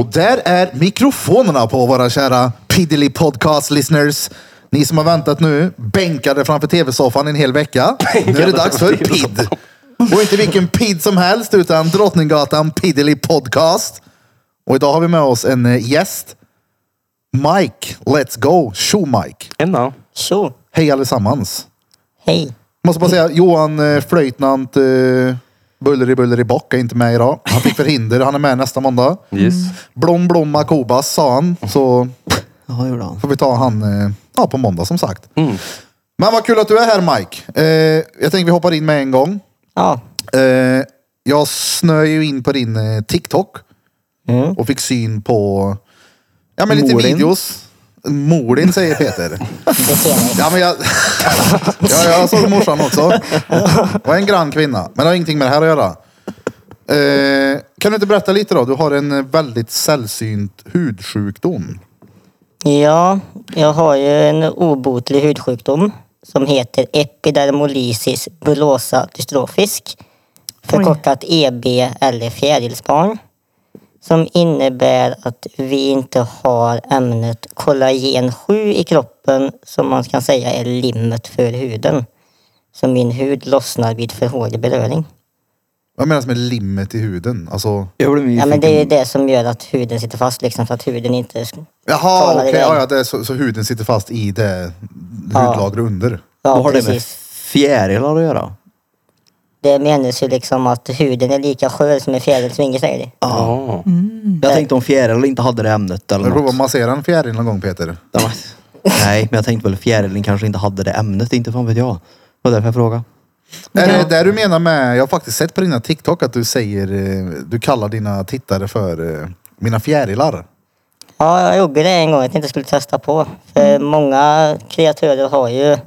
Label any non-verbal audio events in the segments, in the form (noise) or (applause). Och där är mikrofonerna på våra kära Piddly Podcast listeners. Ni som har väntat nu, bänkade framför tv-soffan en hel vecka. Nu är det dags för PID. Och inte vilken PID som helst, utan Drottninggatan Piddly Podcast. Och idag har vi med oss en eh, gäst. Mike, let's go. Tjo Mike. Ena. Så, Hej allesammans. hej. Måste bara säga, Johan eh, Flöjtnant eh, Buller i Buller i Bock är inte med idag. Han fick förhinder, han är med nästa måndag. Yes. Blom Blomma Kobas sa han, så Ja, gjorde han. får vi ta han eh, ja, på måndag som sagt. Men vad kul att du är här Mike. Eh, jag tänker vi hoppar in med en gång. Ja. Eh, jag snöade ju in på din eh, TikTok och fick syn på ja, men lite Mm. Molin. videos. Molin säger (laughs) Peter. Ja, men jag, (laughs) ja, jag såg morsan också. Var en grann kvinna. Men det har ingenting med det här att göra. Eh, kan du inte berätta lite då? Du har en eh, väldigt sällsynt hudsjukdom. ja, jag har ju en obotlig hudsjukdom som heter epidermolysis bullosa dystrofisk. Förkortat EB eller fjärilsbarn. Som innebär att vi inte har ämnet kollagen 7 i kroppen som man kan säga är limmet för huden. Så min hud lossnar vid för hård beröring. Vad menas med limmet i huden? Alltså, Jag blev Ja, nyfiken. men det är ju det som gör att huden sitter fast liksom, för att huden inte... jaha, Talar okej. i ja, väg. ja, det är så, så huden sitter fast i det Ja. hudlagret under. Vad Ja, har det med precis. fjärilar att göra? Det menas ju liksom att huden är lika skör som en fjäril som ingen säger det. Ja. Jag tänkte om fjärilar inte hade det ämnet eller Har du provat att något. massera en fjäril någon gång Peter? Den var- Nej, men jag tänkte väl fjärilen kanske inte hade det ämnet. Inte fan vet jag. Det var därför jag frågade. Är det det du menar med, jag har faktiskt sett på dina TikTok att du säger, eh, du kallar dina tittare för eh, mina fjärilar. Ja, jag gjorde det en gång att jag inte skulle testa på. För Mm. många kreatörer har ju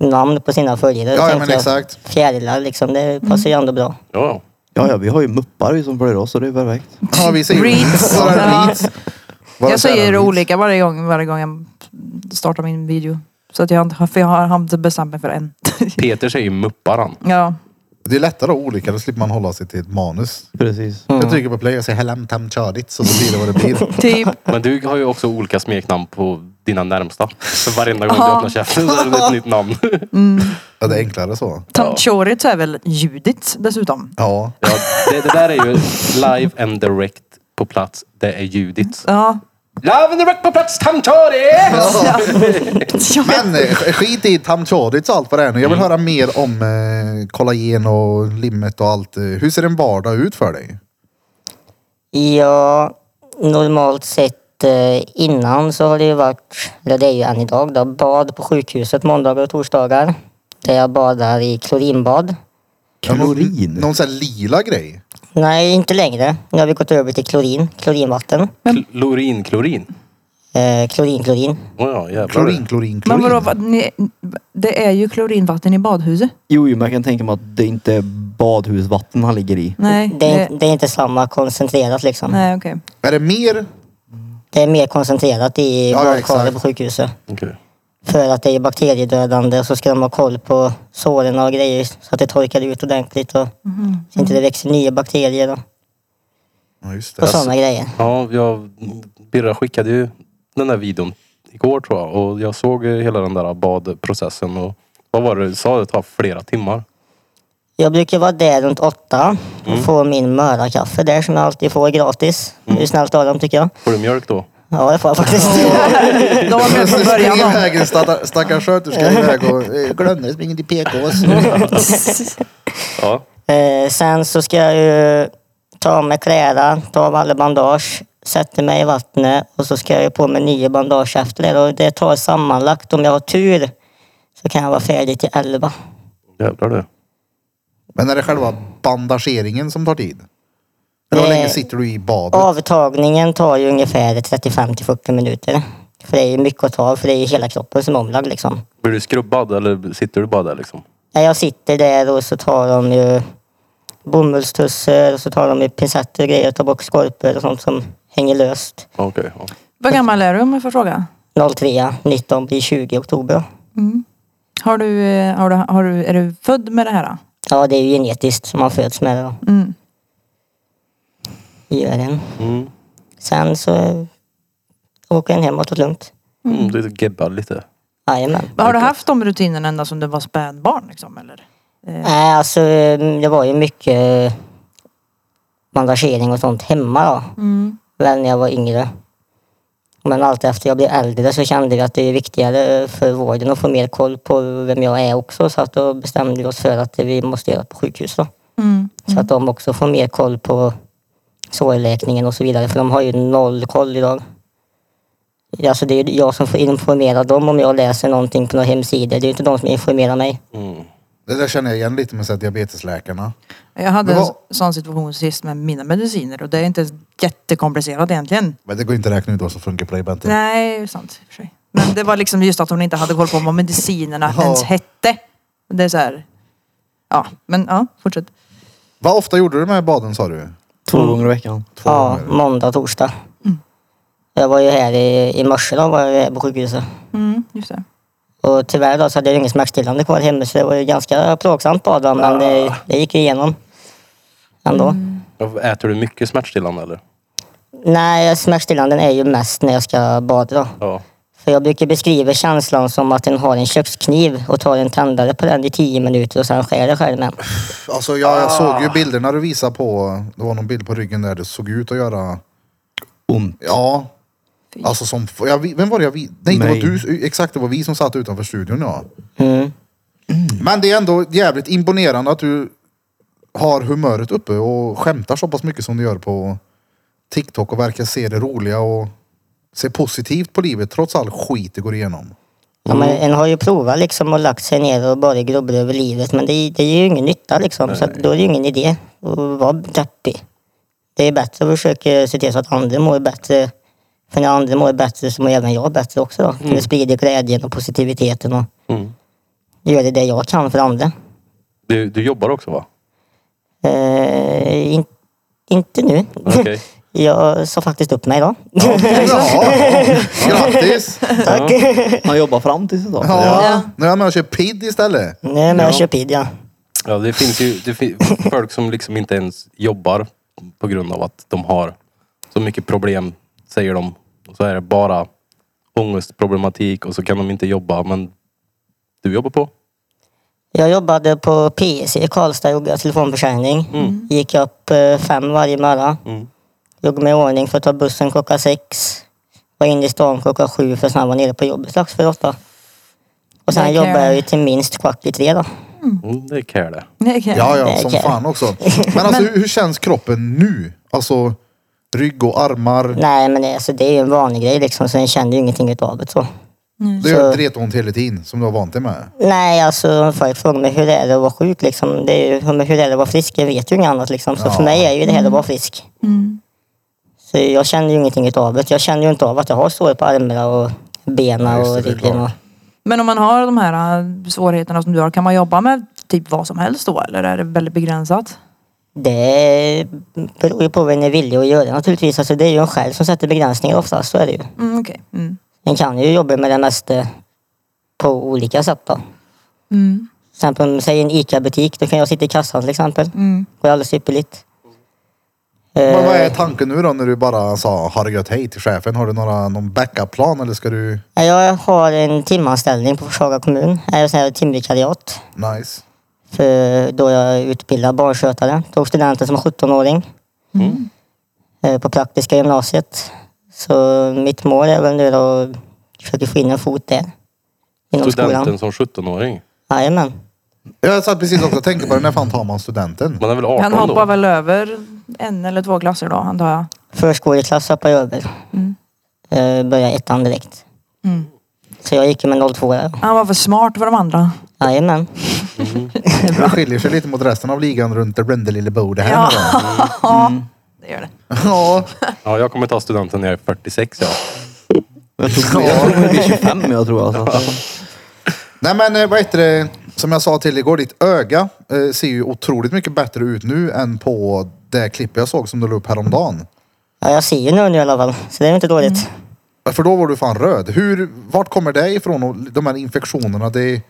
namn på sina följare. Ja, ja, tänkte men jag. exakt. Mm. Fjärilar liksom, det passar ju ändå bra. ja. Ja, ja, vi har ju muppar vi som följer oss så det är perfekt. Ja, vi säger Reeds. Våra Ja. reeds. Våra Jag kära säger reeds. olika varje gång, varje gång jag startar min video. Så att jag, har inte- för jag har inte bestämt mig för (laughs) en. Peter säger ju muppar han. ja. Det är lättare att ha olika, då slipper man hålla sig till ett manus. Precis. Mm. Jag trycker på play och säger helam tam chadit så, så blir det vad det blir. (laughs) Typ. Men du har ju också olika smeknamn på dina närmsta. För varenda gång du Ja. öppnar käften så är det ett nytt namn. Ja, det är enklare så. Tanchorit är väl Judit dessutom. Ja. (laughs) Ja, det, det där är ju live and direct på plats. Det är Judit. Ja. Live and direct på plats, Tantori! Alltså. Jag vet. Men eh, skit i tam chadits och allt vad det är nu. Jag vill Mm. höra mer om eh, kollagen och limmet och allt. eh. Hur ser en vardag ut för dig? Ja, normalt sett eh, innan så har det ju varit, eller det är ju än idag då, bad på sjukhuset måndagar och torsdagar. Där jag badar i klorinbad. Ja, någon- Klorin. Någon sån här lila grej? Nej, inte längre. Nu har vi gått över till klorin, klorinvatten. Klorin, klorin. Eh, klorin, klorin. Oh, ja, jävlar. Klorin, klorin, klorin. Men vadå, vad, ni, det är ju klorinvatten i badhuset. Jo, jo, men jag kan tänka mig att det inte är badhusvatten han ligger i. Nej, Det är, det, det är inte samma koncentrerat liksom. nej okej. (laughs) Är det mer? Det är mer koncentrerat i Ja, ja, badkaret exakt. på sjukhuset. Okej. För att det är bakteriedödande och så ska de ha koll på såren och grejer så att det torkar ut ordentligt och Mhm. så inte det växer nya bakterier och, Ja, just det. och sådana grejer. Ja, jag, Birra skickade ju den där videon igår tror jag. Och jag såg eh, hela den där badprocessen. Och vad var det du sa? Det tar flera timmar. Jag brukar vara där runt åtta och Mm. få min mörakaffe där som jag alltid får gratis. Det är snällt av dem tycker jag. Får du mjölk då? Ja, det får jag (laughs) faktiskt. (laughs) De var med från Spring början. då. iväg en stackar- stackars (laughs) sköterska iväg och eh, glömde springa till PKs. Ja. Eh, sen så ska jag ju ta av mig kläderna, ta av alla bandage, sätta mig i vattnet och så ska jag ju på mig nya bandage efter det. Och det tar sammanlagt, om jag har tur, så kan jag vara färdig till elva. Jävlar du. Men är det själva bandageringen som tar tid? Eller hur Nej. länge Eh, sitter du i badet? Avtagningen tar ju ungefär 35 till 40 minuter. För det är ju mycket att ta av, för det är ju hela kroppen som är omlagd liksom. Blir du skrubbad eller sitter du bara där liksom? När jag sitter där och så tar de ju bomullstussar och så tar de ju pincetter och grejer och tar bort skorpor och sånt som hänger löst. Ja, Okej. ja. Vad gammal är du om jag får fråga? 03, 19 blir 20 oktober. Mm. Har du, eh, har du, har du, är du född med det här? då? Ja, det är ju genetiskt som man föds med det då. Mm. Det gör den. Mm. Sen så åker den hemåt och lugnt. Mm, du gebbar lite. Jajamän. Men Har du haft de rutinerna ända som du var spädbarn liksom eller? Nej, alltså eh, det var ju mycket eh, bandagering och sånt hemma då. Mm. väl när jag var yngre. Men allt efter jag blev äldre så kände vi att det är viktigare för vården att få mer koll på vem jag är också. Så att då bestämde vi oss för att vi måste göra på sjukhus då. Mm. Så att de också får mer koll på sårläkningen och så vidare. För de har ju noll koll idag. Alltså det är ju jag som får informera dem om jag läser någonting på några hemsidor. Det är ju inte de som informerar mig. Mm. Det där känner jag igen lite med så här diabetesläkarna. Jag hade Men en vad- sån situation sist med mina mediciner och det är inte jättekomplicerat egentligen. Men det går inte att räkna ut vad som funkar på dig Bente. Nej, sant i och för sig. Men det var liksom just att hon inte hade koll på vad medicinerna Ja. ens hette. Det är så här. Ja, men ja, fortsätt. Vad ofta gjorde du med baden sa du? Två gånger i veckan. Två Ja, gånger. måndag och torsdag. Jag var ju här i, i morse då, var jag här på sjukhuset. Mm, just det. Och tyvärr då så hade jag ingen smärtstillande kvar hemma så det var ju ganska plågsamt bara då, men det, det gick ju igenom. Ändå. Äter du mycket smärtstillande eller? Nej, smärtstillanden är ju mest när jag ska bada då. Ja. För jag brukar beskriva känslan som att en har en kökskniv och tar en tändare på den i tio minuter och sen skär det själv med. Alltså jag, jag såg ju bilderna du visade på. Det var någon bild på ryggen där det såg ut att göra. Ont. Ja. Alltså som, jag, vi- vem var det jag vi, Nej det var Mig. du, exakt det var vi som satt utanför studion ja. Mm. Men det är ändå jävligt imponerande att du har humöret uppe och skämtar så pass mycket som du gör på TikTok och verkar se det roliga och se positivt på livet trots all skit du går igenom. Ja, men en har ju provat liksom och lagt sig ner och bara grubblat över livet men det, det är ju ingen nytta liksom så att då är det ju ingen idé att vara deppig. Det är bättre att försöka se till så att andra mår bättre. För när andra mår bättre så mår även jag bättre också då. Mm. Det sprider glädjen och positiviteten och Mm. gör det jag kan för andra. Du, du jobbar också va? Eh, in, inte nu. Okej. (laughs) Jag sa faktiskt upp mig idag. Ja, grattis! Tack! Han jobbar fram tills idag. Ja, nu är jag med och kör PID istället. Nej men jag kör pid ja. Ja, det finns ju det (coughs) fin- folk som liksom inte ens jobbar på grund av att de har så mycket problem, säger de. Och så är det bara ångestproblematik och så kan de inte jobba. Men du jobbar på? Jag jobbade på PSC i Karlstad, gjorde jag telefonförsäljning. Gick upp eh, fem varje morgon. Mm. Gjorde mig i ordning för att ta bussen klockan sex. Var inne i stan klockan sju för att sen vara nere på jobbet strax för åtta. Och sen Det kan jobbade jag. jag ju till minst kvart i tre då. Mm, det kan jag det. Nej, kan Ja, jag- ja, som Okej. fan (laughs) också. Men alltså hur, hur känns kroppen nu? Alltså rygg och armar. Nej men det- alltså, det är ju en vanlig grej liksom så jag kände ju ingenting utav det så. Det gör dretont hela tiden som du har vant dig med. Nej alltså folk frågar mig hur det är att vara sjuk liksom. Det är ju, men hur det är att vara frisk, jag vet ju inget annat liksom. Så Ja. för mig är ju det här att vara frisk. Mm. Så jag känner ju ingenting utav det. Jag känner ju inte av att jag har sår på armarna och Ja, benen just det, och det är ryggen. Och... klart. Men om man har de här äh, svårigheterna som du har, kan man jobba med typ vad som helst då eller är det väldigt begränsat? Det beror ju på vad en är villig att göra naturligtvis. Alltså, det är ju en själv som sätter begränsningar oftast, så är det ju. Mm, Okej. Mm. En kan ju jobba med det mesta på olika sätt då. Mm. Till exempel om säg en ICA-butik, då kan jag sitta i kassan till exempel. Mm. går alldeles ypperligt. Men vad Eh, är tanken nu då när du bara sa har det gött hej till chefen? Har du några, någon backup-plan eller ska du... Eh, Jag har en timanställning på Forshaga kommun. Jag är sån här timvikariat. Nice. För då jag utbildade barnskötare. Tog studenten som 17-åring. Eh, På praktiska gymnasiet. Så mitt mål är väl nu då att försöka få in en fot där. Inom Studenten skolan. som 17-åring. Jajamän. Jag satt precis också och tänkte på det. När fan tar man studenten? (laughs) Man är väl Han 18 hoppar då? väl över en eller två klasser då antar jag. Förskoleklass hoppade jag över. Mm. Eh, Började ettan direkt. Mm. Så jag gick ju med 02 där. Han var för smart för de andra. Jajamän. Det skiljer sig lite mot resten av ligan runt det runda lilla bordet här. Ja. nu då. Det gör det. (laughs) ja. Ja, jag kommer ta studenten när jag är 46. Ja. Jag tror jag tror hon blir 25 jag tror alltså. Nej men eh, vad heter det? Som jag sa till igår, ditt öga eh, ser ju otroligt mycket bättre ut nu än på det klipp jag såg som du la upp häromdagen. Ja, jag ser ju nu, nu i alla fall. Så det är ju inte dåligt. För då var du fan röd. Hur, vart kommer det ifrån? och De här infektionerna? Det är, Är Eh.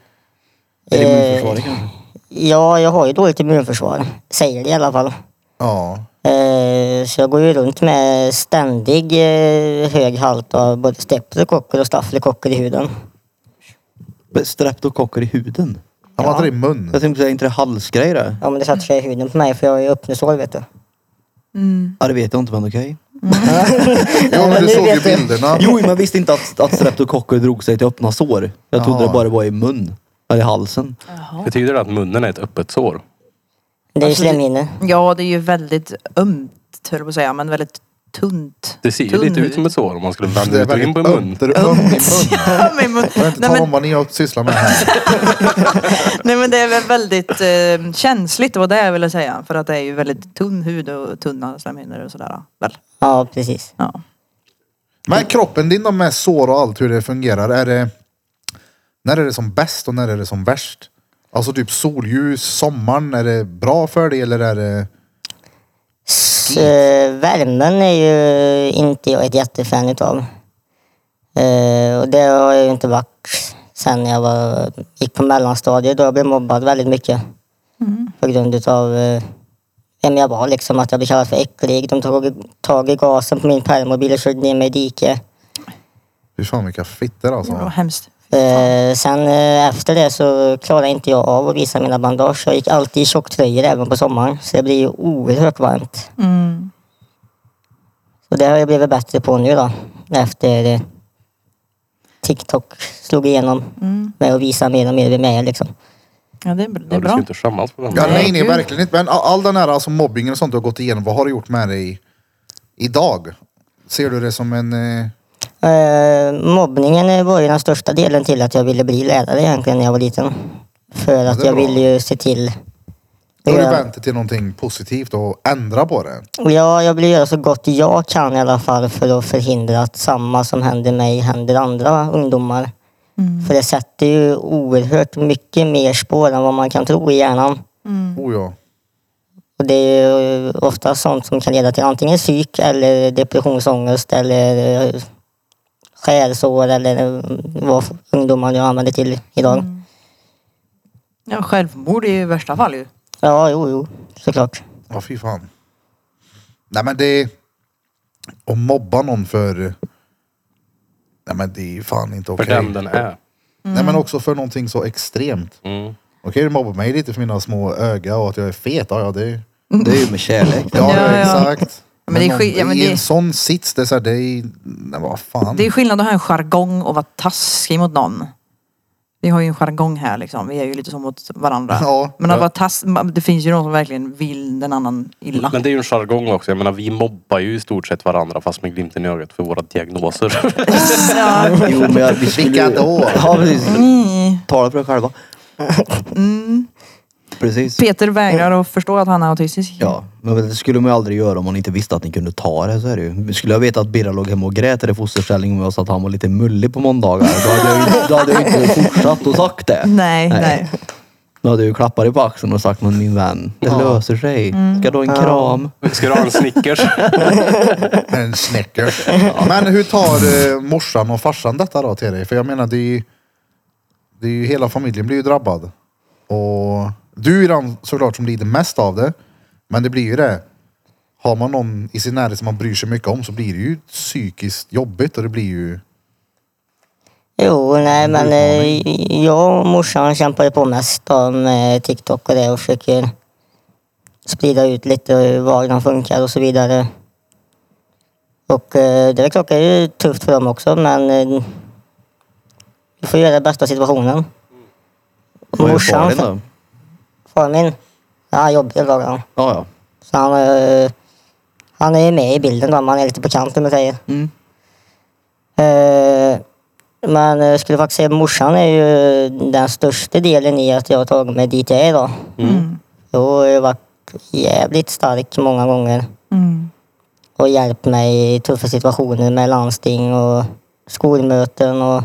det immunförsvaret kanske? Ja, jag har ju dåligt immunförsvar. Säger det i alla fall. ja. Eh, Så jag går ju runt med ständig eh, hög halt av både streptokocker och staffelkocker i huden. Men Streptokocker i huden? Han var inte det i mun. Jag tänkte säga, inte det halsgrej det? Ja men det satte sig i huden på mig för jag har ju öppna sår vet du. Ja, det vet jag inte men okej. Jo, men men du nu såg ju vet jag. bilderna. Jo, men jag visste inte att, att streptokocker drog sig till öppna sår. Jag trodde Ja. det bara var i mun. Eller i halsen. Betyder det att munnen är ett öppet sår? Det är ju Alltså, det- slemhinnor. Ja, det är ju väldigt ömt, höll jag på att säga, men väldigt tunt. Det ser ju Tunn lite ut hud. (laughs) som ett sår om man skulle vända Det är ut och in väldigt på en mun. ömt. Det är ömt i mun. Min mun. Jag vill inte Nej, tala om men, vad ni har- sysslar med här. nej men det är väl väldigt eh, känsligt, det var det jag ville säga. För att det är ju väldigt tunn hud och tunna slemhinnor och sådär. Väl? Ja precis. Ja. Men kroppen din då med sår och allt hur det fungerar. Är det, när är det som bäst och när är det som värst? Alltså typ solljus, sommaren, är det bra för dig eller är det... Så, eh, värmen är ju inte jag ett jättefan utav. Eh, och det har jag ju inte varit sen jag var, gick på mellanstadiet då jag blev mobbad väldigt mycket. På grund utav eh, vem jag var liksom, att jag blev kallad för äcklig. De tog tag i gasen på min permobil och körde ner mig i diket. Hur fan vilka fittor Det var alltså. hemskt. Eh, sen eh, efter det så klarade inte jag av att visa mina bandage. Jag gick alltid i tjocktröjor även på sommaren. Så det blir ju oerhört varmt. Mm. Så det har jag blivit bättre på nu då. Efter eh, TikTok slog igenom Mm. med att visa mer och mer vem jag är liksom. Ja, det är, det Ja, är du ska bra. inte skämmas för den. Ja, nej, Nej, nej, gud. verkligen inte. Men all- all den här alltså, mobbingen och sånt du har gått igenom, vad har det gjort med dig idag? Ser du det som en... Eh, Eh, mobbningen eh, var ju den största delen till att jag ville bli lärare egentligen när jag var liten. För att det är jag bra. ville ju se till... då har du Ja. vänt dig till någonting positivt och ändra på det. Ja, jag vill göra så gott jag kan i alla fall för att förhindra att samma som händer mig händer andra ungdomar. Mm. För det sätter ju oerhört mycket mer spår än vad man kan tro i hjärnan. Mm. Oh, ja. Och det är ju ofta sånt som kan leda till antingen psyk eller depressionsångest eller eh, skärsår eller eh, vad ungdomar nu använder till idag. Ja, självmord i värsta fall ju. Ja, jo, jo, såklart. Ja, fy fan. Nej, men det... Att mobba någon för... Nej, men det är ju fan inte För okej. den den är. Nej, Mm. men också för någonting så extremt. Mm. Okej, du mobbar mig lite för mina små öga och att jag är fet. Ja, ja, det... Det är ju med kärlek. Ja, Ja, ja, ja. exakt. Men det är skit- någon- ja, men I det- en sån sits, det är såhär, det är... Nej, vad fan. Det är skillnad att ha en jargong och vara taskig mot någon. Vi har ju en jargong här liksom. Vi är ju lite så mot varandra. Ja. Men att Ja. vara tass... Det finns ju någon som verkligen vill den annan illa. Men det är ju en jargong också. Jag menar vi mobbar ju i stort sett varandra fast med glimten i ögat för våra diagnoser. Ja. Jo, men jag, vi skulle Vilka ju- då? Ja, precis. Mm. Tala för dig själva. Mm. Precis. Peter vägrar att förstå att han är autistisk. Ja, men det skulle man ju aldrig göra om man inte visste att ni kunde ta det. Så är det ju. Skulle jag veta att Birra låg hemma och grät i fosterställning om jag sa att han var lite mullig på måndagar, då hade jag ju, då hade jag ju inte fortsatt och sagt det. Nej, nej. Då hade jag ju klappat dig på axeln och sagt, men min vän, det löser sig. Mm. Ska du ha en kram? Ska du ha en Snickers? (laughs) En Snickers. Men hur tar eh, morsan och farsan detta då till dig? För jag menar, det är ju, det är ju hela familjen blir ju drabbad. Och du är den såklart som lider mest av det. Men det blir ju det. Har man någon i sin närhet som man bryr sig mycket om så blir det ju psykiskt jobbigt och det blir ju... Jo, nej men eh, jag och morsan kämpade på mest om eh, TikTok och det och försöker sprida ut lite var den funkar och så vidare. Och eh, det är klart det är ju tufft för dem också men eh, vi får göra det bästa av situationen. Vad är far Morsan, din då? far min, ja, han jobbar idag han. Ja, ja. Så han, eh, han är ju med i bilden då, men han är lite på kanten med säger. Mm. Eh, Men eh, jag skulle faktiskt säga morsan är ju den största delen i att jag har tagit mig dit jag är idag. Mm. Då har jag varit jävligt stark många gånger Mm. och hjälpt mig i tuffa situationer med landsting och skolmöten och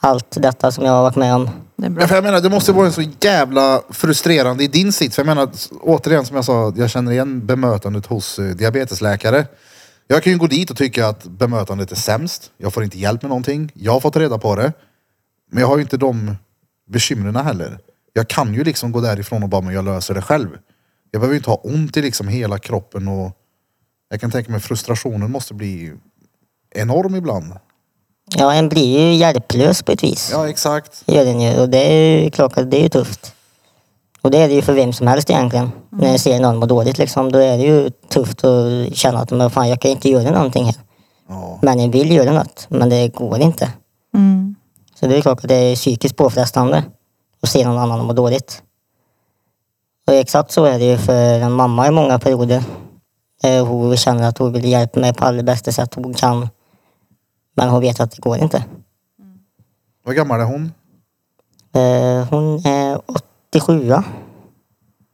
allt detta som jag har varit med om. Det är bra. Ja, för jag menar, det måste vara en så jävla frustrerande i din sits. För jag menar, återigen som jag sa, jag känner igen bemötandet hos eh, diabetesläkare. Jag kan ju gå dit och tycka att bemötandet är sämst. Jag får inte hjälp med någonting. Jag har fått reda på det. Men jag har ju inte de bekymren heller. Jag kan ju liksom gå därifrån och bara, men jag löser det själv. Jag behöver ju inte ha ont i liksom hela kroppen och jag kan tänka mig frustrationen måste bli enorm ibland. Ja, en blir ju hjälplös på ett vis. Ja, exakt. Det gör den ju. Och det är ju klart att det är ju tufft. Och det är det ju för vem som helst egentligen. När jag ser någon må dåligt liksom, då är det ju tufft att känna att men fan, jag kan inte göra någonting här. Ja. Men jag vill göra något, men det går inte. Mm. Så det är klart att det är psykiskt påfrestande att se någon annan må dåligt. Och exakt så är det ju för en mamma i många perioder. Eh, Hon känner att hon vill hjälpa mig på allra bästa sätt hon kan. Men hon vet att det går inte. Vad gammal är hon? Eh, Hon är 87 Det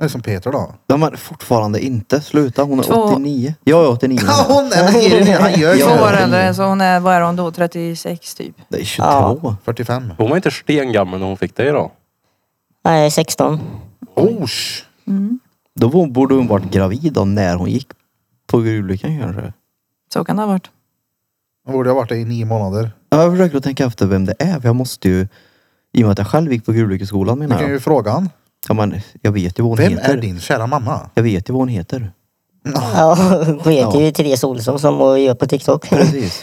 är som Peter då. De är fortfarande inte. Sluta, hon är Två- 89. Jag är 89. (laughs) Ja, hon är, men ge dig ner, han gör Två år så. äldre, så hon är, vad är hon då, 36 typ? Det är 22. Ja. 45. Hon var inte stengammal när hon fick dig då. Nej, 16. Osh! Mm. Då bo- borde hon varit gravid då, när hon gick på gruvolyckan kanske. Så kan det ha varit. Hon borde ha varit det i nio månader. Ja, Jag försöker att tänka efter vem det är. för Jag måste ju, i och med att jag själv gick på gruvolyckoskolan Du menar kan jag. ju fråga han. Ja, men jag vet ju vad hon Mm. Vem heter. är din kära (laughs) mamma? Jag vet ju vad hon heter. Ja, (laughs) hon heter ju Therese Olsson som hon gör på (laughs) TikTok. Precis.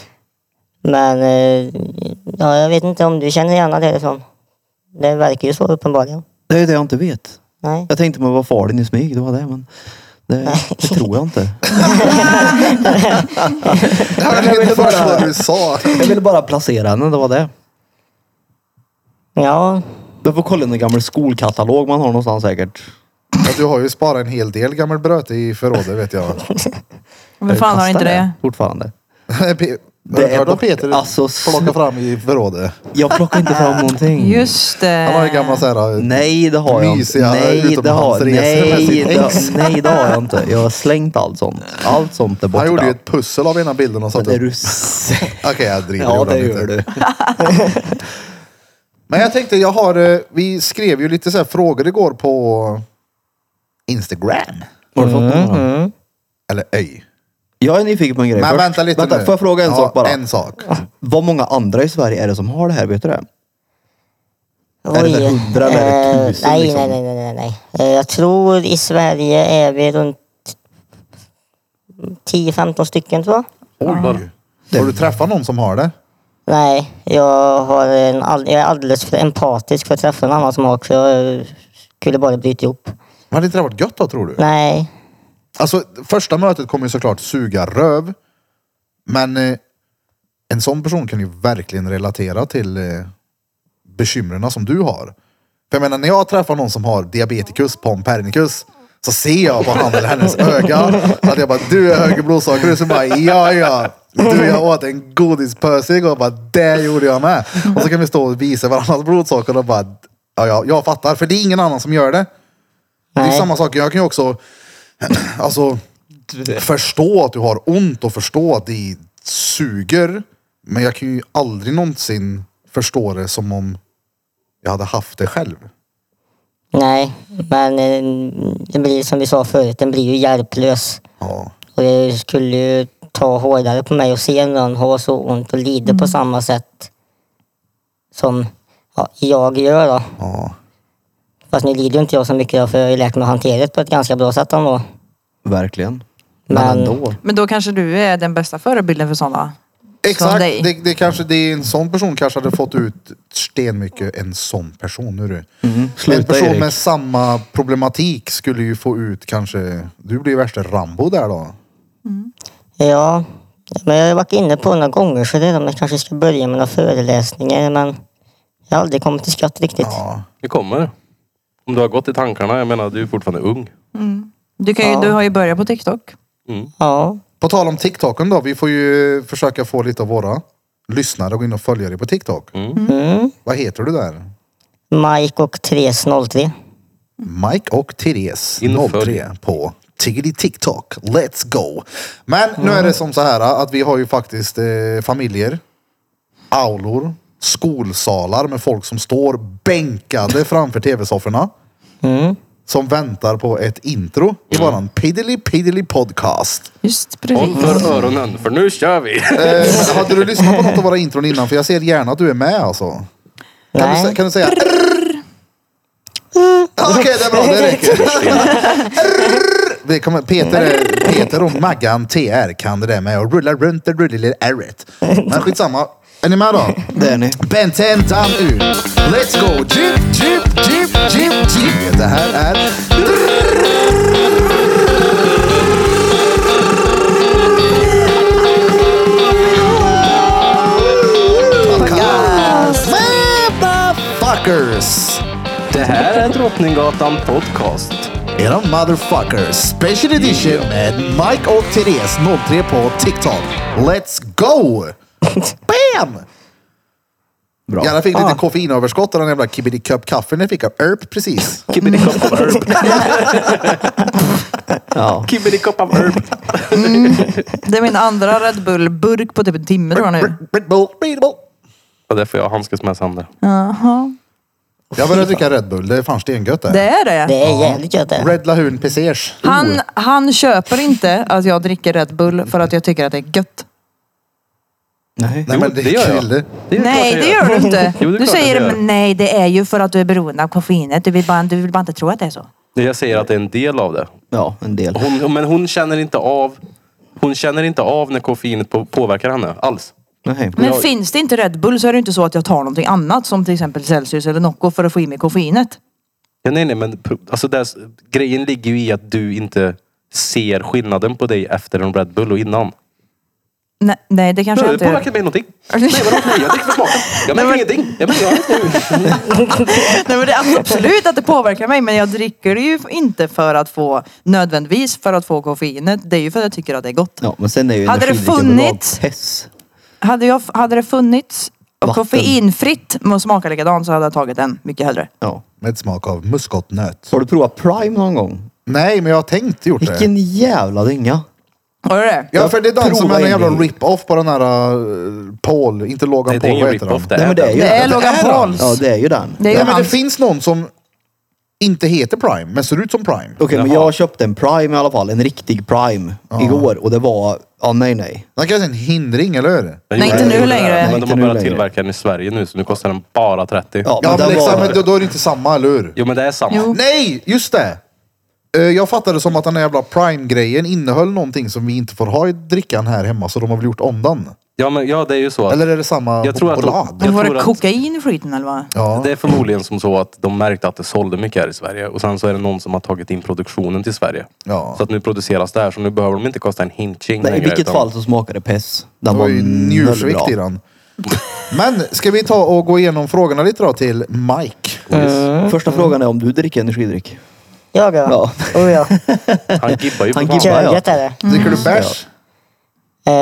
Men eh, ja, jag vet inte om du känner igen henne därifrån. Det verkar ju så uppenbarligen. Det är det jag inte vet. Nej. Jag tänkte mig vad far din i smyg, det var det. Men det, det tror jag inte. Jag vet inte först vad du sa. Jag ville bara placera henne, det var det. Ja, Du får kolla i en gammal skolkatalog man har någonstans säkert. Ja, du har ju sparat en hel del gammal bröte i förrådet vet (laughs) jag. Men fan har inte det? Fortfarande. Pe- Det det är är dock- Peter alltså, plockar fram i förrådet. Jag plockar inte (laughs) fram någonting. Just det. Mm. Han har ju gamla så här... Nej det har jag inte. Mysiga Nej det har, utomlandsresor med nej, sitt det, ex. nej det har jag inte. Jag har slängt allt sånt. Allt sånt är borta. Han gjorde ju ett pussel av ena bilden och satte Är upp. du säker? Okej, jag driver. gjorde Ja det han gör inte. du. (laughs) Men jag tänkte, jag har... eh, Vi skrev ju lite så här frågor igår på Instagram. Har du fått några? Eller öj. Jag är nyfiken på en grej Mm-hmm. Men först. vänta lite nu. Får jag fråga en Ja, sak bara? Ah, En sak. Vad många andra i Sverige är det som har det här? Vet du det? Är det Oj. där 100 eller är det Eh, 1000 nej, liksom? nej, nej, nej, nej. Eh, jag tror i Sverige är vi runt 10-15 stycken tror jag. Oj. Har du träffat någon som har det? Nej, jag, har en all, jag är alldeles för empatisk för att träffa någon annan som har för jag eh, skulle bara bryta ihop. Men hade inte det varit gött då tror du? Nej, Alltså första mötet kommer ju såklart suga röv. Men eh, en sån person kan ju verkligen relatera till eh, bekymren som du har. För jag menar när jag träffar någon som har diabetikus, pompernicus. Så ser jag på han eller hennes öga att jag bara, du är högre blodsocker. Och så bara, ja ja. Du, jag åt en godispöse igår. Bara, det gjorde jag med. Och så kan vi stå och visa varandras blodsocker och bara, ja ja, jag fattar. För det är ingen annan som gör det. Det är Nej. samma sak, jag kan ju också (clears throat) alltså, förstå att du har ont och förstå att det suger. Men jag kan ju aldrig någonsin förstå det som om jag hade haft det själv. nej. Men eh, det blir som vi sa förut, den blir ju hjälplös. Ja. Och det skulle ju ta hårdare på mig att se någon ha så ont och lida på samma sätt som ja, jag gör då. ja. Fast nu lider ju inte jag så mycket då, för jag har ju lärt mig att hantera det på ett ganska bra sätt ändå. Verkligen. Men, Men- ändå. Men då kanske du är den bästa förebilden för sådana? Exakt, dig. det, det kanske det är en sån person kanske hade fått ut stenmycket en sån person. Nu du. en Mm. Sluta person Erik. med samma problematik skulle ju få ut kanske, du blir ju värsta Rambo där då. Ja, men jag har varit inne på det några gånger så det är om jag kanske ska börja med några föreläsningar men jag har aldrig kommit till skott riktigt. Ja. Det kommer. Om du har gått i tankarna. Jag menar, du är fortfarande ung. Du, kan ju, du har ju börjat på TikTok. Mm. Ja, På tal om TikToken då, vi får ju försöka få lite av våra lyssnare att gå in och följa dig på TikTok. Mm. Vad heter du där? Mike och 303. Mike och Therese In och 03 på Tiggity TikTok. Let's go! Men nu är det som så här att vi har ju faktiskt eh, familjer, aulor, skolsalar med folk som står bänkade framför tv-sofforna. Mm. Som väntar på ett intro i Mm. våran Piddly Piddly podcast. Just Håll precis. för öronen, för nu kör vi! Eh, hade du lyssnat på något av våra intron innan? För jag ser gärna att du är med alltså. Kan, du, Nej. sä- kan du säga Okej, det är bra. Det räcker. Det kommer, Peter, är- Peter och Maggan TR kan det där med att rulla runt det rullade ärret. Men skitsamma. Är ni med då? Det är ni. Bententan ut. Let's go! Jip, jip, jip, jip, jip. Det här är... Podcast. Motherfuckers! Det här är Drottninggatan podcast. Era motherfuckers special edition med Mike och Therese 03 på TikTok. Let's go! Bam! Bra. Jävlar fick lite koffeinöverskott av den jävla kibbidi cup kaffe ni fick av Erp precis. Kibbidi-kopp av herb. Ja. Kibbidi-kopp av herb. Det är min andra Red Bull-burk på typ en timme tror jag nu. Red Bull, Red Bull. Och det får jag handskas med sen. där. Jaha. Jag började dricka Red Bull, det är fan stengött det. Det är det. Det är jävligt gött det. Red Lahun Pesers. Han, han köper inte att jag dricker Red Bull för att jag tycker att det är gött. Nej. Nej Jo, men det det är gör jag. kul. Det är Nej, klart det jag gör du inte. (laughs) Jo, det är du klart säger jag det, gör. men nej, det är ju för att du är beroende av koffeinet. Du vill bara, du vill bara inte tro att det är så. Det Jag säger att det är en del av det. Ja, en del. Hon, men hon känner inte av hon känner inte av när koffeinet på, påverkar henne alls. Nej. Men Jag- finns det inte Red Bull så är det inte så att jag tar någonting annat som till exempel Celsius eller Nocco för att få i mig koffeinet. Ja, nej, nej, men pro- alltså där, grejen ligger ju i att du inte ser skillnaden på dig efter en Red Bull och innan. Nej, nej det kanske Nej, jag det inte gör. påverkar mig någonting. Nej, vadå? Nej, jag dricker för smaken. Jag märker ingenting. Jag märker ingenting. Nej, men det är absolut att det påverkar mig men jag dricker det ju inte för att få nödvändigtvis för att få koffeinet. Det är ju för att jag tycker att det är gott. Ja, men sen är ju Hade det energidrycken överlag funnits- Pess. Hade, jag, hade det funnits Vatten. koffeinfritt och smaka likadant så hade jag tagit den mycket hellre. Ja. Med smak av muskotnöt. Har du provat Prime någon gång? Nej men jag har tänkt gjort det. Vilken jävla dynga. Har du det? Ja för det är den som är en Prova jävla en grej. rip-off på den här uh, Paul, inte Det Logan är Paul, ingen vad heter rip-off han? det. Nej, men det är ju Det är den. Logan är han. Pauls. Ja, det är ju den. Det är Nej ju men det hans. finns någon som inte heter Prime, men ser ut som Prime. Okej, men Jaha. jag köpte en Prime i alla fall. En riktig Prime. Igår. Och det var... Ja, nej, nej. Den kanske är en hindring, eller hur? Nej, inte nu längre. Men Inte de har nu börjat längre. tillverka den i Sverige nu så nu kostar den bara 30. Ja, Ja, men men den liksom, men var... då, då är det inte samma, eller hur? Jo men det är samma. Jo. Nej, just det! Eh, Jag fattade som att den här jävla Prime-grejen innehöll någonting som vi inte får ha i drickan här hemma, så de har väl gjort om den. Ja, men, ja det är ju så. Att Eller är det samma Jag tror att de- choklad? jag Var tror det att- kokain i skiten eller vad? Ja. Det är förmodligen som så att de märkte att det sålde mycket här i Sverige och sen så är det någon som har tagit in produktionen till Sverige. Ja. Så att nu produceras det här så nu behöver de inte kosta en hinching Nej, I längre, vilket utan- fall så smakade det pess. Den Det var var ju njursvikt i nollbra. den. Men ska vi ta och gå igenom frågorna lite då till Mike? Mm. Första frågan är om du dricker energidryck. Jag då? Ja. Oh ja. Han gibbar ju för Han fan. gibbar. Körgött är det. Mm. Dricker du bärs? Eh,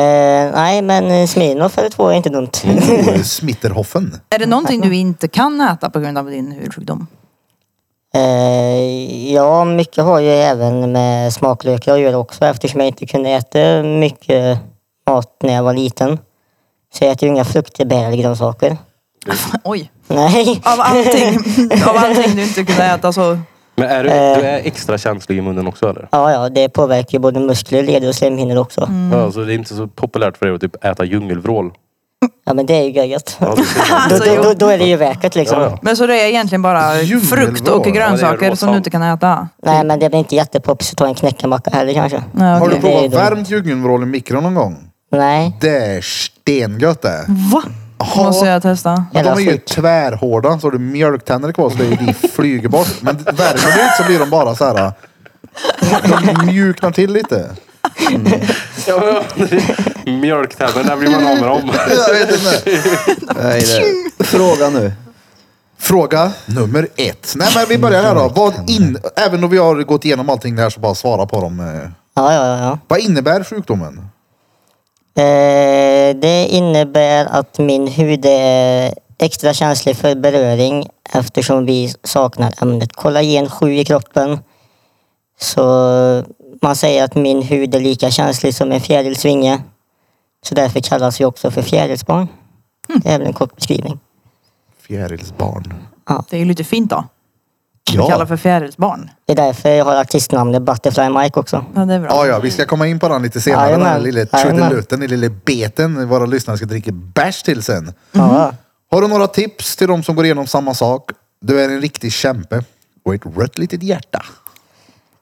nej, men eh, Smirnoff eller två är inte dumt. Oh, Smitterhoffen. Är det någonting du inte kan äta på grund av din hudsjukdom? (laughs) Eh, ja, mycket har ju även med smaklökar att göra också eftersom jag inte kunde äta mycket mat när jag var liten. Så jag äter ju inga frukter, bär eller grönsaker. (laughs) Oj. (laughs) Nej. Av allting, (laughs) av allting du inte kunde äta (laughs) så... Men är du, Eh. du är extra känslig i munnen också eller? Ja, ja, det påverkar ju både muskler, leder och slemhinnor också. Mm. Mm. Ja, så det är inte så populärt för dig att typ äta (laughs) djungelvrål. Ja, men det är ju gött. Ja, det är- (laughs) Då, då, Alltså, jo. då, då är det ju värt det, liksom. Ja, ja. Men så det är egentligen bara Djungelvrål. frukt Ja, och det är grönsaker som råsalt. du inte kan äta? Nej, men det blir inte jättepoppis att ta en knäckemacka heller kanske. Nej, Har okej. du Det är provat dumt. varmt djungelvrål i mikron någon gång? Nej. Det är stengött det. Va? Måste jag testa. Men de Jävla är ju skit. tvärhårda, så har du mjölktänder kvar så det är ju de flyger bort. Men värmer du inte så blir de bara så här. De mjuknar till lite. Ja, ja. Mjölktänder, där blir man av med dem. Jag vet inte. Nej, det... (laughs) Fråga nu. Fråga nummer ett. Nej men vi börjar här då. Vad in... Även om vi har gått igenom allting det här så bara svara på dem. eh. Ja, ja, ja, ja. Vad innebär sjukdomen? Eh, det innebär att min hud är extra känslig för beröring eftersom vi saknar ämnet kollagen 7 i kroppen. Så man säger att min hud är lika känslig som en fjärilsvinge. Så därför kallas vi också för fjärilsbarn. Det är väl en kort beskrivning. Fjärilsbarn. Det är ju lite fint då. Vi Ja. kallar för fjärilsbarn. Det är därför jag har artistnamnet Butterfly Mike också. Ja, det är bra. Ja, ja, vi ska komma in på den lite senare. Den här Jajamän. lilla Jajamän. trudelutten, den lilla beten våra lyssnare ska dricka bärs till sen. Ja, Har du några tips till de som går igenom samma sak? Du är en riktig kämpe. och ett rött litet hjärta.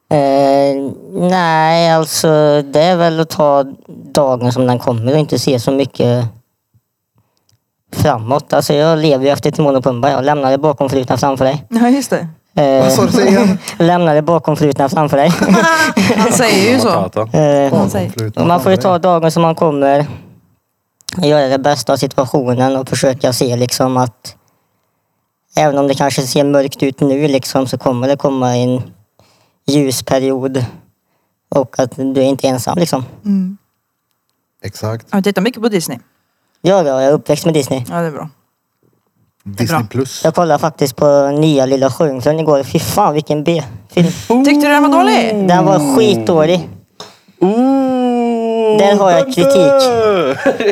Eh, nej, alltså det är väl att ta dagen som den kommer och inte se så mycket framåt. Alltså jag lever ju efter Timon och Pumba. Jag lämnar det bakomflutna framför dig. Ja, just det. Vad Eh, sa du säger igen? (laughs) lämnar det bakomflutna (laughs) framför dig. Han säger ju så. Matata. Eh, Han säger- Avflutna Man får ju ta framför dagen som man kommer. Göra det bästa av situationen och försöka se liksom att även om det kanske ser mörkt ut nu liksom så kommer det komma en ljusperiod. Och att du är inte ensam liksom. Mm. dig. Exakt. Har du tittat mycket på Disney? Ja, ja, jag är uppväxt med Disney. Ja, det är bra. Disney plus. Jag kollade faktiskt på nya Lilla Sjöjungfrun igår. Fy fan vilken B-film. Tyckte du den var dålig? Den var skitdålig. Oh, Där har jag kritik.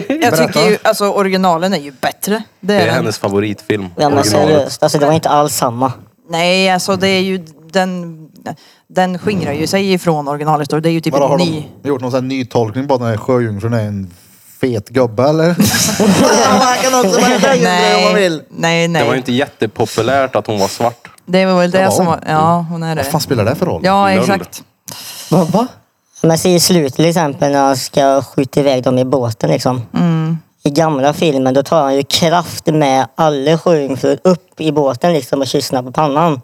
Jag Berätta. tycker ju, alltså originalen är ju bättre. Det Det är är den. hennes favoritfilm. Ja men originalet. seriöst, alltså det var inte alls samma. Nej, alltså det är ju den... Den skingrar ju sig ifrån originalhistorien. Det är ju typ Vadå, har en ny... de gjort någon sån här ny tolkning på att den här sjöjungfrun är en fet gubbe eller? (laughs) man kan också vara en sjöjungfru om man vill. nej, nej. Det var ju inte jättepopulärt att hon var svart. Det var väl det Ja, hon. som var... mm. Ja, hon är Vad fan det. spelar det för roll? Ja, Lögn. exakt. Va? va? Men se i slutet till exempel när han ska skjuta iväg dem i båten liksom. I gamla filmen då tar han ju kraft med alla sjöjungfrur upp i båten liksom och kysser dem på pannan.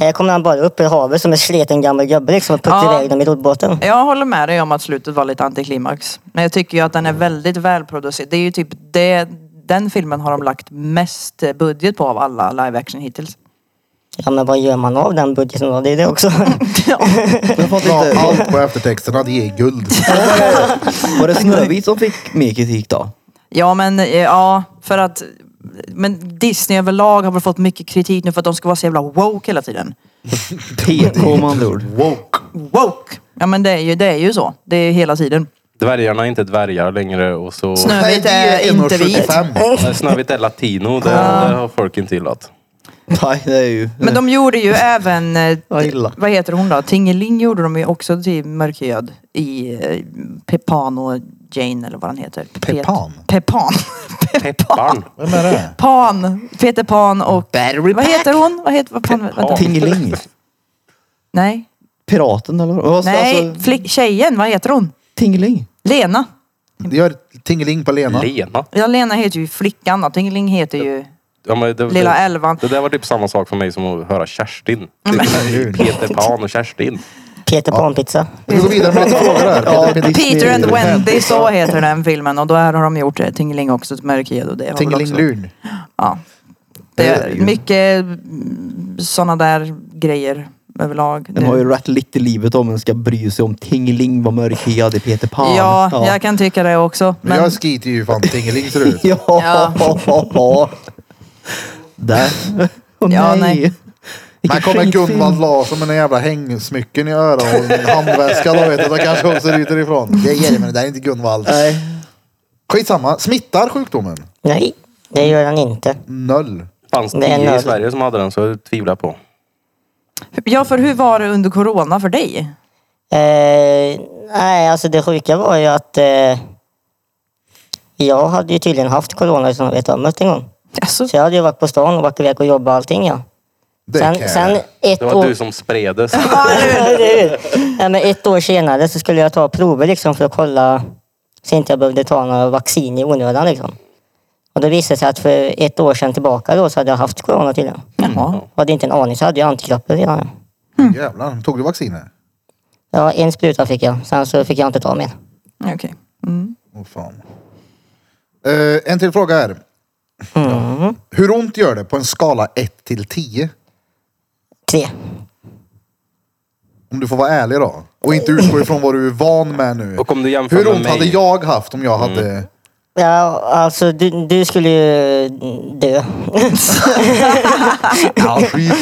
Här kommer han bara upp i havet som en sliten gammal gubbe liksom och puttar Ja. iväg dem i roddbåten. Jag håller med dig om att slutet var lite antiklimax. Men jag tycker ju att den är väldigt välproducerad. Det är ju typ det... Den filmen har de lagt mest budget på av alla live (laughs) action hittills. Ja men vad gör man av den budgeten då? Det är det också. Jag fattar La inte. allt på eftertexterna, det är (laughs) guld. Var det Snövit som fick mer kritik då? Ja men eh, ja, för att men Disney överlag har väl fått mycket kritik nu för att de ska vara så jävla woke hela tiden. PK med andra (laughs) ord. Woke. Woke! Ja men det är ju, det är ju så. Det är hela tiden. Dvärgarna är inte dvärgar längre och så... Snö. Nej, det är inte vit. 1,75. Nej, Snövit är latino, det, det har folk inte gillat. Nej, det är ju... Men de gjorde ju även, eh, Vad illa. vad heter hon då? Tingeling gjorde de ju också till mörkhyad i eh, Peppan och Jane eller vad han heter. Pet- Peppan? Peppan. Pepparn. Vem är det? (laughs) Pan. Peter Pan och... Vad heter hon? Vad heter... Vad fan, vänta. Tingeling. Nej. Piraten eller vad? Alltså, Nej, alltså, flick, tjejen. Vad heter hon? Tingeling. Lena. Det gör tingeling på Lena. Lena. Ja, Lena heter ju flickan och Tingeling heter ju Ja, men det, Lilla det, Elvan. det där var typ samma sak för mig som att höra Kerstin. (laughs) Peter Pan och Kerstin. Peter Pan-pizza. Vi går vidare med lite frågor här. Ja, Peter and Wendy, så heter den filmen. Och då har de gjort eh, Tingeling också, till mörkhyad. och det har väl också- Tingeling-lun. Ja. Det är mycket mm, såna där grejer överlag. Den har ju rätt lite livet om man ska bry sig om Tingeling var mörkhyad i Peter Pan. ja, jag kan tycka det också. Men... Men Jag skiter ju fan tingeling ser det (laughs) ut. Ja. ja. Där. Åh Ja, nej. nej. Här Vilken kommer skitfilm. Gunvald Larsson med en jävla hängsmycken i öronen och en handväska. Då vet jag, då kanske hon ser ut därifrån. Det är Jerry, men det där är inte Gunvald. Nej. Skitsamma. Smittar sjukdomen? Nej, det gör han inte. Noll. Fanns Det är tio i nöd. Sverige som hade den så jag tvivlar på. ja, för hur var det under corona för dig? Eh, nej, alltså det sjuka var ju att eh, jag hade ju tydligen haft corona utan att veta om det en gång. Alltså, Så jag hade ju varit på stan och varit iväg och jobbat och allting ja. Det kan sen, jag sen göra. ett Det var år... du som spredes. Nej, men ett år senare så skulle jag ta prover liksom för att kolla så inte jag behövde ta några vaccin i onödan liksom. Och då visade det sig att för ett år sedan tillbaka då så hade jag haft corona tydligen. Mm. jaha. Och hade inte en aning så hade jag antikroppar redan. ja. Jävlar, tog du vaccinet? Ja, en spruta fick jag. Sen så fick jag inte ta mer. Okej. Mm. Åh fan. Eh, en till fråga här. Mm. Ja. Hur ont gör det på en skala 1 till 10? Tre. Om du får vara ärlig då. Och inte utgå ifrån vad du är van med nu. Och om du jämför Hur med ont mig. Mm. hade jag haft om jag hade... (clears throat) Ja, alltså du, du skulle ju dö. (laughs) Ja, skit.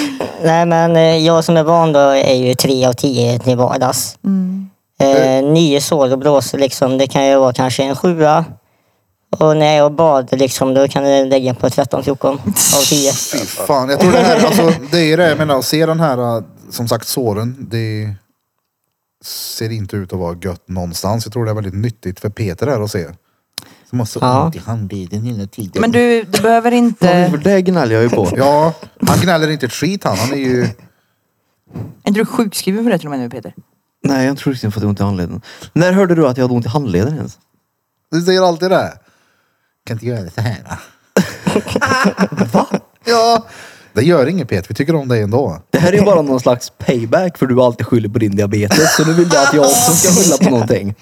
Nej men eh, jag som är van då är ju 3 av 10 till vardags. Mm. Eh, nio sår och blåsor liksom, det kan ju vara kanske en sjua. Och när jag bad liksom, då kan jag lägga på 13-14 av (laughs) 10. Fy fan. Jag tror det här, alltså, det är det jag menar. Att se den här, eh, som sagt såren. Det ser inte ut att vara gött någonstans. Jag tror det är väldigt nyttigt för Peter här att se. Som har så Ja. ont i handleden hela tiden. Men du, du behöver Ja, inte... för Det gnäller jag ju på. Ja, han gnäller inte ett skit han. Han är ju Är inte du sjukskriven för det till och med nu Peter? Nej, jag tror inte jag fått ont i handleden. När hörde du att jag hade ont i handleden ens? Du säger alltid det. Kan inte göra det så här. Va? Ja. Det gör inget Pet, vi tycker om dig ändå. Det här är ju bara någon slags payback för du alltid skyller på din diabetes. Så nu vill du att jag också ska skylla på någonting.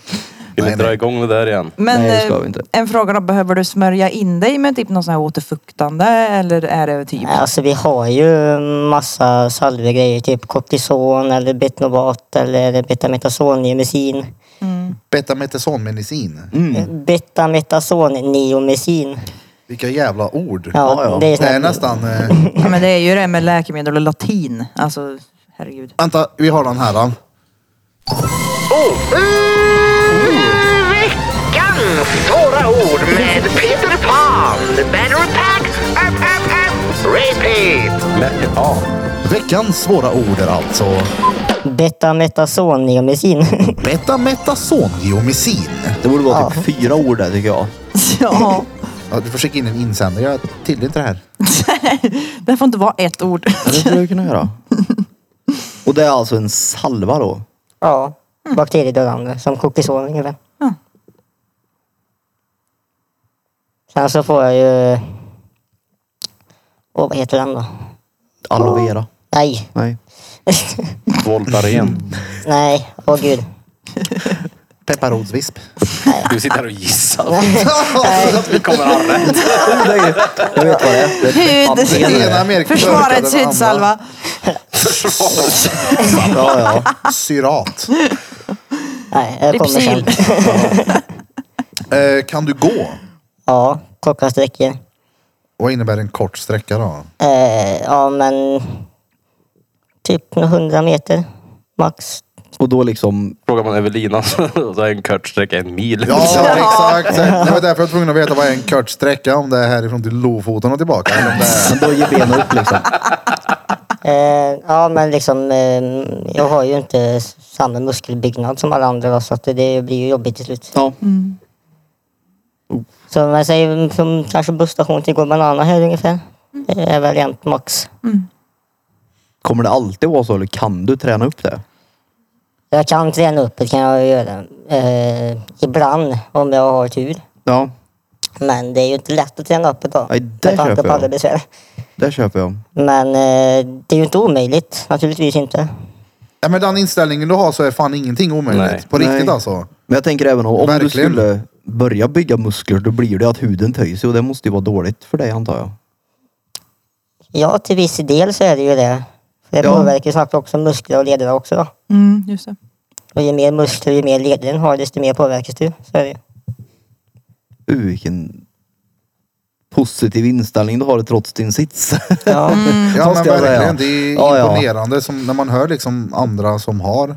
Vill Nej, ni dra nej. igång det där igen? Men Nej, det ska eh, vi inte. en fråga då, behöver du smörja in dig med typ någon sån här återfuktande eller är det typ? Nej, Alltså vi har ju massa salvegrejer, typ kortison eller betnobat eller betametasonniomycin. Betametasonmedicin. Mm. Mm. Betametasonniomycin. Vilka jävla ord. Ja, Ja, ja. det är, Det sån är här- nästan... Eh, Ja, men det är ju det med läkemedel och latin. Alltså herregud. vänta, vi har den här. Då. Oh. Veckans svåra ord med Peter Pan. Battery pack, up, up, up. Repeat. Men, ja. Veckans svåra ord är alltså (laughs) Betametasonniomycin. betametasongeomycin. Det borde vara typ fyra ord där tycker jag. Ja, Ja, du får skicka in en insändare. Jag tillhör inte det här. (laughs) det får inte vara ett ord. Ja, Det skulle jag kunna (laughs) göra. Och det är alltså en salva då. ja, bakteriedödande som kortison ungefär. Ja. Sen så får jag ju... Åh, vad heter den då? Aloe vera. Nej, (laughs) Nej. Voltaren. nej, åh gud. Pepparrotsvisp. Du sitter här och gissar. (laughs) Vi kommer ha rätt. Nej, Jag vet vad det är. Det är Hud. antingen det är- mer mörkare än Försvarets den andra. hudsalva. Ja, ja. Syrat. Nej, jag kommer Lypsyl. sen. Eh, kan du gå? Ja, korta sträckor. Vad innebär en kort sträcka då? Eh, ja, men typ 100 meter max. Och då liksom, Frågar man Evelina (laughs) så så är en kort sträcka en mil. (laughs) Ja, exakt. Det var därför jag var tvungen att veta vad är en kort sträcka. Om det är härifrån till Lofoten och tillbaka. Eller om det är... men då ger benen upp liksom. Eh, ja, men liksom eh, jag har ju inte samma muskelbyggnad som alla andra va, så att det blir ju jobbigt till slut. Ja. Så om jag säger från kanske busstation till Go Banana här ungefär. Det är väl jämnt max. Kommer det alltid vara så eller kan du träna upp det? Jag kan träna upp det kan jag göra. Eh, ibland om jag har tur. Ja, Men det är ju inte lätt att träna upp det då. Nej, det med tanke köper på jag. alla besvär. det köper jag. Men eh, det är ju inte omöjligt. Naturligtvis inte. Ja, men den inställningen du har så är fan ingenting omöjligt. Nej. På riktigt Nej. alltså. Men jag tänker även om, om du Verkligen. skulle börja bygga muskler då blir det att huden töjer sig och det måste ju vara dåligt för dig antar jag. Ja, till viss del så är det ju det. För det Ja. påverkar ju snabbt också muskler och leder också. Då. Mm, just det. Och ju mer muskler och ju mer leder den har, desto mer påverkas du. Så (laughs) är det ju. Uh, vilken positiv inställning du har trots din sits. (laughs) Ja. Ja, men Måste jag säga. verkligen. Det är Ja, ja. imponerande Som när man hör liksom andra som har Ont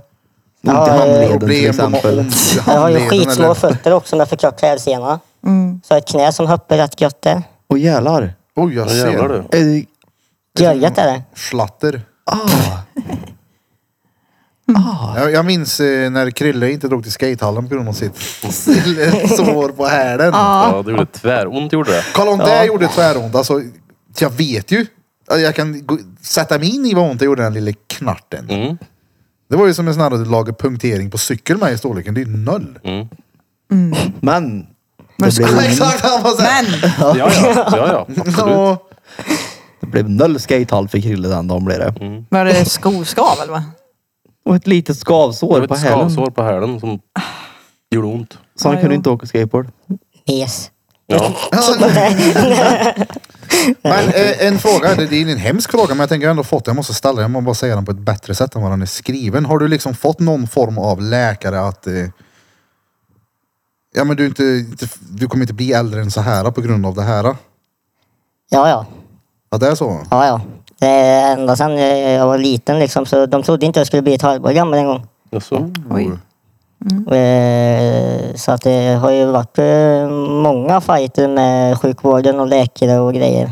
i eh, handleden till problem. De har exempel. ont i Jag har ju handleden. skitsmå eller- fötter också om jag får klart hälsena. Mm. Så ett knä som hoppar rätt gött där. Åh jävlar. Oj, jag Vad jävlar ser. du. Är det- Görgött är det. Slatter. Ah. Ah. Jag, jag minns eh, när Krille inte drog till skatehallen på grund av sitt (laughs) sår på hälen. Ja, det gjorde tväront gjorde det. Kolla om det gjorde tväront. Alltså, jag vet ju. Alltså, Jag kan gå, sätta mig in i vad ont det gjorde den lilla knarten. Mm. Det var ju som en sån här att du lagar punktering på cykel med i storleken. Det är ju noll. Men. Det (laughs) blev, Exakt, han var såhär. Men Ja, ja, ja, (laughs) ja absolut. Ja, det blev noll skatehall för Krille den dagen blev det. Mm. var det skoskav eller vad? Och ett litet Det skavsår var på ett hälen. skavsår på hälen som gjorde ont. Så han Ja, kunde ja. inte åka skateboard. Yes. Ja. Men eh, en fråga, det det är en hemsk fråga men jag tänker jag ändå fått den. Jag måste ställa den, jag måste bara säga den på ett bättre sätt än vad den är skriven. Har du liksom fått någon form av läkare att eh, Ja men du, är inte, inte, du kommer inte bli äldre än så här på grund av det här. (laughs) Ja, ja. Ja det är så? Ja, ja. Det är Ända sedan jag var liten liksom, så de trodde inte jag skulle bli ett halvår gammal en gång. Jaså? Oj. Eh, Så att det har ju varit eh, många fighter med sjukvården och läkare och grejer.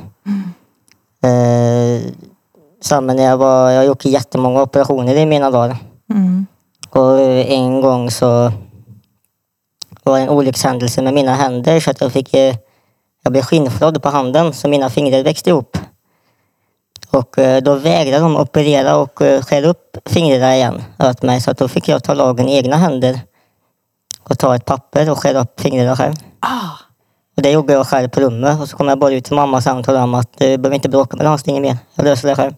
Eh, Samma när jag var, jag gjorde jättemånga operationer i mina dagar. Mm. Och en gång så var det en olyckshändelse med mina händer så att jag fick eh, jag blev skinnflådd på handen så mina fingrar växte ihop. Och eh, då vägrade de operera och eh, skär upp fingrarna igen åt mig. Så att då fick jag ta lagen i egna händer och ta ett papper och skära upp fingrarna själv. Ah, Och det gjorde jag själv på rummet och så kom jag bara ut till mamma sen och talade om att eh, du behöver inte bråka med landstinget mer. Jag löser det själv.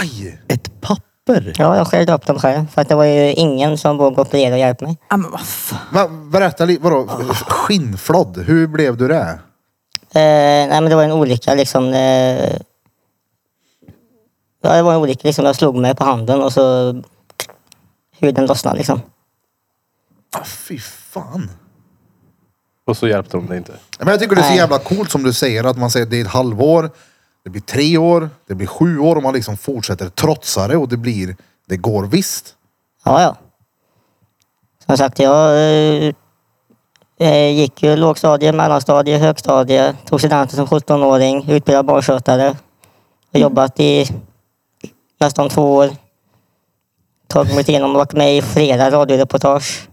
Aj! Ett papper? Ja, jag skärde upp dem själv. För att det var ju ingen som vågade operera och hjälpa mig. Ja men vad fan. Va, berätta lite, vadå? Skinnflodd, hur blev du det? Eh, nej, men det var en olycka liksom. Eh, ja, det var en olycka liksom. Jag slog mig på handen och så huden lossnade liksom. Ah, fy fan. Och så hjälpte de det inte. Men jag tycker det är så Nej. jävla coolt som du säger att man säger att det är ett halvår, det blir tre år, det blir sju år och man liksom fortsätter trotsa det och det blir, det går visst. Ja, ja. Som sagt, jag eh, eh, gick ju lågstadie, mellanstadie, högstadie. Tog studenten som 17-åring, utbildad barnskötare. Har jobbat i nästan två år. Tagit mig igenom och varit med i flera radioreportage.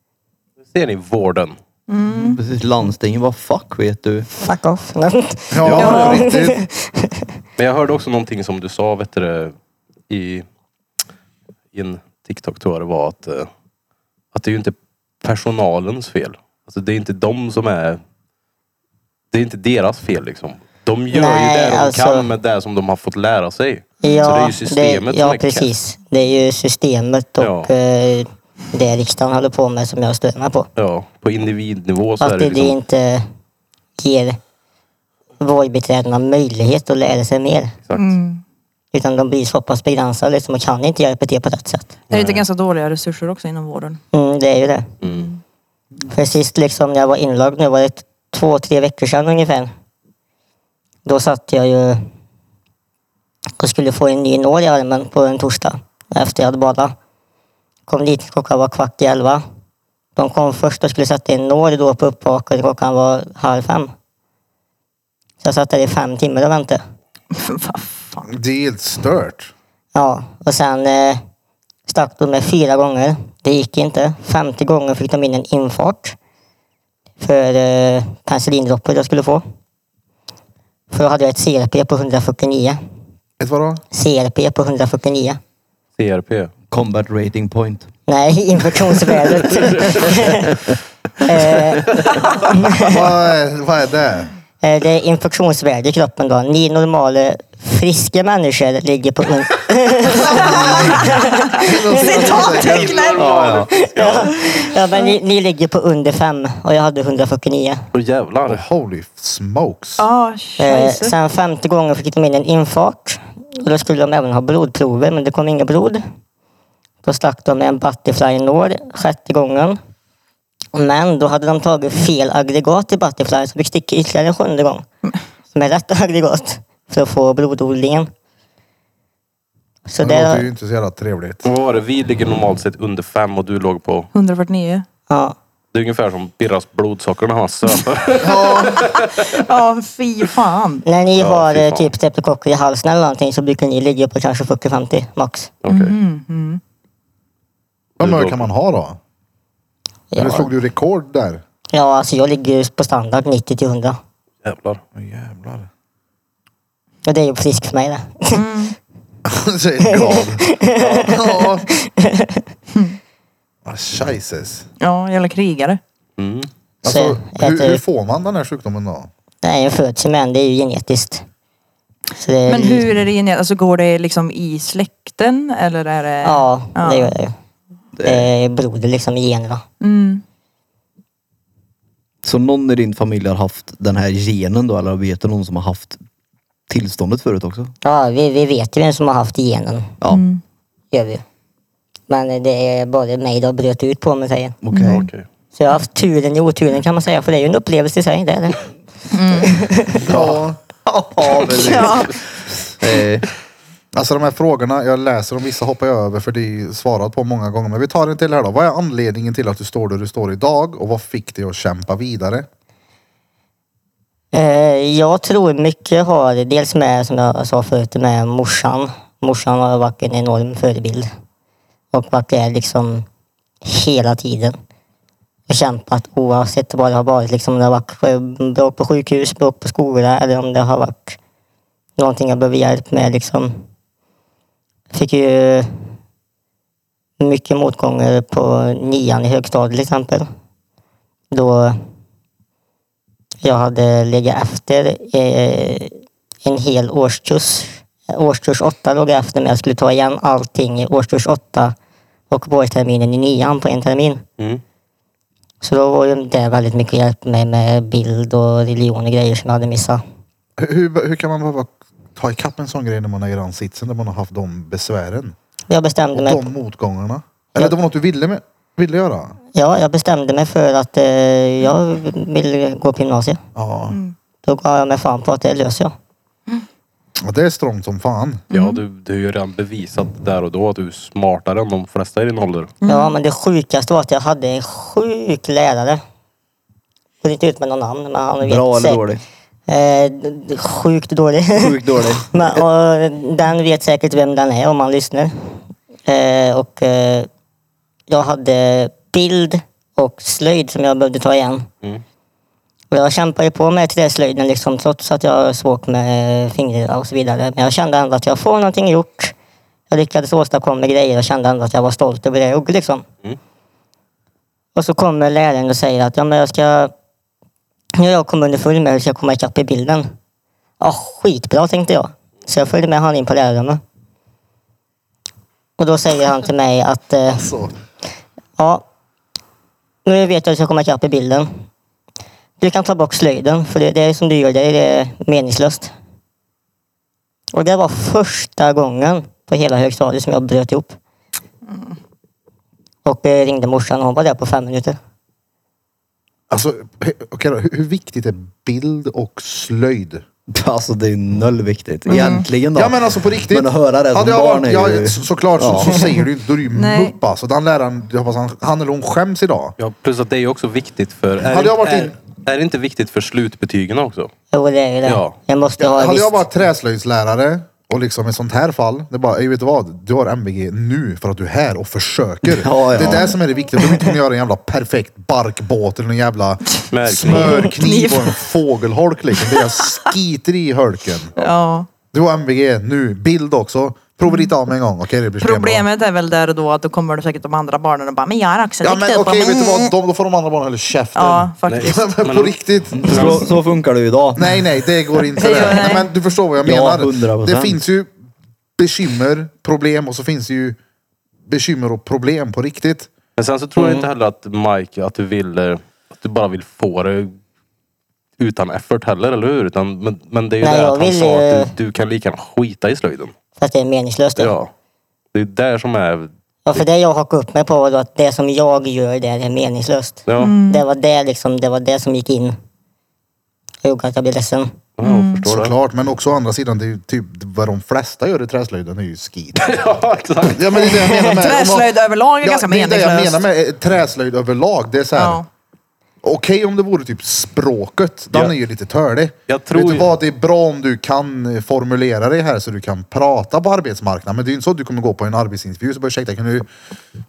(laughs) Ser ni vården? Precis, landstinget, vad fuck vet du? Fuck off. Ja, Ja. riktigt. Men jag hörde också någonting som du sa vet du, det, i, i en TikTok tror jag det var att, eh, att det är ju inte personalens fel. Alltså det är inte de som är... Det är inte deras fel liksom. De gör Nej, ju det de alltså- kan med det som de har fått lära sig. Ja, Så det är ju systemet det, Ja, som är kass. precis. Det är ju systemet och Ja. eh, det riksdagen håller på med som jag stör mig på. Ja, på individnivå så Att är det det, det liksom... inte ger vårdbiträdena möjlighet att lära sig mer. Exakt. Utan de blir så pass begränsade så man kan inte hjälpa till på rätt sätt. Det är lite ganska dåliga resurser också inom vården. Mm, det är ju det. Mm. För sist liksom när jag var inlagd nu var det t- två, tre veckor sedan ungefär. Då satt jag ju och skulle få en ny nål i armen på en torsdag efter jag hade badat. Kom dit, klockan var kvart i elva. De kom först och skulle sätta en nål då på uppvaket, klockan var halv fem. Så jag satt där i fem timmar och väntade. vad fan. Det är helt stört. Ja, och sen eh, stack de med fyra gånger. Det gick inte. Femte gången fick de in en infart för eh, penicillindroppar jag skulle få. För då hade jag ett CRP på 149. Vet du vadå? CRP på 149. CRP. Combat rating point. Nej, (laughs) infektionsvärdet. (laughs) eh, eh, Vad är, vad är det? det är infektionsvärde i kroppen då. Ni normala friska människor ligger på... un- (laughs) Ja, ja. ja, men ni, ni ligger på under fem och jag hade 149. Och jävlar. Holy smokes. Ja, Eh, Ah, scheisse. sen femte gången fick de in en infart. Och då skulle de även ha blodprover, men det kom inga blod. Då stack de med en butterfly-nål sjätte gången. Men då hade de tagit fel aggregat i butterfly, så fick sticka ytterligare en sjunde gång. Som är rätt (laughs) aggregat, för att få blododlingen. Så Det låter ju det, inte så jävla trevligt. Vad var det? Vi ligger normalt sett under fem och du låg på... 149. ja, Det är ungefär som Birras blodsocker när han Mm. söper. Ja, fy fan. när ni Ja, har fy eh, fan. typ streptokocker i halsen eller någonting så brukar ni ligga på kanske 40-50 max. Okej. Vad mörk kan man ha då? Eller Ja, slog du rekord där? ja alltså jag ligger ju på standard 90-100. Jävlar. Åh, jävlar. Och det är ju friskt för mig det. Säger glad. Ja. Ah, Jesus. Ja, jävla krigare. Mm. Alltså, Så hur, äter- hur får man den här sjukdomen då? typ- Nej, jag föds ju med en. Det är ju genetiskt. Så det är, Men hur är det genet? Alltså går det liksom i släkten eller är det? Ja, det gör det ju. Det- Det är broder liksom i generna. Mm. Så någon i din familj har haft den här genen då eller vet du någon som har haft tillståndet förut också? Ja, vi, vi vet ju vem som har haft genen. Ja, Gör vi. Men det är bara mig det har bröt ut på mig säger okej. Okej. Så jag har haft turen i oturen kan man säga. För det är ju en upplevelse i sig. Det är det. Ja. Ja, precis. Ja. Eh, Alltså de här frågorna, jag läser dem, vissa hoppar jag över för det är ju svarat på många gånger. Men vi tar en till här då. Vad är anledningen till att du står där du står idag och vad fick dig att kämpa vidare? Eh, Jag tror mycket har dels med, som jag sa förut, med morsan. Morsan har varit en enorm förebild. Och varit där liksom hela tiden. Och kämpat oavsett vad det har varit. Liksom om det har varit eh, bråk på sjukhus, bråk på skola eller om det har varit någonting jag behöver hjälp med liksom. Fick ju mycket motgångar på nian i högstadiet till exempel. Då jag hade legat efter eh, en hel årskurs. Årskurs åtta låg jag efter men jag skulle ta igen allting i årskurs åtta och vårterminen i nian på en termin. Mm. Så då var ju det väldigt mycket hjälp med, med bild och religion och grejer som jag hade missat. Hur, hur kan man behöva ta ikapp en sån grej när man är i den sitsen där man har haft de besvären? Jag Och bestämde mig, de motgångarna? Eller det var något du ville, med, ville göra? ja, jag bestämde mig för att eh, jag vill gå på gymnasiet. Ja. Då gav jag mig fan på att det löser jag. ja, det är strångt som fan. Ja, du, du har ju redan bevisat där och då att du är smartare än de flesta i din ålder. Mm. Ja, men det sjukaste var att jag hade en sjuk lärare. Jag går inte ut med någon namn, men han vet Bra eller säkert- dålig? Eh, d- d- sjukt dålig. Sjukt dålig. (laughs) men, och, den vet säkert vem den är om man lyssnar. Eh, och eh, jag hade bild och slöjd som jag behövde ta igen. Mm. Och jag kämpade på med till den slöjden liksom, trots att jag har svårt med eh, fingrar och så vidare. Men jag kände ändå att jag får någonting gjort. Jag lyckades åstadkomma grejer och kände ändå att jag var stolt över det jag gjorde. Liksom. Mm. Och så kommer läraren och säger att ja, men jag ska... Nu har jag kommit underfund med hur jag ska komma ikapp i bilden. Ja, skitbra tänkte jag. Så jag följde med honom in på lärarrummet. Och då säger han till mig att eh, Så. Ja. Nu vet jag att jag kommer ikapp i bilden. Du kan ta bort slöjden, för det, det som du gör det är meningslöst. Och det var första gången på hela högstadiet som jag bröt ihop. Och eh, ringde morsan och hon var där på fem minuter. Alltså, he- okej då. Hur, hur viktigt är bild och slöjd? Alltså det är noll viktigt. Egentligen då. Ja men alltså på riktigt. Men att höra det som Hade jag barn varit- är ju... ja, så, Såklart Ja. så, så säger du inte, då är du ju Nej. mupp alltså. Den läraren, jag hoppas han, han eller hon skäms idag. Ja, plus att det är ju också viktigt för... Är, Hade jag varit är, in- är det inte viktigt för slutbetygen också? Jo, det är ju det. Ja. eh, Jag måste ha Hade visst. jag varit träslöjdslärare och liksom i sånt här fall, det är bara, "Ey, vet du vad? Du har MVG nu för att du är här och försöker. Ja, ja. Det är det som är det viktiga. Du behöver inte kunna göra en jävla perfekt barkbåt eller en jävla Smörkniv. smörkniv och en fågelholk liksom. Det jag skiter i holken. Ja. Du har MVG nu, bild också. Prova lite av med en gång. Okej, det blir stenbra. Problemet är väl där och då att då kommer det säkert de andra barnen och bara, men jag har också Ja duktig men på okej, mig." vet du vad? De, då får de andra barnen hålla käften. Ja, faktiskt. Nej. (laughs) men på Men- riktigt. Så, så funkar det ju idag. Nej, nej, det går inte. Det gör det. det. Nej, men du förstår vad jag Ja, menar. 100%. Det finns ju bekymmer, problem och så finns det ju bekymmer och problem på riktigt. Men sen så tror jag inte heller att Mike, att du vill... eh, Att du bara vill få det utan effort heller, eller hur? Utan, men, men det är ju Nej, det jag att han vill sa ju- att du, du kan lika gärna skita i slöjden. För att det är meningslöst. Ja. Ja. Det är där som är... Och för det jag hakade upp mig på var då att det som jag gör där är meningslöst. Ja, Det, var det, liksom, det var det som gick in. Jag gjorde att jag blev ledsen. ja förstår det. Såklart, men också å andra sidan, det är ju typ vad de flesta gör i träslöjden är ju skit. (laughs) Ja, exakt. Ja, men det är det jag menar med. Träslöjd överlag är ganska det är det jag meningslöst. menar med eh, träslöjd överlag. Det är så här, Ja. okej om det vore typ språket, den Ja. är ju lite törlig. Jag tror Vet du ju- vad, det är bra om du kan eh, formulera dig här så du kan prata på arbetsmarknaden. Men det är ju inte så att du kommer gå på en arbetsintervju så bara ursäkta, kan du...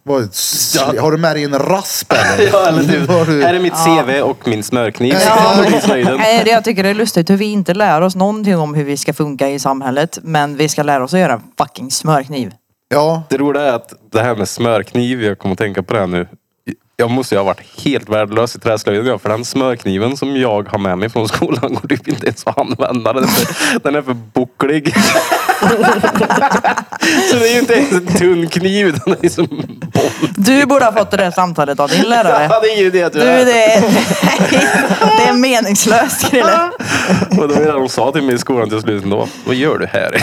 Vad, s- Ja. Har du med dig en rasp eller? (laughs) Ja, eller typ, Har du- här är mitt CV och min smörkniv. Ja. (laughs) Och slöjden. Nej, det jag tycker det är lustigt hur vi inte lär oss någonting om hur vi ska funka i samhället. Men vi ska lära oss att göra en fucking smörkniv. Ja, Det roliga är att det här med smörkniv, jag kommer att tänka på det här nu. Jag måste ju ha varit helt värdelös i träslöjden jag, för den smörkniven som jag har med mig från skolan går typ inte ens att använda. Den är för, den är för bucklig. Så det är ju inte ens en tunn kniv, utan det är som en boll. Du borde ha fått det där samtalet av din lärare. Ja, det är ingen idé att Du, jag är. det är, (laughs) det är meningslöst Krille. Och det var ju det de sa till mig i skolan till slut ändå. Vad gör du här?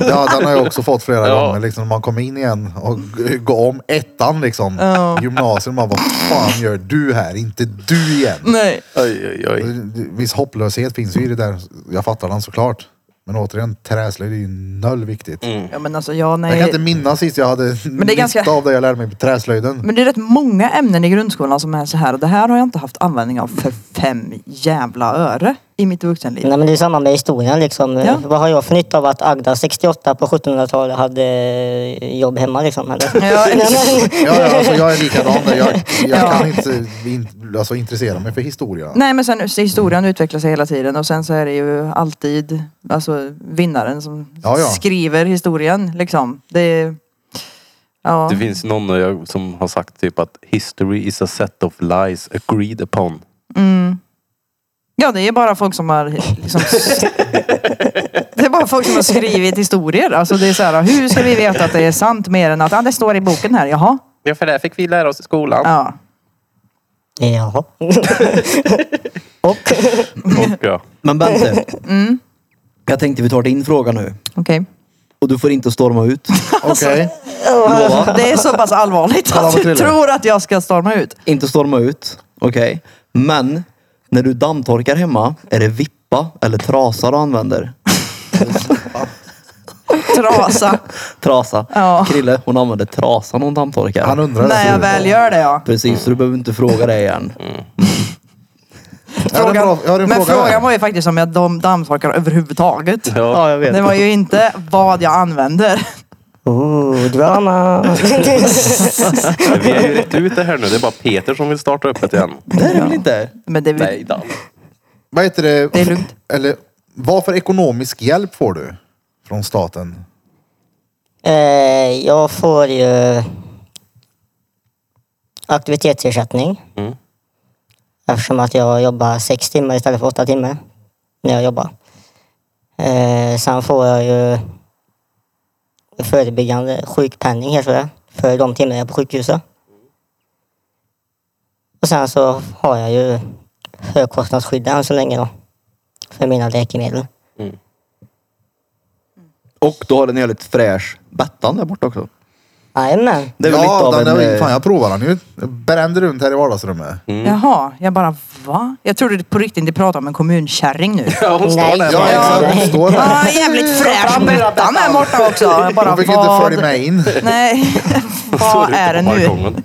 ja, den har jag också fått flera (laughs) Ja. gånger. Liksom, man kommer in igen och g- går om ettan liksom. Ja. Gymnasiet, man bara, vad fan gör du här? Inte du igen. Nej. (laughs) Oj, oj, oj. Viss hopplöshet finns ju i det där. Jag fattar den såklart. Men återigen, träslöjd är ju noll viktigt. Mm. Ja, men alltså, ja, Jag kan nej. inte minnas sist jag hade men det är ganska- nytta av det jag lärde mig på träslöjden. Men det är rätt många ämnen i grundskolan som är så här och det här har jag inte haft användning av för fem jävla öre i mitt vuxenliv. Nej men det är samma med historien liksom. Ja. Vad har jag för nytta av att Agda 68 på 1700-talet hade eh, jobb hemma liksom? Eller? (laughs) Ja. Nej, men- Ja, ja, alltså jag är likadan där. (laughs) Jag, jag Ja. kan inte in, alltså, intressera mig för historia. Nej men sen historien utvecklar sig hela tiden och sen så är det ju alltid alltså, vinnaren som Ja, ja. skriver historien liksom. Det är... Ja. Det finns någon eh, jag- som har sagt typ att history is a set of lies agreed upon. ja det är bara folk som har liksom, (laughs) Det är bara folk som har skrivit historier. Alltså det är så här, hur ska vi veta att det är sant mer än att ah, det står i boken här, jaha. Ja, för det fick vi lära oss i skolan. Ja. Jaha. Och? Och, ja. Men Bente. Jag tänkte vi tar din fråga nu. Okej. Och du får inte storma ut. alltså, Okej. Lova. Det är så pass allvarligt Kalla att vad du thriller. tror att jag ska storma ut. Inte storma ut. Okej. Men när du dammtorkar hemma, är det vippa eller trasa du använder? (laughs) Trasa. Trasa. Ja. Krille, hon använder trasa när hon dammtorkar. Han undrar När jag väl gör det ja. Precis, så du behöver inte fråga det igen. Mm. Jag har en, bra, jag har en Men fråga. här. frågan var ju faktiskt om jag dam- dammtorkar överhuvudtaget. Ja. jag vet. Det var ju inte vad jag använder. Ooh, (laughs) drama. Vi har ju rätt ut det här nu. Det är bara Peter som vill starta upp det igen. Det är det väl inte? Men det är väl- Nej, Dan. Vad heter det? Det är lugnt. Eller, vad för ekonomisk hjälp får du från staten? eh, jag får ju aktivitetsersättning. Mm. Eftersom att jag jobbar sex timmar istället för åtta timmar. När jag jobbar. Eh, sen får jag ju förebyggande sjukpenning heter det. För de timmar jag är på sjukhuset. Och sen så har jag ju högkostnadsskydd än så länge då. För mina läkemedel. Och du har en jävligt fräsch Bettan där borta också. Jajamän. Det är väl ja, lite av den där, en... eh, Mm. fan jag provar den ju. Jag Brände runt här i vardagsrummet. Jaha, jag bara va? Jag trodde du på riktigt inte pratade om en kommunkärring nu. (laughs) Ja, hon står Nej. där. Ja, bara. exakt. Den Står Ja, där. jävligt fräsch Bettan här borta också. Jag bara Jag fick inte vad? följa med in. Nej, Står vad ute är på det nu? balkongen.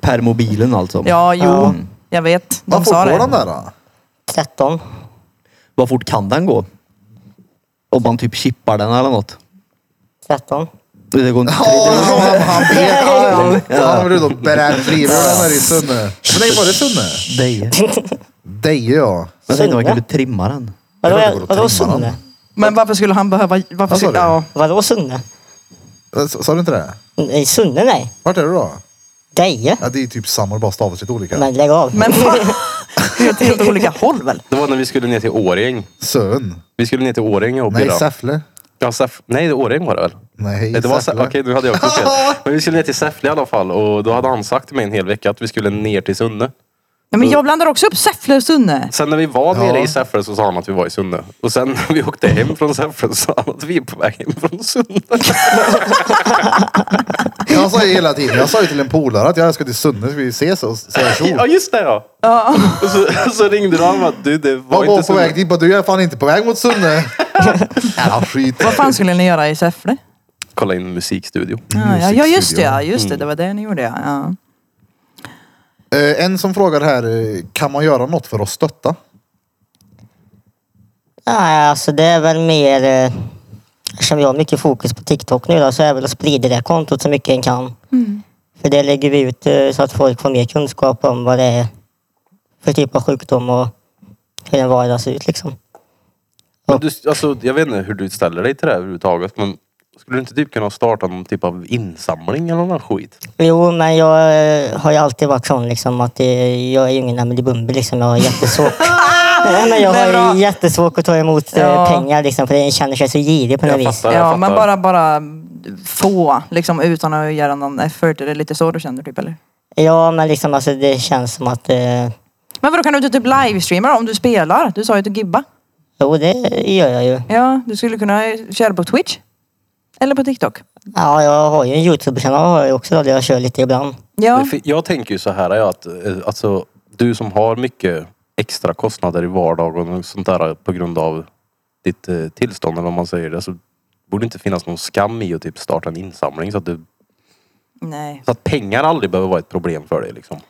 Permobilen alltså. Ja, jo, jag vet. De Vad fort sa går den det. där då? 13. Vad fort kan den gå? Om man typ chippar den eller något. 13. Det går inte... Ja, han- han vet. Ja, ja. Han har väl då bränt livet ur den där i Sunne. Men nej, var det Sunne? Deje. Deje ja. Jag tänkte man Sunne? kunde trimma den. Det är Vadå, klart det går att vadå trimma Sunne? den. Men varför skulle han behöva... Varför Vad sa skulle, du? ja. Vadå Sunne? S- Sa du inte det? Nej, Sunne nej. Vart är du då? Deje. Ja, det är typ samma, bara stavas lite olika. Men lägg av. Men vad? Det är åt (laughs) helt olika håll väl? Det var när vi skulle ner till Åring. Sön. Vi skulle ner till Åring och Nej, bira. Säffle. Ja, Säff- Nej, Åring var det väl? Nej, det var Säffle. Säffle. Okej, nu hade jag också fel. Men vi skulle ner till Säffle i alla fall och då hade han sagt till mig en hel vecka att vi skulle ner till Sunne. Nej, men jag blandar också upp Säffle och Sunne. Sen när vi var Ja. nere i Säffle så sa han att vi var i Sunne. Och sen när vi åkte hem från Säffle så sa han att vi är på väg hem från Sunne. Jag sa ju hela tiden, jag sa ju till en polare att jag ska till Sunne, ska vi ses och säga tjo? Ja, just det ja! Och så, så ringde du honom att du, det var Vad inte går på Sunne. väg dit? Bara, Du jag är fan inte på väg mot Sunne. Ja, skit. Vad fan skulle ni göra i Säffle? Kolla in musikstudio. Ja, ja, ja just det, Musikstudio. ja, just Mm. det. Det var det ni gjorde ja. ja. Eh, En som frågar här, eh, kan man göra något för att stötta? Nej, alltså det är väl mer... eh, Eftersom jag har mycket fokus på TikTok nu då, så är det väl att sprida det här kontot så mycket en kan. Mm. För det lägger vi ut eh, så att folk får mer kunskap om vad det är för typ av sjukdom och hur en vardag ser ut liksom. Men du, alltså, jag vet inte hur du ställer dig till det här överhuvudtaget men skulle du inte typ kunna starta någon typ av insamling eller någon skit? Jo, men jag eh, har ju alltid varit sån liksom att eh, jag är ju ingen Emelie Bumbi liksom. Jag har (laughs) jättesvårt. Nej, men jag Det har är bra. ju jättesvårt att ta emot eh, Ja. pengar liksom för jag känner sig så girig på något Jag vis. fattar, jag Ja, fattar. men bara, bara få liksom utan att göra någon effort. Är det lite så du känner typ eller? Ja, men liksom alltså det känns som att... Eh, Men vadå kan du inte typ livestreama då, om du spelar? Du sa ju att du gibba. jo, det gör jag ju. Ja, du skulle kunna köra på Twitch. Eller på TikTok. Ja, jag har ju en YouTube-kanal har jag ju också då, där jag kör lite ibland. Ja. Men för Jag tänker ju så här ja, att eh, alltså, du som har mycket extra kostnader i vardagen och sånt där eh, på grund av ditt eh, tillstånd eller vad man säger det så borde det inte finnas någon skam i att typ starta en insamling så att, du, Nej. så att pengar aldrig behöver vara ett problem för dig liksom.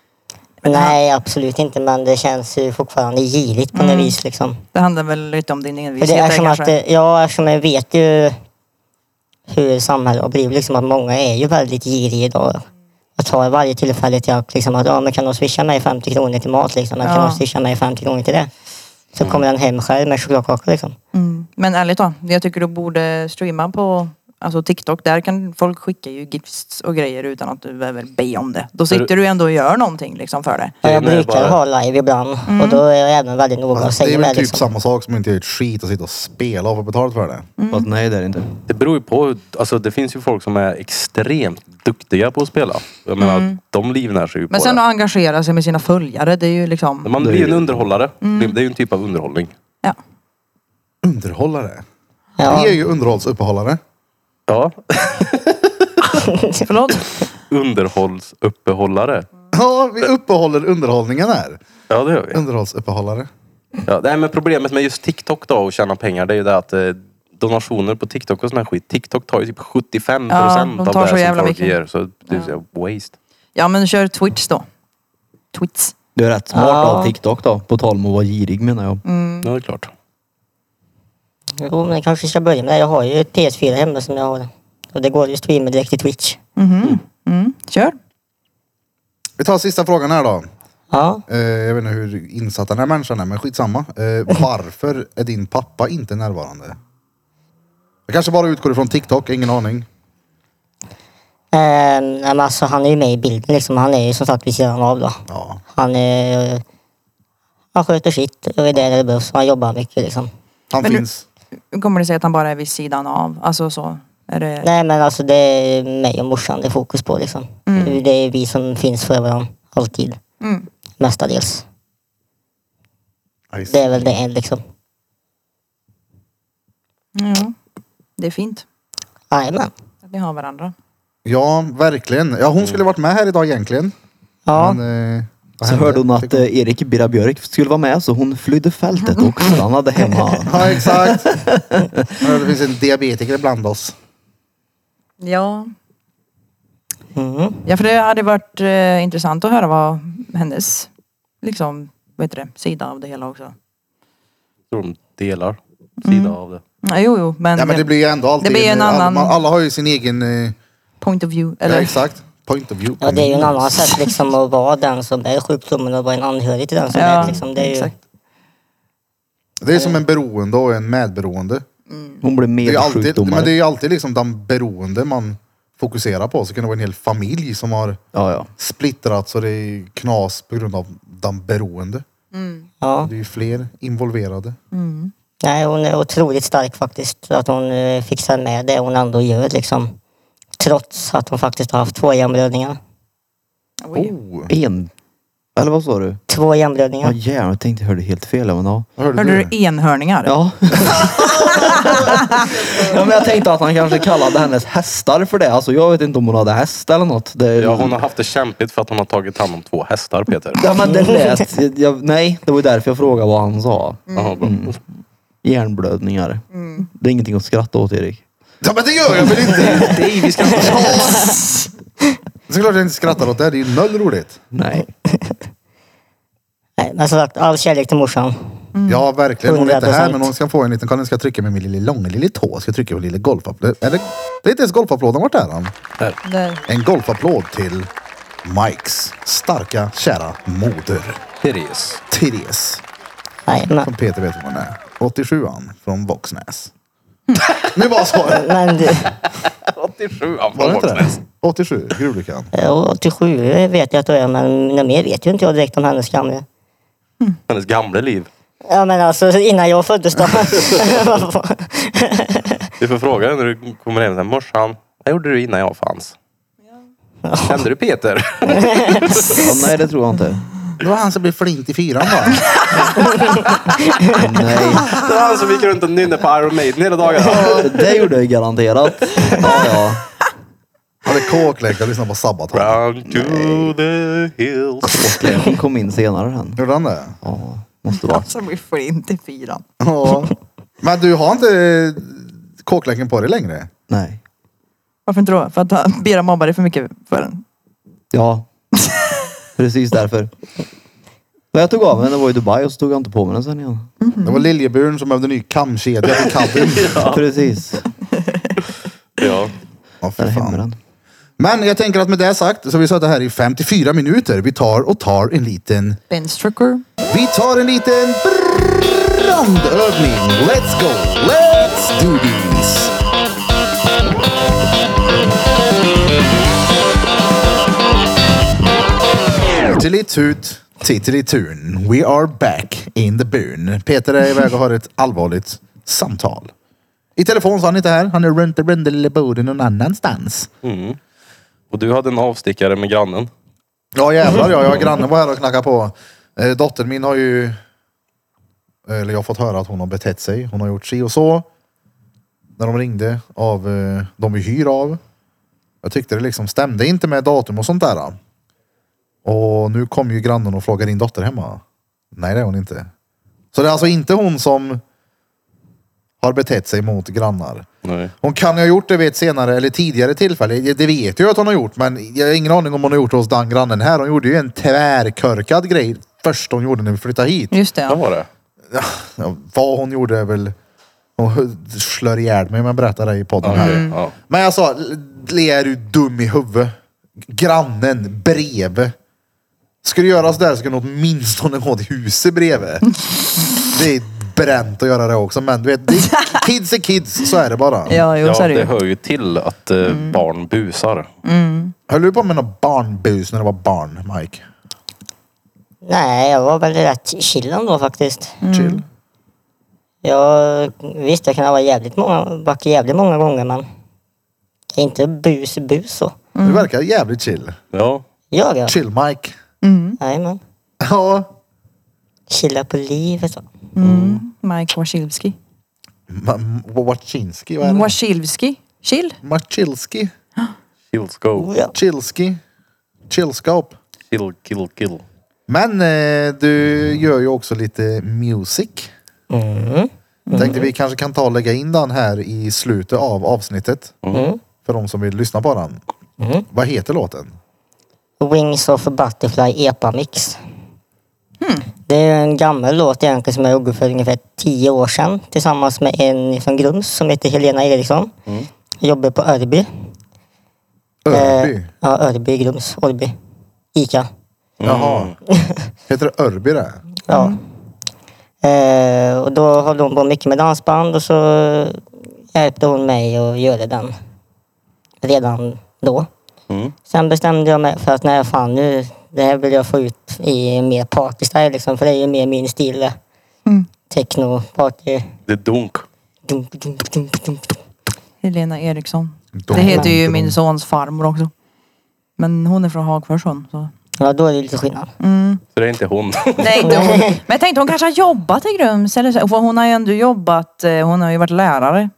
Nej, absolut inte. Men det känns ju fortfarande girigt på något vis. Liksom. Det handlar väl lite om din För det envishet är där som att, Mm. kanske. eh, ja, eftersom jag vet ju hur samhället har blivit. Liksom, att många är ju väldigt giriga idag. Jag tar varje tillfälle till att, liksom, att ja, men kan de swisha mig 50 kronor till mat? Liksom? Men Kan Ja. de swisha mig 50 kronor till det? Så kommer den hem själv med chokladkaka. Liksom. Mm. Men ärligt då, jag tycker du borde streama på alltså TikTok. Där kan folk skicka ju gifts och grejer utan att du behöver be om det. Då sitter du ändå och gör någonting liksom för det. Ja, jag Det är brukar bara- ha live ibland och då är jag även väldigt noga och Alltså, det säger är med. väl typ liksom. samma sak som inte gör ett skit och sitta och spela och få betalt för det. Mm. Fast nej det är det inte. Det beror ju på. Alltså det finns ju folk som är extremt duktiga på att spela. Jag menar, de livnär sig ju Mm. Men på sen det. att engagera sig med sina följare, det är ju Mm. liksom... Man blir ju en underhållare. Det- Det är ju en typ av underhållning. Ja. Underhållare. Ja. Ni är ju underhållsuppehållare. Ja, (laughs) Förlåt? underhållsuppehållare. (laughs) Ja, vi uppehåller underhållningen här. Ja, det gör vi. Underhållsuppehållare. Ja, nej, men problemet med just TikTok då och tjäna pengar det är ju det att eh, donationer på TikTok och sån här skit. TikTok tar ju typ 75 procent Ja, de av tar det så som jävla folk mycket. ger. Så det är ja. waste. Ja men kör Twitch då. Twits. Du är rätt smart Ja. av TikTok då. På tal om att vara girig menar jag. Mm. Ja, det är klart. Jo, men jag kanske ska börja med det. Jag har ju ett PS4 hemma som jag har. Och det går ju att streama direkt till Twitch. Mm. Kör. Vi tar sista frågan här då. Ja. Eh, jag vet inte hur insatt den här människan är, men skitsamma. (laughs) Eh, varför är din pappa inte närvarande? Jag kanske bara utgår ifrån TikTok, ingen aning. Eh, nej, men alltså, han är ju med i bilden liksom. Han är ju som sagt vid sidan av då. Ja. Han, eh, han sköter sitt och är där när det behövs. Han jobbar mycket liksom. Han Men du- finns. Hur kommer det sig att han bara är vid sidan av? Alltså så. Är det... Nej men alltså det är mig och morsan det är fokus på liksom. Det är vi som finns för varandra. Alltid. Mm. Mestadels. Aj, Det är väl det liksom. Ja. Det är fint. Jajamän. Att ni har varandra. Ja, verkligen. Ja, hon skulle varit med här idag egentligen. Ja. Men, eh, vad Så hände? hörde hon att eh, Erik Birra Björk skulle vara med så hon flydde fältet och stannade hemma. Ja, exakt. Ja, det finns en diabetiker bland oss. Ja. Mm. Ja för det hade varit eh, intressant att höra vad hennes liksom, vad heter det, sida av det hela också. tror de delar sida Mm. av det. Ja, jo jo men, Ja, men det blir ju ändå alltid... Det blir en alla- annan- man- alla har ju sin egen... eh, point of view. Ja, Eller? exakt. Point of view. Ja, det är ju en annan sätt liksom att vara den som bär sjukdomen och vara en anhörig till den som är liksom. Det är ju... exakt. Det är som en beroende och en medberoende. Hon blev Det är ju alltid, men det är medsjukdomare. ju alltid liksom den beroende man fokuserar på. Så kan det vara en hel familj som har Ja, ja. splittrats och det är knas på grund av den beroende. Ja. Det är ju fler involverade. Nej, hon är otroligt stark faktiskt. Att hon eh, fixar med det hon ändå gör liksom. Trots att hon faktiskt har haft två hjärnblödningar. Oj. Oh, En... Eller vad sa du? Två Ja hjärnblödningar. jävlar, jag tänkte jag hörde helt fel. Men ja. vad hörde, Hörde du? du enhörningar? Ja. (laughs) ja men jag tänkte att han kanske kallade hennes hästar för det. Alltså jag vet inte om hon hade häst eller något. Det... Ja, hon har haft det kämpigt för att hon har tagit hand om två hästar, Peter. Ja men det lät... Jag, nej, det var ju därför jag frågade vad han sa. Mm. Jaha, bra. Hjärnblödningar. Det är ingenting att skratta åt Erik. Ja men det gör jag väl inte! Nej, vi ska inte... Såklart jag inte skrattar åt det. Det är ju noll roligt. Nej. Nej, men som sagt, all kärlek till morsan. Ja verkligen. Hon är inte här 100%. men hon ska få en liten... Kolla nu ska jag trycka med min lilla långa lilla tå. Ska jag trycka på lilla golfapplåd. Eller det är inte ens golfapplåden. Vart är han? Där. En golfapplåd till Mikes starka kära moder. Therese. Therese. Nej, men, Som Peter vet vem hon är. 87an från Våxnäs. (laughs) nu bara så. men du, 87 han Var från det inte Våxnäs. det? 87, gruvlyckan. eh, 87 vet jag att du är, men något mer vet ju inte jag direkt om hennes gamla. Hennes gamla liv. Ja men alltså innan jag föddes då. (laughs) Du får fråga henne när du kommer hem. så här, Morsan, vad gjorde du innan jag fanns? Kände du Peter? Ja, nej det tror jag inte. Det var han som blev flint i fyran va? Nej. (laughs) Det var han som gick runt och nynnade på Iron Maiden hela dagarna. Det gjorde jag garanterat. Ja, ja. Han är kåkläkt och lyssnar på Sabaton. Run to the hills. Hon kom in senare än. Gjorde han det? Ja, måste vara. Alltså vi får inte fyran. Ja. Men du har inte eh, kåklänken på dig längre? Nej. Varför inte då? För att han- Bera mobbar dig för mycket för den. Ja. Precis därför. När jag tog av mig den, det var i Dubai och så tog jag inte på mig den sen igen. Det var Liljeburen som behövde ny kamkedja till kadden. Precis. Ja. Ja, för Där hämmer fan. den. Men jag tänker att med det sagt så har vi suttit här i 54 minuter. Vi tar och tar en liten... Ben Strucker. Vi tar en liten brandövning. Let's go! Let's do this! Tillitut, tittelitun. We are back in the boon. Peter är iväg och har ett allvarligt samtal. I telefon så är han inte här. Han är runt runt lilla boden någon annanstans. Och du hade en avstickare med grannen. Ja jävlar ja, jag grannen var här och knackade på. Eh, dottern min har ju, eller jag har fått höra att hon har betett sig. Hon har gjort si och så. När de ringde av eh, de vi hyr av. Jag tyckte det liksom stämde inte med datum och sånt där. Och nu kom ju grannen och frågade din dotter hemma. Nej det är hon inte. Så det är alltså inte hon som har betett sig mot grannar. Nej. Hon kan ju ha gjort det vid ett senare eller tidigare tillfälle. Det det vet jag ju att hon har gjort, men jag har ingen aning om hon har gjort det hos den grannen här. Hon gjorde ju en tvärkörkad grej först hon gjorde när vi flyttade hit. Just Vad det. var det? Ja, vad hon gjorde är väl... Hon slår ihjäl mig om jag berättar det i podden Ja, okej. Mm. här. Ja. Men jag sa, "L- är du dum i huvudet? Grannen bredvid. Ska du göra sådär så ska du åtminstone gå till huset bredvid. Det är bränt att göra det också, men du vet, det, kids är kids, så är det bara. Ja, jo, Ja, så är det det ju. Mm. hör ju till att eh, barn busar. Höll du på med någon barnbus när du var barn, Mike? Nej, jag var väl rätt chill då faktiskt. Chill. Jag, visst, jag kan ha varit jävligt många, varit jävligt många gånger men inte bus bus så. Du verkar jävligt chill. Ja. Gör jag? Chill Mike. Nej men. Ja. Chilla på livet. va. Mm. Mike Wasilski. Ma- M- Wachinski, vad är det? Wasilski? Chill? Machilski. Kills go. Oh, Ja. Chilski. Chillskap. Kill, kill, kill. Men eh, du gör ju också lite music. Mm. Tänkte vi kanske kan ta och lägga in den här i slutet av avsnittet. Mm. För de som vill lyssna på den. Mm. Vad heter låten? Wings of a Butterfly EPA-mix. Det är en gammal låt egentligen som jag gjorde för ungefär tio år sedan tillsammans med en från Grums som heter Helena Eriksson. Jobbar på Örby. Örby. Eh, ja, Örby, Grums, Örby. Ica. (laughs) Jaha. Heter det Örby det? Ja. Eh, och då höll hon på mycket med dansband och så hjälpte hon mig att göra den. Redan då. Mm. Sen bestämde jag mig för att nej fan nu, det här vill jag få ut i mer partystyle liksom. För det är ju mer min stil det. Mm. Techno, party. Det är dunk. Dunk, dunk, dunk, dunk. Helena Eriksson. Det heter ju min sons farmor också. Men hon är från Hagforsson. Så. Ja då är det lite skillnad. Så det är inte (laughs) hon. Nej, inte hon. Men jag tänkte hon kanske har jobbat i Grums. Eller så. För hon har ju ändå jobbat, eh, hon har ju varit lärare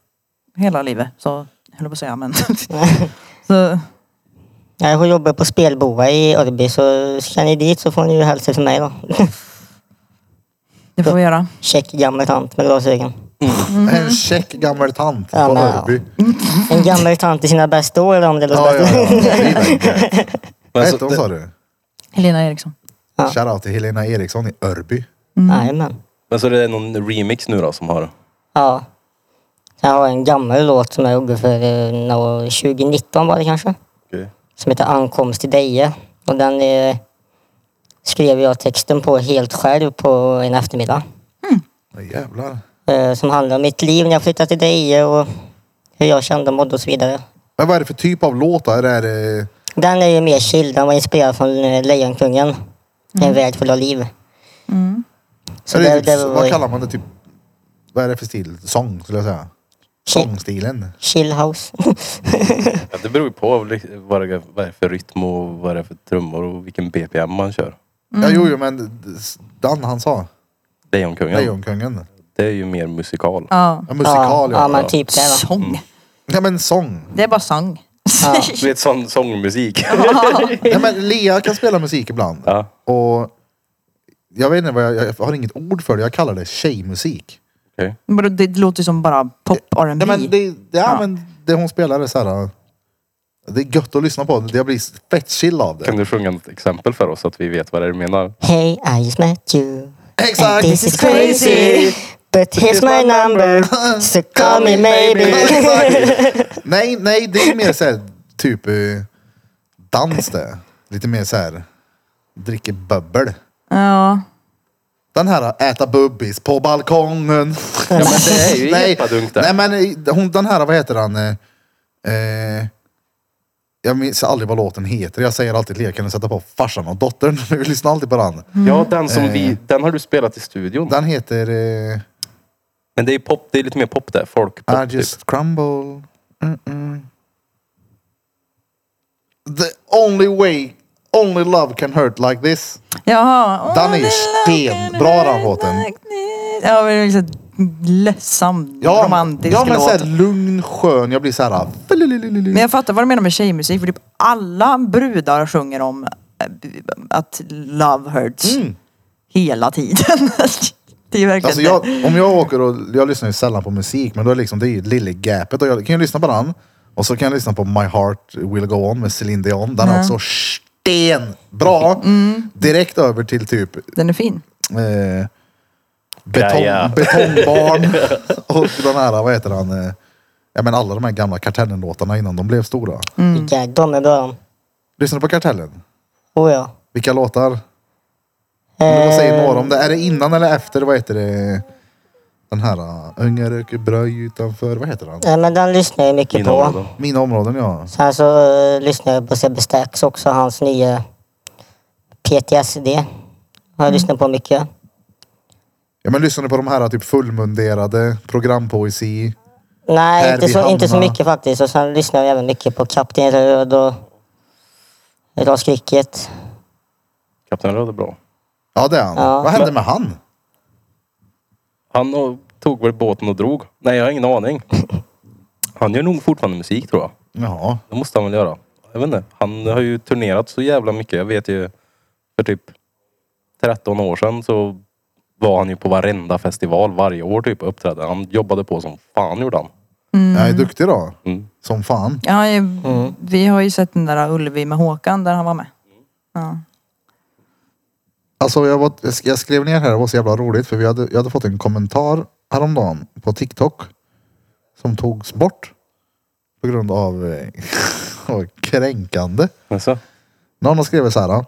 hela livet. Så, jag höll på att säga men. (laughs) så, (laughs) Nej, hon jobbar på Spelboa i Örby så ska ni dit så får ni ju hälsa till mig då. (laughs) det får vi göra. Check gammal tant med glasögon. En käck gammal tant Mm-hmm. Ja, på men ja. Örby. En gammal tant i sina bästa år om det låter Ja, ja, bättre. ja. Det är det. Vad Men hette så, hon sa det, du? Helena Eriksson. Ja. Shoutout till Helena Eriksson i Örby. (laughs) Jajamän. men så det är någon remix nu då som har... Ja. Jag har en gammal låt som jag gjorde för eh, nå- 2019 var det kanske. Okej. Som heter Ankomst till Deje. Och den eh, skrev jag texten på helt själv på en eftermiddag. Ja, Jävlar. Eh, som handlar om mitt liv när jag flyttade till Deje och hur jag kände och mådde och så vidare. Men vad är det för typ av låt då? Är det, är det Den är ju mer chill. Den var inspirerad från eh, Lejonkungen. En värld full av liv. Mm. Så är det, det, det, typ, var vad ju kallar man det? Typ, vad är det för stil? Sång skulle jag säga. chill, Sångstilen. chill house. (laughs) Ja, det beror ju på vad det, vad det är för rytm och vad det är för trummor och vilken BPM man kör. Mm. Ja, jo, jo, men den han sa. Lejonkungen. Lejonkungen. Det är ju mer musikal. Ja. Ja, musikal ja, ja, ja. men typ det. va. Sång. Ja, men sång. Det är bara sång. Ja. (laughs) Du vet sån sångmusik. Ja, men Lea kan spela musik ibland. (laughs) Ja. Och jag vet inte vad jag, jag har inget ord för det. Jag kallar det tjejmusik. okej. Vadå, Det låter ju som bara pop Ja, men R&B. det, ja, men det hon spelar är så här. Det är gött att lyssna på. Jag blir fett chill av (laughs) det. Kan du sjunga något exempel för oss så att vi vet vad det är du menar? Hey, I just met you. Exakt. And this is crazy. But here's my number. (laughs) So call me maybe. (laughs) Exakt. nej, nej, det är mer så här, typ eh, dans det. Lite mer så här, dricker bubbel. Ja. Den här eh, äta bubbis på balkongen. (laughs) Ja, men det är ju nej, epadunk nej där. men eh, hon, den här, vad heter han? Eh, Eh, jag minns aldrig vad låten heter. Jag säger alltid till er, kan ni sätta på farsan och dottern? (laughs) Vi lyssnar alltid på den. Ja, den som vi... Den har du spelat i studion. Den heter eh, Men det är pop, det är lite mer pop där. Folkpop I just typ. crumble. Mm-mm. The only way, only love can hurt like this. Jaha. Den Åh, är ju det stenbra, den låten. Ja, men det är liksom ledsam, romantisk ja men låt. såhär lugn, skön. Jag blir såhär... Men jag fattar vad du menar med tjejmusik för typ alla brudar sjunger om eh, att love hurts Mm. hela tiden. (laughs) det är ju verkligen Alltså jag, om jag åker och, jag lyssnar ju sällan på musik, men då är liksom, det är ju lille gapet och jag kan ju lyssna på den. Och så kan jag lyssna på My Heart Will Go On med Celine Dion. Den är också stenbra. Direkt över till typ det. Den är fin. eh, betong, Gaia. Betongbarn (laughs) och den här, vad heter han? Eh, ja men alla de här gamla Kartellen-låtarna innan de blev stora. Vilka de är bra om. Lyssnar du på Kartellen? Oh ja. Vilka låtar? Men vad Eh. säger några om det? Är det innan eller efter? Vad heter det? Den här uh, Unga röker bröj utanför. Vad heter han? Nej, men den lyssnar jag mycket Mina på. områden. Mina områden ja. Sen så eh, lyssnar jag på Sebbe Stax också, hans nya PTSD. Har jag lyssnat på mycket. Ja men lyssnar du på de här typ fullmunderade programpoesi? Nej, Per inte så, Wihanna. inte så mycket faktiskt. Och sen lyssnar jag även mycket på Kapten Röd och Ras Cricket. Kapten Röd är bra. Ja det är han. Ja. Vad hände med han? Han och, tog väl båten och drog. Nej, jag har ingen aning. Han gör nog fortfarande musik tror jag. Jaha. Det måste han väl göra. Jag vet inte. Han har ju turnerat så jävla mycket. Jag vet ju för typ 13 år sedan så var han ju på varenda festival varje år typ och uppträdde. Han jobbade på som fan gjorde han. Jag är duktig då. Mm. Som fan. Ja, han är- Mm. Vi har ju sett den där Ullevi med Håkan där han var med. Ja. Alltså jag, var, jag sk- jag skrev ner här, det var så jävla roligt för vi hade, jag hade fått en kommentar häromdagen på TikTok som togs bort på grund av eh, (laughs) kränkande. Alltså, Någon har skrivit så här. "Ah,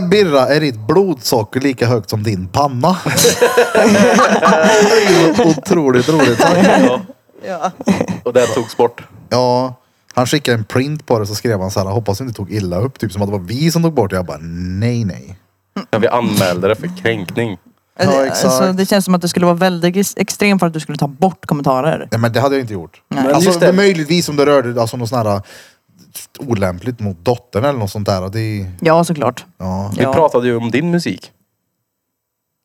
(laughs) Birra, är ditt blodsocker lika högt som din panna? (laughs) Det är ju Otroligt roligt. tack. och det togs bort. Ja, han skickade en print på det så skrev han så här. Hoppas du inte tog illa upp. Typ som att det var vi som tog bort det. Jag bara nej, nej. Ja, vi anmälde det för kränkning. Ja, Alltså, exakt. det känns som att det skulle vara väldigt ex- extremt för att du skulle ta bort kommentarer. Nej men det hade jag inte gjort. Men Alltså just det. möjligtvis om det rörde alltså, något sånt här olämpligt mot dottern eller något sånt där. Det, är- Ja, såklart. ja. Vi Ja. pratade ju om din musik.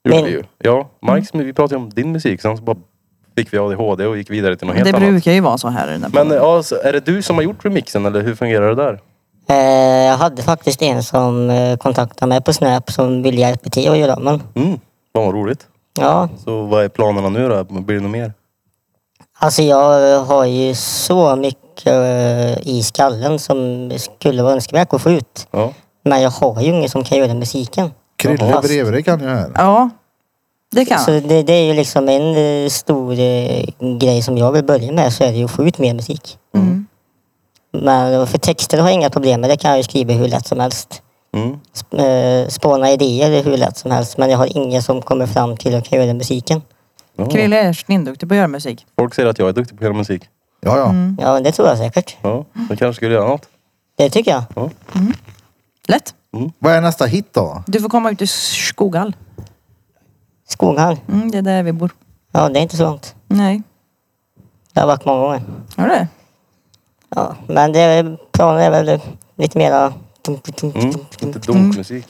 Gjorde Min? vi ju. Ja, Mike's, vi pratade ju om din musik. Sen så bara fick vi ADHD och gick vidare till något helt det annat. brukar ju vara så här. i den här Men eh, podden. ja, så är det du som har gjort remixen eller hur fungerar det där? Eh, jag hade faktiskt en som eh, kontaktade mig på Snap som ville hjälpa till att göra men Mm, fan vad roligt. ja. Så vad är planerna nu då? Blir det något mer? Alltså jag har ju så mycket eh, i skallen som skulle vara önskvärt att få ut. Ja. Men jag har ju ingen som kan göra musiken. Krille Fast- bredvid dig kan jag här. Ja, det kan Så det, det är ju liksom en eh, stor eh, grej som jag vill börja med så är det ju att få ut mer musik. Mm. Men eh, för texter har jag inga problem med, det kan jag ju skriva hur lätt som helst. Mm. Sp- eh, Spåna idéer hur lätt som helst men jag har ingen som kommer fram till att kan göra musiken. Ja. Krille är svinduktig på att göra musik. Folk säger att jag är duktig på att göra musik. Ja, ja. Mm. Ja, det tror jag säkert. Ja, jag kanske skulle göra något. Det tycker jag. Ja. Lätt. Vad är nästa hit då? Du får komma ut i Skoghall. Skoghall. Mm, det är där vi bor. Ja, det är inte så långt. Nej. Det har varit många gånger. Har du det? Ja, men det är, planen är väl lite mera... Mm. Lite donkmusik.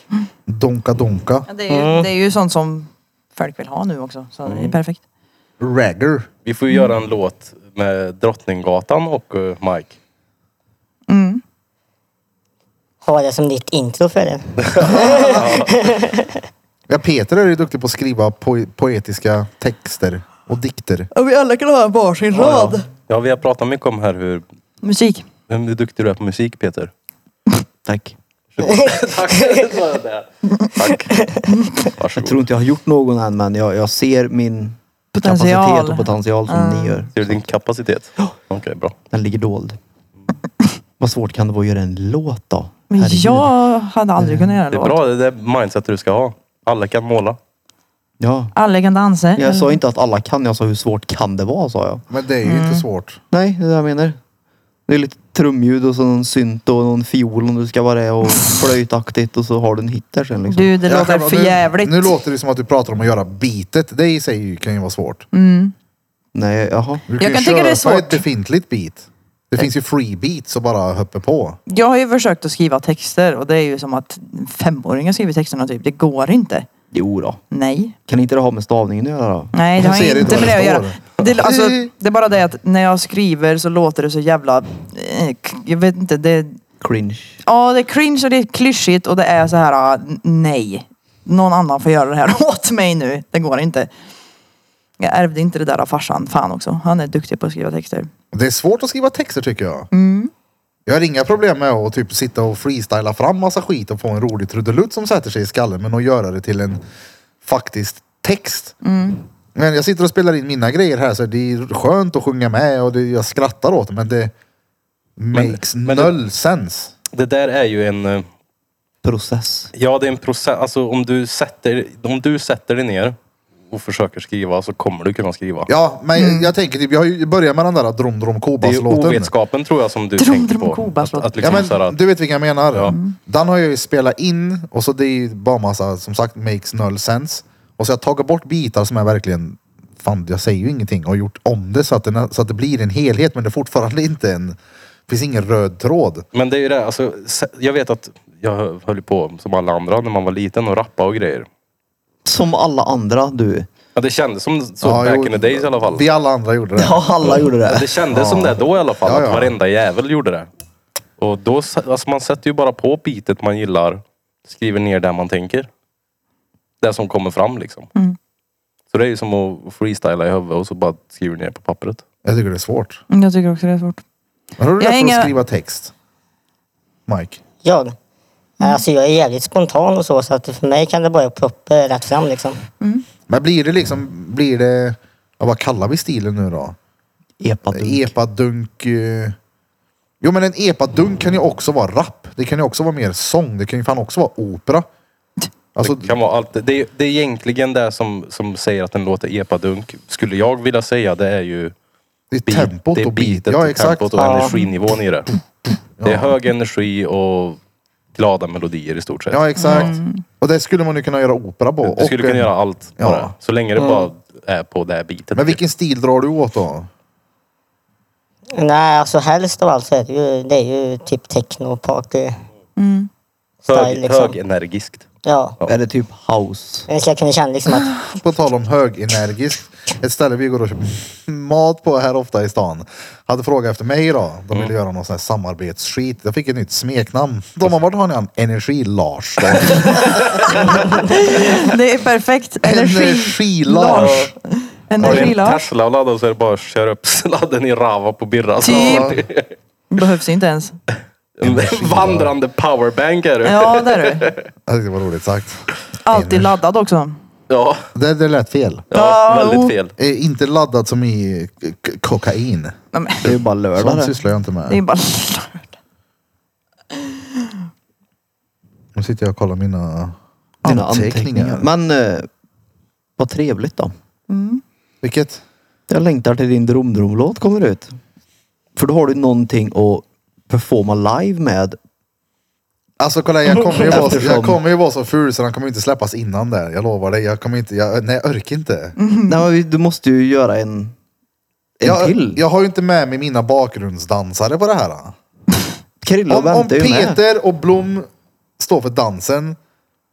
Donka donka. Ja, det, är ju, det är ju sånt som folk vill ha nu också. Så det är perfekt. Ragger. Vi får ju Mm. göra en låt med Drottninggatan och eh, Mike. Mm. Ha det som ditt intro för det. Ja, Peter är ju duktig på att skriva po- poetiska texter och dikter. Ja, vi alla kan ha en varsin rad. Ja, vi har pratat mycket om här hur Musik. Men hur duktig du är på musik Peter. Tack. Tack. sa jag där. (laughs) Tack. Jag Varsågod. tror inte jag har gjort någon än men jag, jag ser min Potential. kapacitet och potential som ni gör. Ser du din kapacitet? Okej, bra. Den ligger dold. Vad svårt kan det vara att göra en låt då? Men Herregud. jag hade aldrig kunnat göra Det är låt. bra, det är det mindset du ska ha. Alla kan måla. Ja. Alla kan dansa. eller? Jag sa inte att alla kan, jag sa hur svårt kan det vara sa jag. Men det är ju Mm. inte svårt. Nej, det är det jag menar. Det är lite trumljud och så någon synt och någon fiol om du ska vara (laughs) det och flöjtaktigt och så har du en hit där sen liksom. Du, det Jag låter kan- för jävligt. Nu, nu låter det som att du pratar om att göra bitet. Det i sig kan ju vara svårt. Nej, jaha. Du Mm. Jag ju kan tycka det är köpa svårt. ett befintligt beat. Det finns ju free beats och bara hoppa på. Jag har ju försökt att skriva texter och det är ju som att femåringar skriver texterna typ. Det går inte. Jo då. Nej. Kan inte det ha med stavningen att göra då? Nej, det Jag har ser inte inte med det att vad göra. det Det, alltså, Nej. det är bara det att när jag skriver så låter det så jävla... eh, k- Jag vet inte. Det, Cringe. ja, det är cringe och det är klyschigt och det är så här, ah, n- nej. Någon annan får göra det här (laughs) åt mig nu. Det går inte. Jag ärvde inte det där av farsan. Fan också. Han är duktig på att skriva texter. Det är svårt att skriva texter tycker jag. Jag har inga problem med att typ sitta och freestyla fram massa skit och få en rolig trudelutt som sätter sig i skallen. Men att göra det till en faktisk text. Men jag sitter och spelar in mina grejer här så det är skönt att sjunga med och det, jag skrattar åt det. Men det makes men det- noll sense. Det där är ju en... eh, Process. Ja, det är en process. Alltså om du sätter, om du sätter dig ner och försöker skriva så kommer du kunna skriva. Ja, men jag tänker typ, jag har ju börjat med den där Drom Drom det är ju Kobas-låten. ovetskapen tror jag som du Drum, tänker drum, på. Kobas att, låt. att liksom ja, så här men att, du vet vilka jag menar. Ja. Den har jag ju spelat in och så det är ju bara massa, som sagt, makes null sense. Och så har jag tagit bort bitar som är verkligen, fan jag säger ju ingenting och gjort om det så att det, nä- så att det blir en helhet men det är fortfarande inte en, det finns ingen röd tråd. Men det är ju det, alltså, se- jag vet att jag höll på som alla andra när man var liten och rappa och grejer. Som alla andra du. Ja, det kändes som så Ja, back jo, in the days i alla fall. Vi alla andra gjorde det. (laughs) Ja, alla gjorde Men det. Det kändes som det då i alla fall, Ja, ja. att varenda jävel gjorde det. Och då, s- alltså man sätter ju bara på bitet man gillar, skriver ner det man tänker. Det som kommer fram liksom. Mm. Så det är ju som att freestyla i huvudet och så bara skriver ner på pappret. Jag tycker det är svårt. Mm, Jag tycker också det är svårt. Men har du Jag lätt för hänger- att skriva text? Mike? Jag? Alltså jag är jävligt spontan och så, så att för mig kan det bara ploppa rätt fram liksom. Men blir det liksom, blir det, ja, vad kallar vi stilen nu då? Epadunk. Epadunk. eh, Jo men en epadunk kan ju också vara rap. Det kan ju också vara mer sång. Det kan ju fan också vara opera. Alltså, Det kan vara allt. Det är, det är egentligen det som, som säger att den låter epadunk. Skulle jag vilja säga det är ju det är beat, tempot det är och beat. beatet Ja och exakt. tempot och Ja. energinivån i det. Det är hög energi och glada melodier i stort sett. Ja exakt. Och det skulle man ju kunna göra opera på. Du skulle Och, kunna eh, göra allt ja. på det. Så länge det bara är på det här bitet. Men vilken stil drar du åt då? Nej, alltså helst av allt så är det ju, det är ju typ techno, party, style hög, liksom. Högenergiskt. Ja. Är det typ house? Jag ska kunna känna liksom att, På tal om högenergiskt. Ett ställe vi går och köper mat på här ofta i stan. Hade frågat efter mig idag. De Mm. ville göra någon sån här samarbetsskit. Jag fick ett nytt smeknamn. De har varit har ni han? Energi-Lars. då. (laughs) Det är perfekt. Energi. Energi-Lars. Har du Energi en Lars. Tesla och laddar så är det bara att köra upp (laughs) sladden i Rava på Birra. så- Typ. Behövs inte ens. En vandrande powerbank är du. Ja, det är du. Jag tyckte det var roligt sagt. Eh, Alltid laddad också. Ja, Det, det lät fel. ja, Ja, väldigt oh. fel. Eh, inte laddad som i k- k- kokain. Nej, men, Det är ju bara lördag Sånt det. sysslar jag inte det är med. bara... Nu sitter jag och kollar mina Dina anteckningar. anteckningar. Men eh, vad trevligt då. Vilket? Jag längtar till din dromdromlåt kommer ut. För då har du någonting att performa live med. Alltså kolla jag kommer ju vara så, jag Eftersom- kommer ju vara så ful så den kommer ju inte släppas innan där. Jag lovar dig. Jag kommer inte, jag, nej jag orkar inte. Mm. Nej, men vi- du måste ju göra en, en Jag, till. jag har ju inte med mig mina bakgrundsdansare på det här. Krille Om, om väntar ju med. Peter och Blom står för dansen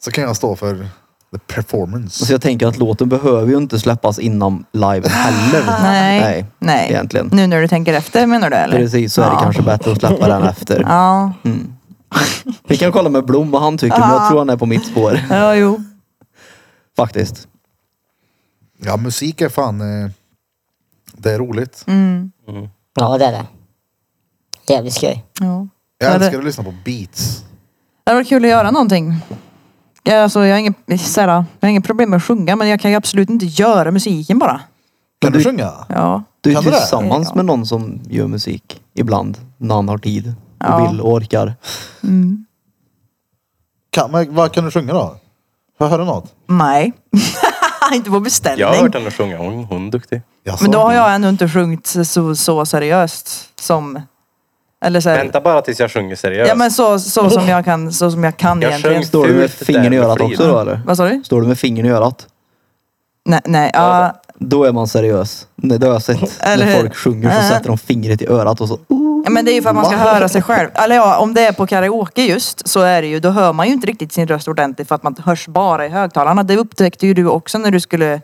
så kan jag stå för the performance. Så Alltså, jag tänker att låten behöver ju inte släppas innan live heller. Nej. Nej. Egentligen. Nu när du tänker efter menar du eller? Precis, så är det Ja. kanske bättre att släppa den efter. Ja, Vi kan kolla med Blom vad han tycker, men jag tror han är på mitt spår. ja jo. Faktiskt. Ja musik Mm. är fan, eh, det är roligt. ja det är det. Jävligt skoj. Ja. Jag Men det- älskar att lyssna på beats. Det var kul att göra någonting. Ja, Alltså, jag, har inget, så här, jag har inget problem med att sjunga men jag kan ju absolut inte göra musiken bara. Kan du du- sjunga? Ja. Du är Kan du det? tillsammans Ja. med någon som gör musik ibland. När han har tid och Ja. vill och orkar. Kan, men vad kan du sjunga då? Får jag höra något? Nej. (laughs) inte på beställning. Jag har hört henne sjunga. Hon, hon är duktig. Jaså? Men då har jag ännu inte sjungit så, så seriöst som... Eller så här, Vänta bara tills jag sjunger seriöst. Ja men så, så som jag kan, så som jag kan Jag egentligen. sjöng- Står du med Fult fingern där i med örat också Frida. då eller? Vad sa du? Står du med fingern i örat? Nej, nej. Ja, Då är man seriös. Nej, Det har jag sett. Eller När hur? folk sjunger så Äh. sätter de fingret i örat och så. "Oh." men det är ju för att man ska Va? höra sig själv. Eller ja, om det är på karaoke just så är det ju, då hör man ju inte riktigt sin röst ordentligt för att man hörs bara i högtalarna. Det upptäckte ju du också när du skulle,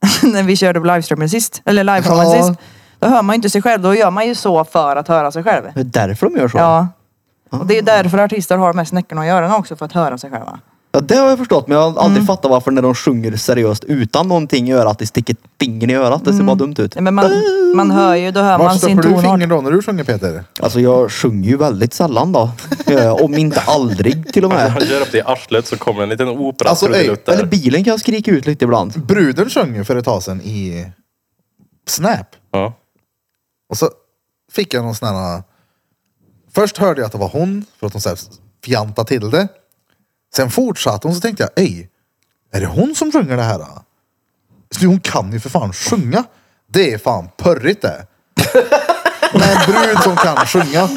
(laughs) när vi körde på livestreamen sist. Eller liveshowen Ja. sist. Då hör man ju inte sig själv, då gör man ju så för att höra sig själv. Det är därför de gör så. Ja. Och det är ju därför artister har mest näcken att göra också, för att höra sig själva. Ja, det har jag förstått. Men jag har aldrig fattat varför när de sjunger seriöst utan någonting i örat, det sticker fingern i örat. Det ser bara dumt ut. Nej, Men man, man hör ju, då hör Var man sin stoppar du tonart. fingret då när du sjunger Peter? Alltså jag sjunger ju väldigt sällan då. Ja, Om inte aldrig till (laughs) och Han med. gör upp det i arslet så kommer en liten opera Alltså, ey, trudelutt Eller där. bilen kan jag skrika ut lite ibland. Bruden sjöng ju för ett tag sedan i Snap. Ja. Och så fick jag någon sån här... Först hörde jag att det var hon för att hon så här fjantade till det. Sen fortsatte hon så tänkte jag, ej, är det hon som sjunger det här? då?" Så hon kan ju för fan sjunga. Det är fan pörrigt det. Med en brud som kan sjunga.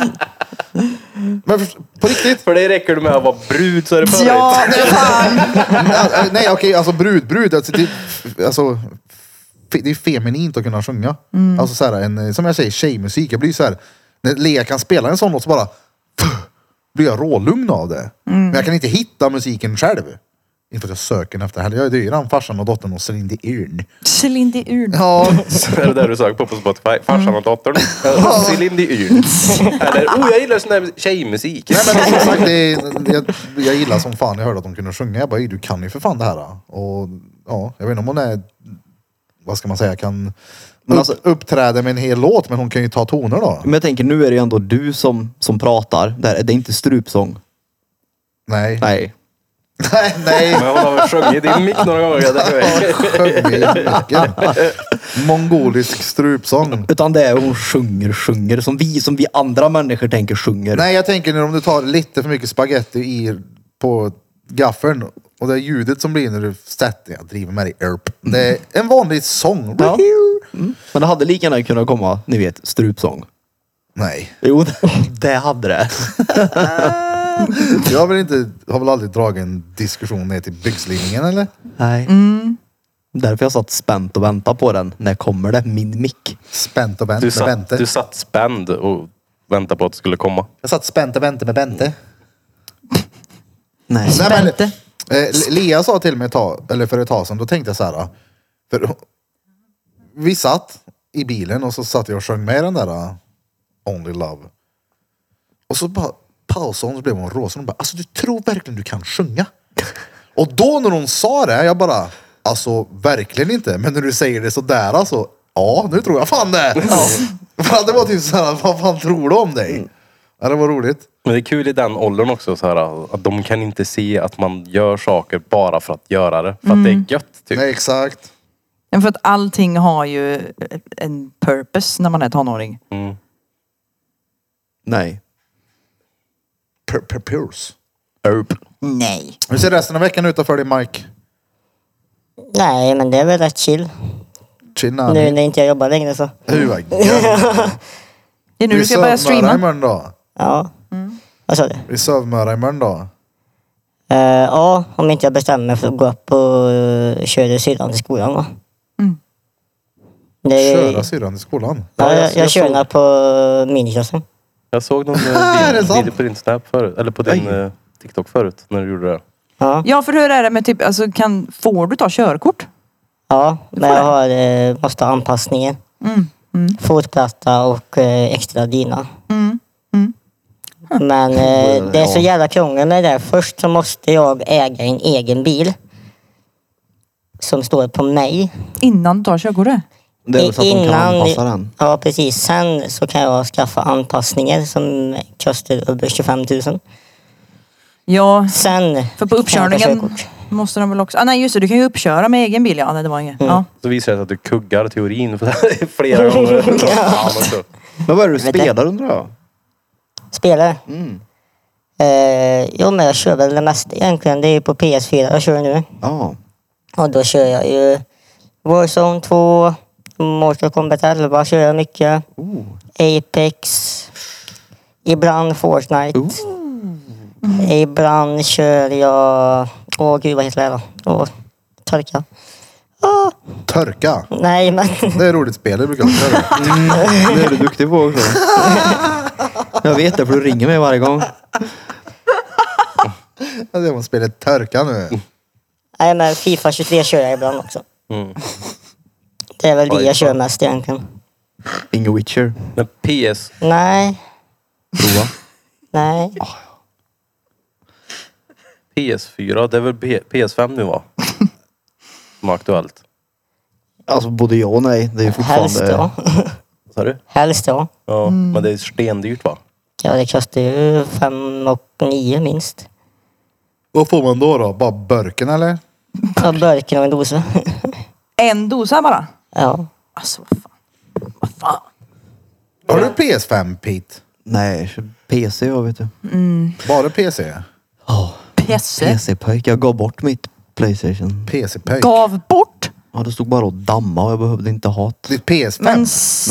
Men för, på riktigt. För det räcker det med att vara brud så är det förut. Ja, fan. Nej, nej okej, alltså brud, brud. Alltså, det, alltså, fe- det är feminint att kunna sjunga. Alltså så här, en, eh, som jag säger, tjejmusik. Jag blir så här, när Lea kan spela en sån låt så bara blir jag rålugn av det. Men jag kan inte hitta musiken själv. Inte för att jag söker den efter det heller. Jag är dyran, farsan och dottern och Céline Dion. Céline Dion. Ja, Det (laughs) är det där du söker på på Spotify. Farsan och (laughs) dottern. Céline (laughs) Dion. Eller, oh jag gillar sån där tjejmusik. nej men som sagt, det (laughs) är, jag, jag gillar som fan jag hörde att de kunde sjunga. Jag bara, "Ey, du kan ju för fan det här. då." Och ja, jag vet inte om hon är, vad ska man säga, kan Men alltså- upp, uppträda med en hel låt, men hon kan ju ta toner då. Men jag tänker nu är det ju ändå du som, som pratar. Det, här, det är inte strupsång. Nej. Nej. (laughs) Nej, nej. Men hon har väl sjungit i mick några gånger. jag tänker mig. Sjöng i (laughs) micken. Mongolisk strupsång. Utan det är hon sjunger, sjunger. Som vi, som vi andra människor tänker sjunger. Nej, jag tänker nu om du tar lite för mycket spaghetti i på gaffeln och det är ljudet som blir när du sätter, jag driver med dig, erp. Det är en vanlig sång. Ja. Men det hade lika gärna kunnat komma, ni vet, strupsång. Nej, Jo, (laughs) det hade det. jag har väl, inte, har väl aldrig dragit en diskussion ner till byxlinjen eller? Nej. Därför jag satt spänt och väntade på den. När kommer det? Min mick. Spänt och vänt (laughs) Du med satt, Bente. du satt spänd och väntade på att det skulle komma. Jag satt spänt och väntade med Bente. Nej. Nej, men, Bente. eh, Le- Lea sa till mig ett tag, eller för ett tag sedan, då tänkte jag så här. eh, För, vi satt i bilen och så satt jag och sjöng med den där eh, Only Love. Och så bara pausade hon så blev hon råsen. Hon bara, alltså du tror verkligen du kan sjunga? och då när hon sa det, jag bara, alltså verkligen inte. Men när du säger det sådär alltså, ja nu tror jag fan det. För att det var typ så här, vad fan tror du om dig? Ja, det var roligt. Men det är kul i den åldern också så här, att de kan inte se att man gör saker bara för att göra det. För att det är gött typ. Nej, exakt. Men för att allting har ju en purpose när man är tonåring. Nej. Pur- pur- Purs. Erp. Nej. Hur ser resten av veckan ut då för dig Mike? Nej, men det är väl rätt chill. Tjena. Nu när inte jag jobbar längre så. Hur vad gött. Det är nu Vi du ska sövmörar börja streama. imorgon då. Ja. Vad sa du? Vi sövmörar imorgon då. Eh, ja, om inte jag bestämmer mig för att gå upp och eh, köra syrran till skolan va. Det är, Köra syrran till skolan. Ja, jag, jag- jag, jag kör såg- den på miniklassen. Jag såg (laughs) någon eh, Är det video, sant? video på din Snap förut. Eller på din Oj. eh, TikTok förut. När du gjorde det. Ja, Ja, för hur är det med typ, alltså kan, får du ta körkort? ja men jag har, eh, måste ha anpassningen. Fotplatta och eh, extra dyna. Men eh, det är så jävla krångel med det där. Först så måste jag äga en egen bil. Som står på mig. Innan du tar körkortet? Det är väl så att de kan anpassa den. Ja, precis. Sen så kan jag skaffa anpassningar som kostar över 25 000. Ja, Sen... kan för på jag ta uppkörningen körkort. måste de väl också... Ah, nej just det, du kan ju uppköra med egen bil. Ja, nej, det var Mm. inget. Ja. Så visar det sig att du kuggar teorin (laughs) (laughs) flera gånger. ja. men så. Men vad är det du Vet jag. spelar undrar jag? Spelare? Mm. Eh, jo, men jag kör väl det mesta egentligen. Det är ju på PS4 jag kör nu. Ja. Och då kör jag ju Warzone 2, Mortal Kombat 11 kör jag mycket. Oh. Apex. Ibland Fortnite. Mm. Ibland kör jag... Åh gud, vad heter det här då? Åh, torka. Åh, Törka. nej, men... (laughs) Det är ett roligt spel, det brukar jag också göra. Det är du duktig (laughs) på också. Jag vet det för du ringer mig varje gång. Ja, Det var spelet Törka nu. nej, men Fifa 23 kör jag ibland också. Mm. Det är väl det Oj, jag kör fan. mest egentligen. Ingen Witcher. Men PS, Nej, Prova. nej. PS4, det är väl P- PS5 nu (laughs) va? Som är aktuellt. Alltså både ja och nej. Det är ju Helst fortfarande... då. Vad Sa du? Helst då. Ja, Mm. men det är stendyrt va? Ja, det kostar ju fem och nio minst. Vad får man då då? Bara burken eller? Ja, burken och en dosa. En dosa bara. (laughs) Ja. Alltså vad fan. Vad fan. Har du PS5 Pete? Nej, PC jag vet du. Bara PC? Ja, Pesse. PC-pöjk. Jag gav bort mitt Playstation. PC-pöjk? Gav bort. Ja, det stod bara och damma och jag behövde inte ha det. Ditt PS5? Men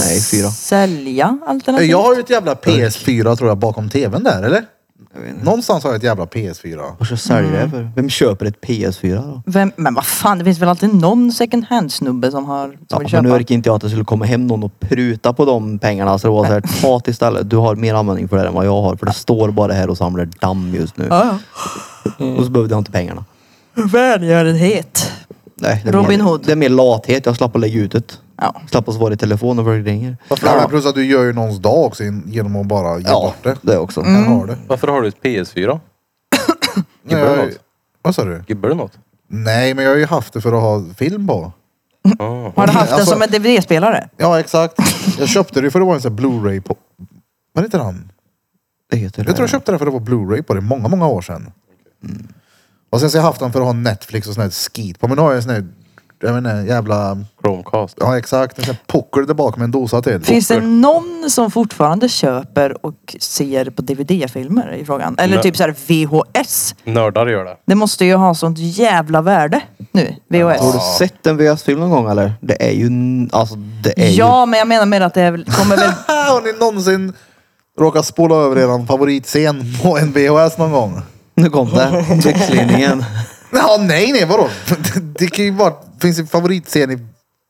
Nej, fyra. sälja alternativt. Eh, Jag har ju ett jävla PS4 tror jag bakom tvn där eller? Jag vet inte. Någonstans har jag ett jävla PS4. Vad ska jag sälja Mm. det för? Vem köper ett PS4 då? Vem, men vad fan, det finns väl alltid någon second hand snubbe som, har, som Ja, vill men köpa. nu verkar inte jag att det skulle komma hem någon och pruta på de pengarna. Så det var så här, ta det istället. Du har mer användning för det här än vad jag har. För det står bara här och samlar damm just nu. Ja, Och så behövde jag inte pengarna. ja. Välgörenhet. Nej, det är Robin mer, Hood. Det är mer lathet. Jag slapp att lägga ut det. Ja. Slapp att svara i telefon och folk ringer. Ja. men Plus att du gör ju någons dag också in- genom att bara ge Ja, bort det. det också. Mm. Här har du. Varför har du ett PS4? Nej, Gibbar jag- något? Vad sa du? Gibbar du något? Nej, men jag har ju haft det för att ha film på. Ah. Har du haft den Alltså- som en DVD-spelare? Ja, exakt. Jag köpte det för att det var en sån här Blu-ray på... Vad heter han? Det heter det. Jag tror jag köpte den för att det var Blu-ray på det många, många år sedan. Mm. Och sen så har jag haft den för att ha Netflix och sån här skit på. Men nu har jag en sån här, jag vet inte, jävla... Chromecast. Ja, exakt. En sån här puckel där bak med en dosa till. Finns det någon som fortfarande köper och ser på DVD-filmer i frågan? Eller Nej. typ så här VHS? Nördar gör det. Det måste ju ha sånt jävla värde nu, Har du VHS. sett en VHS-film någon gång eller? Det är ju... n- Alltså det är ju... Ja, men jag menar mer att det är väl- (laughs) kommer väl... Har ni någonsin råkat spola över eran favoritscen på en VHS någon gång? Nu (laughs) kom det. Byxlinningen. Ja, nej, nej, vadå? (laughs) Det kan ju vara, finns ju favoritscen i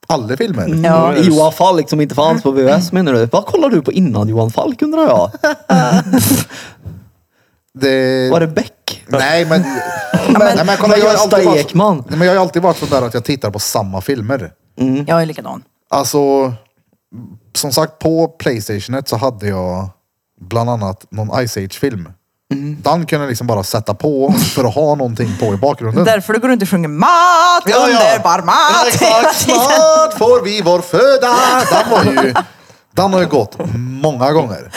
alla filmer. Ja. Johan Falk som inte fanns på VHS menar du? Vad kollar du på innan Johan Falk undrar jag? Det... Var det Beck? Nej, men... nej, men kolla, men jag har Gösta alltid varit- Ekman. Nej, men jag har ju alltid varit sån där att jag tittar på samma filmer. Jag är likadan. Alltså, som sagt på Playstationet så hade jag bland annat någon Ice Age-film. Den kunde jag liksom bara sätta på för att ha någonting på i bakgrunden. Därför du går runt och sjunger mat, Ja, ja. underbar mat. (laughs) Exakt, snart får vi vår föda. Den var ju... Den har ju gått många gånger.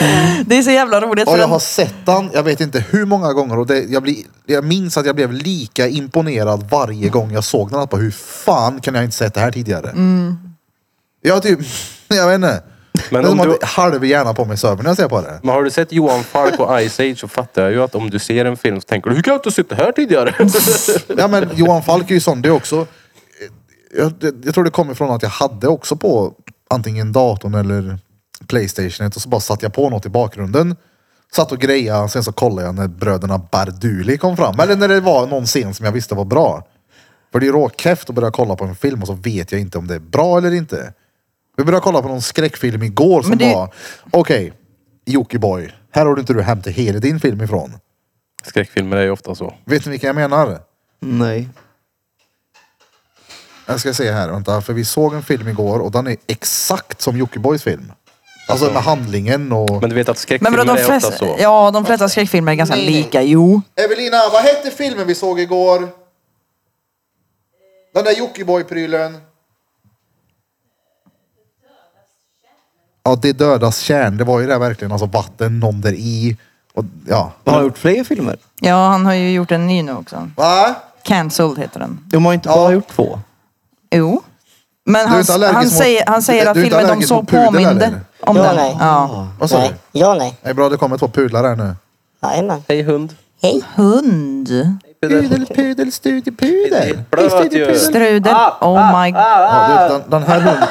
Det är så jävla roligt. Och För jag har den, sett den, jag vet inte hur många gånger och det, jag, blir, jag minns att jag blev lika imponerad varje gång jag såg den. Att bara, hur fan kan jag inte sett det här tidigare? Jag typ, (laughs) jag vet inte. Men det är om som du- att halv hjärna på mig söver när jag ser på det. Men har du sett Johan Falk och Ice Age så fattar jag ju att om du ser en film så tänker du, hur kan jag inte ha sett det här tidigare? (laughs) Ja men Johan Falk är ju sån det också. eh, Jag, det- jag tror det kommer från att jag hade också på antingen datorn eller Playstationet och så bara satte jag på något i bakgrunden. Satt och grejade, sen så kollade jag när bröderna Barduli kom fram. Eller när det var någon scen som jag visste var bra. För det är ju råkefft att börja kolla på en film och så vet jag inte om det är bra eller inte. Vi började kolla på någon skräckfilm igår som Men det- var, okej, Jockiboi, här har du inte du hämtat hela din film ifrån. Skräckfilmer är ju ofta så. Vet ni vilka jag menar? Nej. Jag ska se här, vänta. För vi såg en film igår och den är exakt som Jockibois film. Alltså med handlingen och... Men du vet att men skräckfilmer vadå, de är ofta flesta, så. (laughs) ja, de flesta skräckfilmer är ganska Nej, nej. lika. Jo. Evelina, vad hette filmen vi såg igår? Den där Jockiboi-prylen. ja, det dödas kärn, det var ju det verkligen. Alltså vatten, någon där i. Och, ja. Han har gjort fler filmer. Ja, han har ju gjort en ny nu också. Va? Cancelled heter den. De har inte Ja. bara gjort två. Jo. Men är han, inte allergisk han, mot- säger, han säger du- att du är inte filmen de allergisk så mot pudel, påminde eller? Ah. om Ja, den. nej. Ja. Vad sa Nej. du? Ja, nej. Det är bra, det kommer två pudlar här nu. Jajamän. Hej hund. Hej. Hund. Pudel, pudel, studiepudel. Blöt ju. Strudel. Ah, Oh my... Ja, du, den, den här hunden,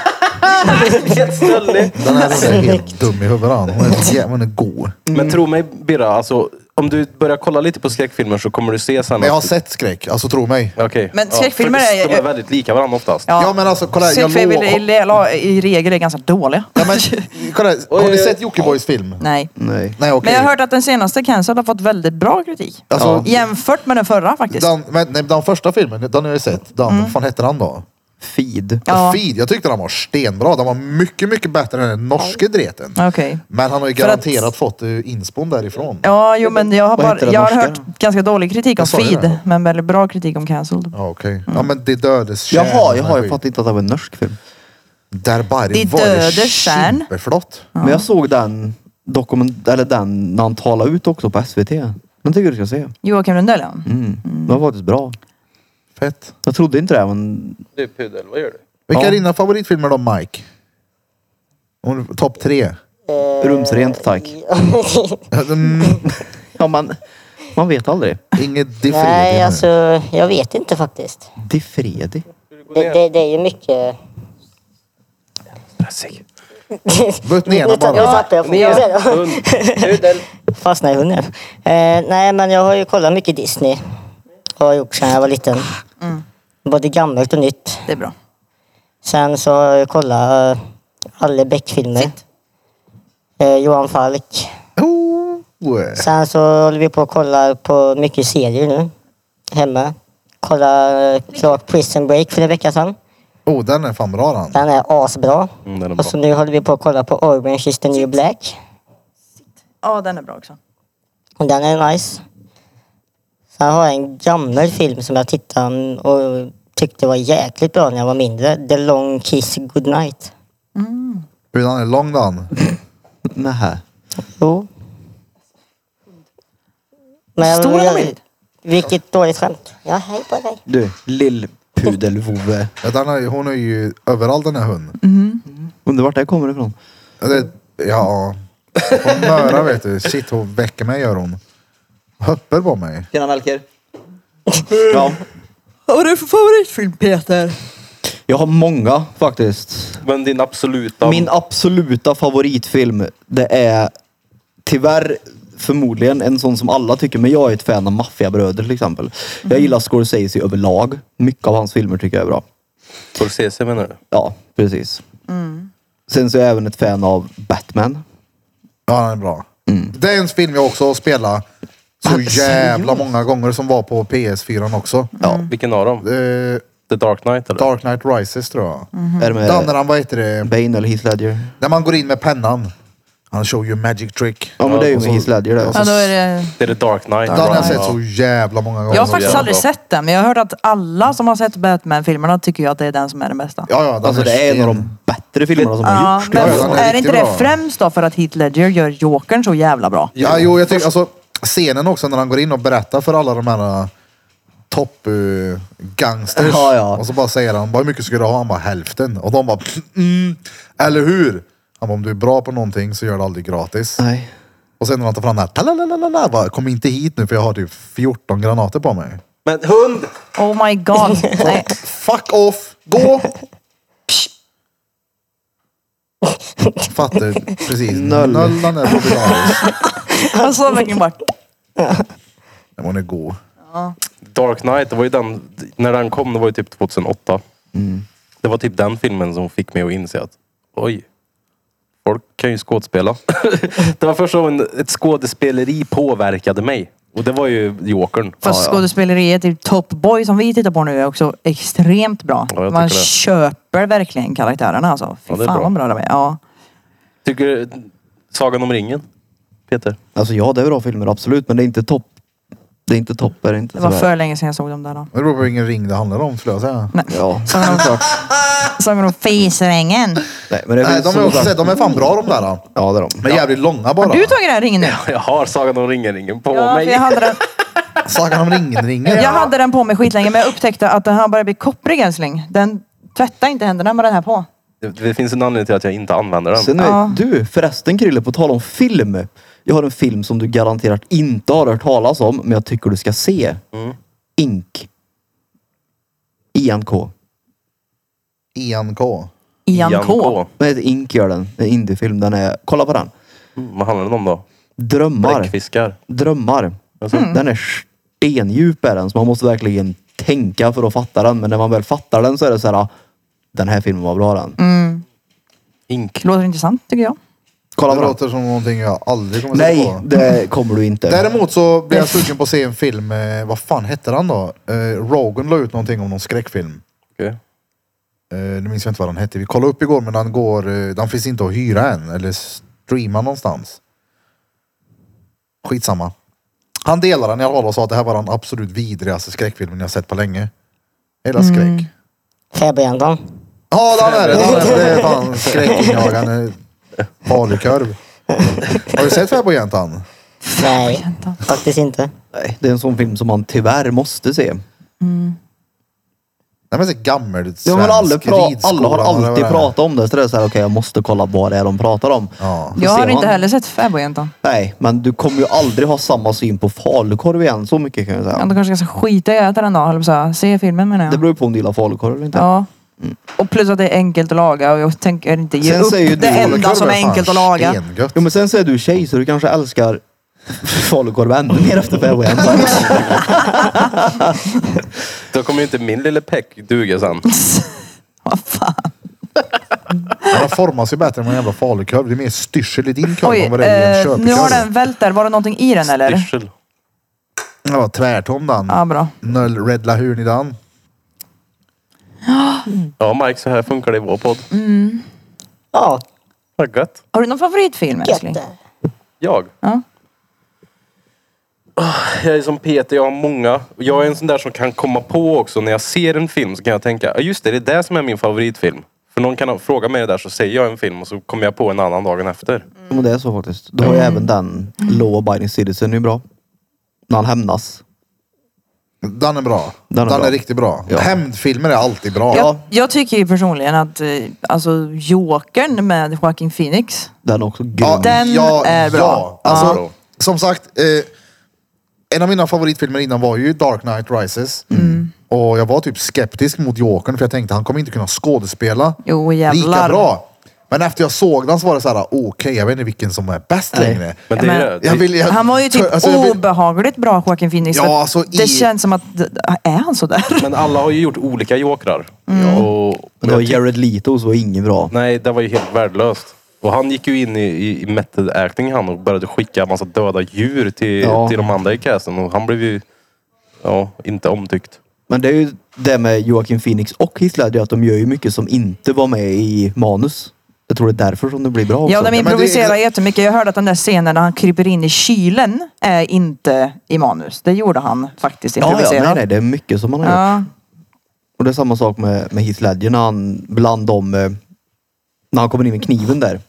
Jättestöldig. den här Alltså, hunden är helt dum i huvudet. han. Hon är så jävla hon är god. Mm. Men tro mig Birra, alltså, om du börjar kolla lite på skräckfilmer så kommer du se sen Men jag har att... sett skräck, alltså tro mig. Okej. Men Ja, skräckfilmer för är- De är väldigt lika varandra oftast. Ja, men alltså kolla här, jag Skräckfilmer låg- i, i- i regel är ganska dåliga. Ja, men, kolla, här, har ni sett Jockibois film? (laughs) Nej. Nej. Nej, okej. Men jag har hört att den senaste Cancelled har fått väldigt bra kritik. Alltså, Jämfört med den förra faktiskt. den, men, nej, den första filmen, den har jag ju sett. Den, Vad fan hette den då? Feed. Mm. Ja. Feed. Jag tyckte den var stenbra. Den var mycket, mycket bättre än den norske dreten. Okej. Men han har ju För att- garanterat fått eh, inspon därifrån. Ja, jo men jag har, Vad heter bara, den jag har norska hört då? ganska dålig kritik om Jag sa ju Feed, det. men väldigt bra kritik om Cancelled. Ja, okej. Mm. Ja, men det dödes kärn. Jaha, jaha, jag fattar inte att det var en norsk film. Där bara Det var det dödes kärn. superflott. Men jag såg den dokument... Eller den när han talade ut också på SVT. Den tycker jag du ska se. Joakim Lundell ja. Mm. Den var faktiskt bra. Fett. Jag trodde inte det men... Du pudel, vad gör du? Vilka Ja. är dina favoritfilmer då, Mike? Om du- Topp tre? Rumsrent tack. (laughs) Mm, Ja men... Man vet aldrig. Inget different. Nej, alltså jag vet inte faktiskt. Di Fredi. Det, det, det är ju mycket... Stressig. Butt (laughs) ner Nu den tappade jag bara. tappade jag fokus. Hund. Pudel. Fastnade i hunden. Eh, nej, men jag har ju kollat mycket Disney. Har jag gjort sedan jag var liten. Både gammalt och nytt. Det är bra. Sen så har jag kollat eh, alla Beck-filmer. Eh, Johan Falk. Oh. Sen så håller vi på att kolla på mycket serier nu. Hemma. Kolla eh, klart Prison Break för en vecka sedan. oh, den är fan bra den. Den är asbra. Mm, den är Och bra. så nu håller vi på att kolla på Orange is the new black. Ja, den är bra också. Och den är nice. Sen har jag en gammal film som jag tittade och tyckte var jäkligt bra när jag var mindre. The Long Kiss Goodnight. Hur den är lång den. Nähä. Jo. Men jag, Stor eller jag, mild? vilket dåligt skämt. Ja, hej på dig. Du, lillpudelvove. Ja, Den är, hon är ju överallt den här hunden. Undrar vart det kommer ifrån. Ja, Det, ja. Hon mörar vet du. Shit hon väcker mig gör hon. Höpper på mig. Tjena Melker. Ja. Vad var det för favoritfilm Peter? Jag har många faktiskt. Men din absoluta... Min absoluta favoritfilm, det är tyvärr förmodligen en sån som alla tycker, men jag är ett fan av Maffiabröder till exempel. Jag gillar Scorsese överlag. Mycket av hans filmer tycker jag är bra. Scorsese menar du? Ja, precis. Sen så är jag även ett fan av Batman. Ja den är bra. Mm. Det är en film jag också har spelat så Alltså, jävla många gånger som var på PS4 också. Ja. Vilken av dem? Eh, The Dark Knight eller? Dark Knight Rises tror jag. Mm. Är det med Den när han, vad heter det, Bane eller Heath Ledger? när man går in med pennan. Han show you magic trick. Ja, men det är ju och med så- Heath Ledger det. Ja, då är det... Det är The Dark Knight. Den har jag Bra, sett ja. så Alltså, jävla många gånger. Jag har faktiskt jävla aldrig bra. sett den, men jag har hört att alla som har sett Batman-filmerna tycker ju att det är den som är den bästa. Ja, ja, den Alltså det är en av sten- de bättre filmerna som har Ja, gjorts. men Ja, den är är det riktigt inte det bra. främst då för att Heath Ledger gör Jokern så jävla bra? Ja, jo, jag tycker alltså scenen också när han går in och berättar för alla de här topp eh, gangsters. Ja, ja. Och så bara säger han, bara, hur mycket ska du ha? Han bara hälften. Och de bara, mm, eller hur? Han bara, om du är bra på någonting så gör det aldrig gratis. Nej. Och sen när han tar fram den här, talalalala, bara, kom inte hit nu för jag har typ 14 granater på mig. Men hund! Oh my god. Nej. Fuck off, gå! Fattar precis. Noll. Nollan är på Bilaris. Han sa verkligen bara... Nej, men Hon är god. Dark Knight, det var ju den... När den kom, det var ju typ 2008. Det var typ den filmen som fick mig att inse att oj, folk kan ju skådespela. (laughs) det var första gången ett skådespeleri påverkade mig. Och det var ju Jokern. Fast skådespeleriet i Top Boy som vi tittar på nu är också extremt bra. Ja, jag Man tycker det. köper verkligen karaktärerna alltså. Fy Ja, det är fan bra. vad bra de är. Ja. Tycker Sagan om ringen? Peter? (laughs) Alltså ja, det är bra filmer absolut, men det är inte topp Det är inte topp, är Alltså, det inte. Det var tyvärr. för länge sedan jag såg dem där då. Det beror på vilken ring det handlar om skulle jag säga. Nej. Ja, (laughs) Såg de, klart. såg de Fisvängen? Nej, men det Nej, finns de är, så- också, de är fan bra de där. då. Ja, det är de. Men jävligt långa Har bara. du tagit den här ringen nu? Jag har Sagan om ringen på Ja, för mig. jag, hade den, Sagan om ringen-ringen. jag hade den på mig skitlänge men jag upptäckte att den här börjar bli kopprig älskling. Den tvättar inte händerna med den här på. Det, det finns en anledning till att jag inte använder den. Sen är, Ja. Du förresten Krille, på tal om film. Jag har en film som du garanterat inte har hört talas om, men jag tycker du ska se. Ink. INK. INK. Ian K. Den heter Ink gör den. Det är en indiefilm. Den är, kolla på den. Mm, vad handlar den om då? Drömmar. Bläckfiskar. Drömmar. Den är stendjup är den, så man måste verkligen tänka för att fatta den. Men när man väl fattar den så är det så här, ah, den här filmen var bra den. Ink. Låter intressant tycker jag. Kolla Det på den. låter som någonting jag aldrig kommer se Nej, på. det kommer du inte. Däremot så blev jag sugen på att se en film, eh, vad fan hette den då? Eh, Rogan la ut någonting om någon skräckfilm. Okej. Eh, nu minns jag inte vad den hette. Vi kollade upp igår men den, går, eh, den finns inte att hyra än eller streama någonstans. Skitsamma. Han delade den i alla fall och sa att det här var den absolut vidrigaste skräckfilmen jag sett på länge. Hela Mm. skräck. Fäbodjäntan. Ja, den är det. Den är det. det är (laughs) fan skräckinjagande falukorv. Har du sett Fäbodjäntan? Nej, faktiskt inte. Nej, det är en sån film som man tyvärr måste se. Den är så gammel svensk Ja, men alla, pra- ridskola, alla har eller vad alltid det är. pratat om det. Så det är så här, okej jag måste kolla vad det är de pratar om. Ja. Så Jag ser har inte man- heller sett Fäbodjäntan. Nej, men du kommer ju aldrig ha samma syn på falukorv igen. Så mycket kan jag Ja. säga. Då kanske jag ska skita i att äta den då, höll jag på att säga. Se filmen menar jag. Det beror ju på om du gillar falukorv eller inte. Ja. Och plus att det är enkelt att laga och jag tänker inte ge Sen upp säger ju det du- enda som är Falukorv enkelt att fan laga. Stengött. Jo men sen så är du tjej så du kanske älskar (laughs) falukorv ännu mer efter fäbodjäntan. Då kommer ju inte min lille peck duga sen. Vad fan. Den formas ju bättre än en jävla falukorv. Det är mer styrsel i din korv Oj, än vad det alltså. är i en eh, nu har köpkorv. den vält där. Var det någonting i den eller? Styrsel. Den var tvärtom den. Ja, bra. Null Red Lahun i den. Ja Mike, så här funkar det i vår podd. Ja, Vad gött. Har du någon favoritfilm gött älskling? det. Jag? Ah, Ja. Jag är som Peter, jag har många. Och Jag är en sån där som kan komma på också. När jag ser en film så kan jag tänka, "Ja, just det, det är det som är min favoritfilm. För någon kan fråga mig det där så säger jag en film och så kommer jag på en annan dagen efter. Men det är så faktiskt. Du har ju även den Law Abiding Citizen är ju bra. När han hämnas. Den är bra. Den Den är är, bra. riktigt bra. Ja. Hämndfilmer är alltid bra. Jag, jag tycker ju personligen att eh, alltså, Jokern med Joaquin Phoenix. Den är också grym. Ja, Den är bra. Ja. Alltså, Ja. Som sagt, eh, en av mina favoritfilmer innan var ju Dark Knight Rises. Mm. Och jag var typ skeptisk mot Jokern för jag tänkte han kommer inte kunna skådespela Jo, jävlar. lika bra. Men efter jag såg den så var det så här, okej jag vet inte vilken som är bäst längre. Men det är Jag det. vill, jag, Han var ju typ alltså, jag vill- obehagligt bra Joaquin Phoenix. Ja, men alltså, i- Det känns som att, är han sådär? Men alla har ju gjort olika jokrar. Och, Men Mm. det var Jared Leto så var ingen bra. nej, det var ju helt värdelöst. Och han gick ju in i, i, i method acting han och började skicka en massa döda djur till, Ja. till de andra i casten. Och han blev ju, ja, inte omtyckt. Men det är ju det med Joaquin Phoenix och Heath Ledger att de gör ju mycket som inte var med i manus. Jag tror det är därför som det blir bra också. Ja, de men det är- improviserar jättemycket. Jag hörde att den där scenen när han kryper in i kylen är inte i manus. Det gjorde han faktiskt ja, ja, nej, improviserat. nej, det är mycket som man har gjort. Ja. Och det är samma sak med, med Heath Ledger när han bland de, eh, när han kommer in med kniven där.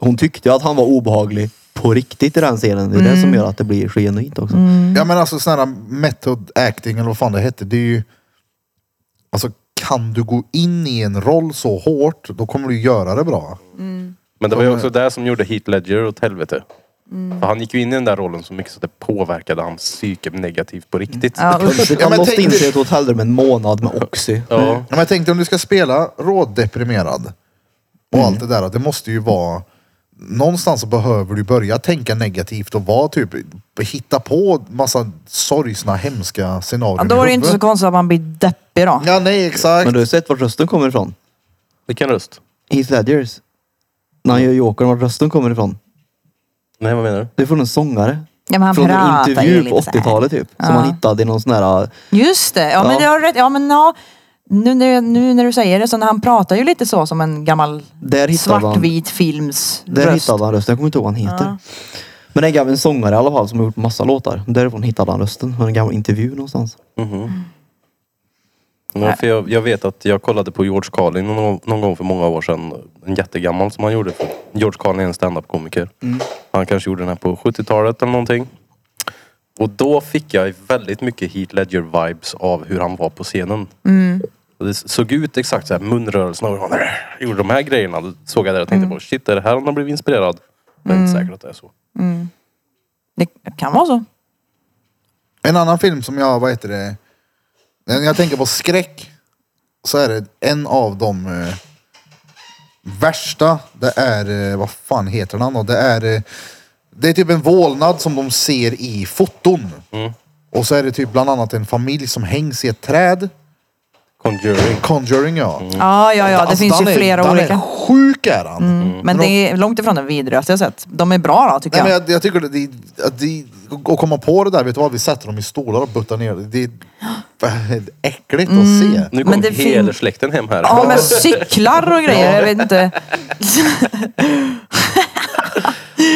Hon tyckte ju att han var obehaglig på riktigt i den scenen. Det är det Mm. som gör att det blir så genuint också. Ja men alltså sån här method acting eller vad fan det hette. Det är ju... Alltså kan du gå in i en roll så hårt, då kommer du göra det bra. Men det var ju också det som gjorde Heath Ledger åt helvete. Mm. För han gick ju in i den där rollen så mycket så det påverkade hans psyke negativt på riktigt. Ja, (laughs) usch. Han Ja, men måste tänk inte dig- i ett hotellrum en månad med Oxy. Ja. Ja, men jag tänkte om du ska spela rådeprimerad och Mm. allt det där, att det måste ju vara... Någonstans så behöver du börja tänka negativt och vara typ, hitta på massa sorgsna, hemska scenarion Ja, då var det i ju inte så huvudet. konstigt att man blir deppig då. Ja, nej exakt. Men du har ju sett vart rösten kommer ifrån. Vilken röst? Heath Ledgers. När han gör Jokern, vart rösten kommer ifrån. Nej, vad menar du? Det är från en sångare. Ja, men han Från en pratar ju intervju lite på så här. 80-talet typ. Som Ja. han hittade i någon sån här... Just det, ja, Ja. men det har du rätt. Ja, men ja. Nu, nu, nu när du säger det så, när han pratar ju lite så som en gammal Där hittade han, svartvit films där röst. hittade han rösten. Jag kommer inte ihåg vad han heter. Men en gammal sångare i alla fall som har gjort massa låtar. Därifrån hittade han rösten. Från en gammal intervju någonstans. Mm. Ja, för Mm-hmm. jag, jag vet att jag kollade på George Carlin någon, någon gång för många år sedan. En jättegammal som han gjorde. George Carlin är en standup-komiker. Mm. Han kanske gjorde den här på 70-talet eller någonting. Och då fick jag väldigt mycket Heath Ledger-vibes av hur han var på scenen. Mm. Och det såg ut exakt så här, munrörelserna och han gjorde de här grejerna. Då såg jag det och tänkte Mm. på, shit är det här han har blivit inspirerad? Men inte säkert att det är så. Det kan vara så. En annan film som jag, vad heter det? När jag tänker på skräck så är det en av de eh, värsta. Det är, eh, vad fan heter den då? Det är, eh, det är typ en vålnad som de ser i foton. Och så är det typ bland annat en familj som hängs i ett träd. Conjuring. Conjuring ja. Ja, ja, ja. Det Alltså, finns ju den är- flera den olika. Mm. Är sjuk är han. Men det är långt ifrån den vidrigaste jag sett. De är bra då, tycker Mm. Nej, men jag. jag, jag tycker att det, att det, att komma på det där, vet du vad? Vi sätter dem i stolar och buttar ner. Det är (gasps) äckligt att se. Nu Men kom det fin- hela släkten hem här. Ja, men cyklar och grejer. Jag vet inte.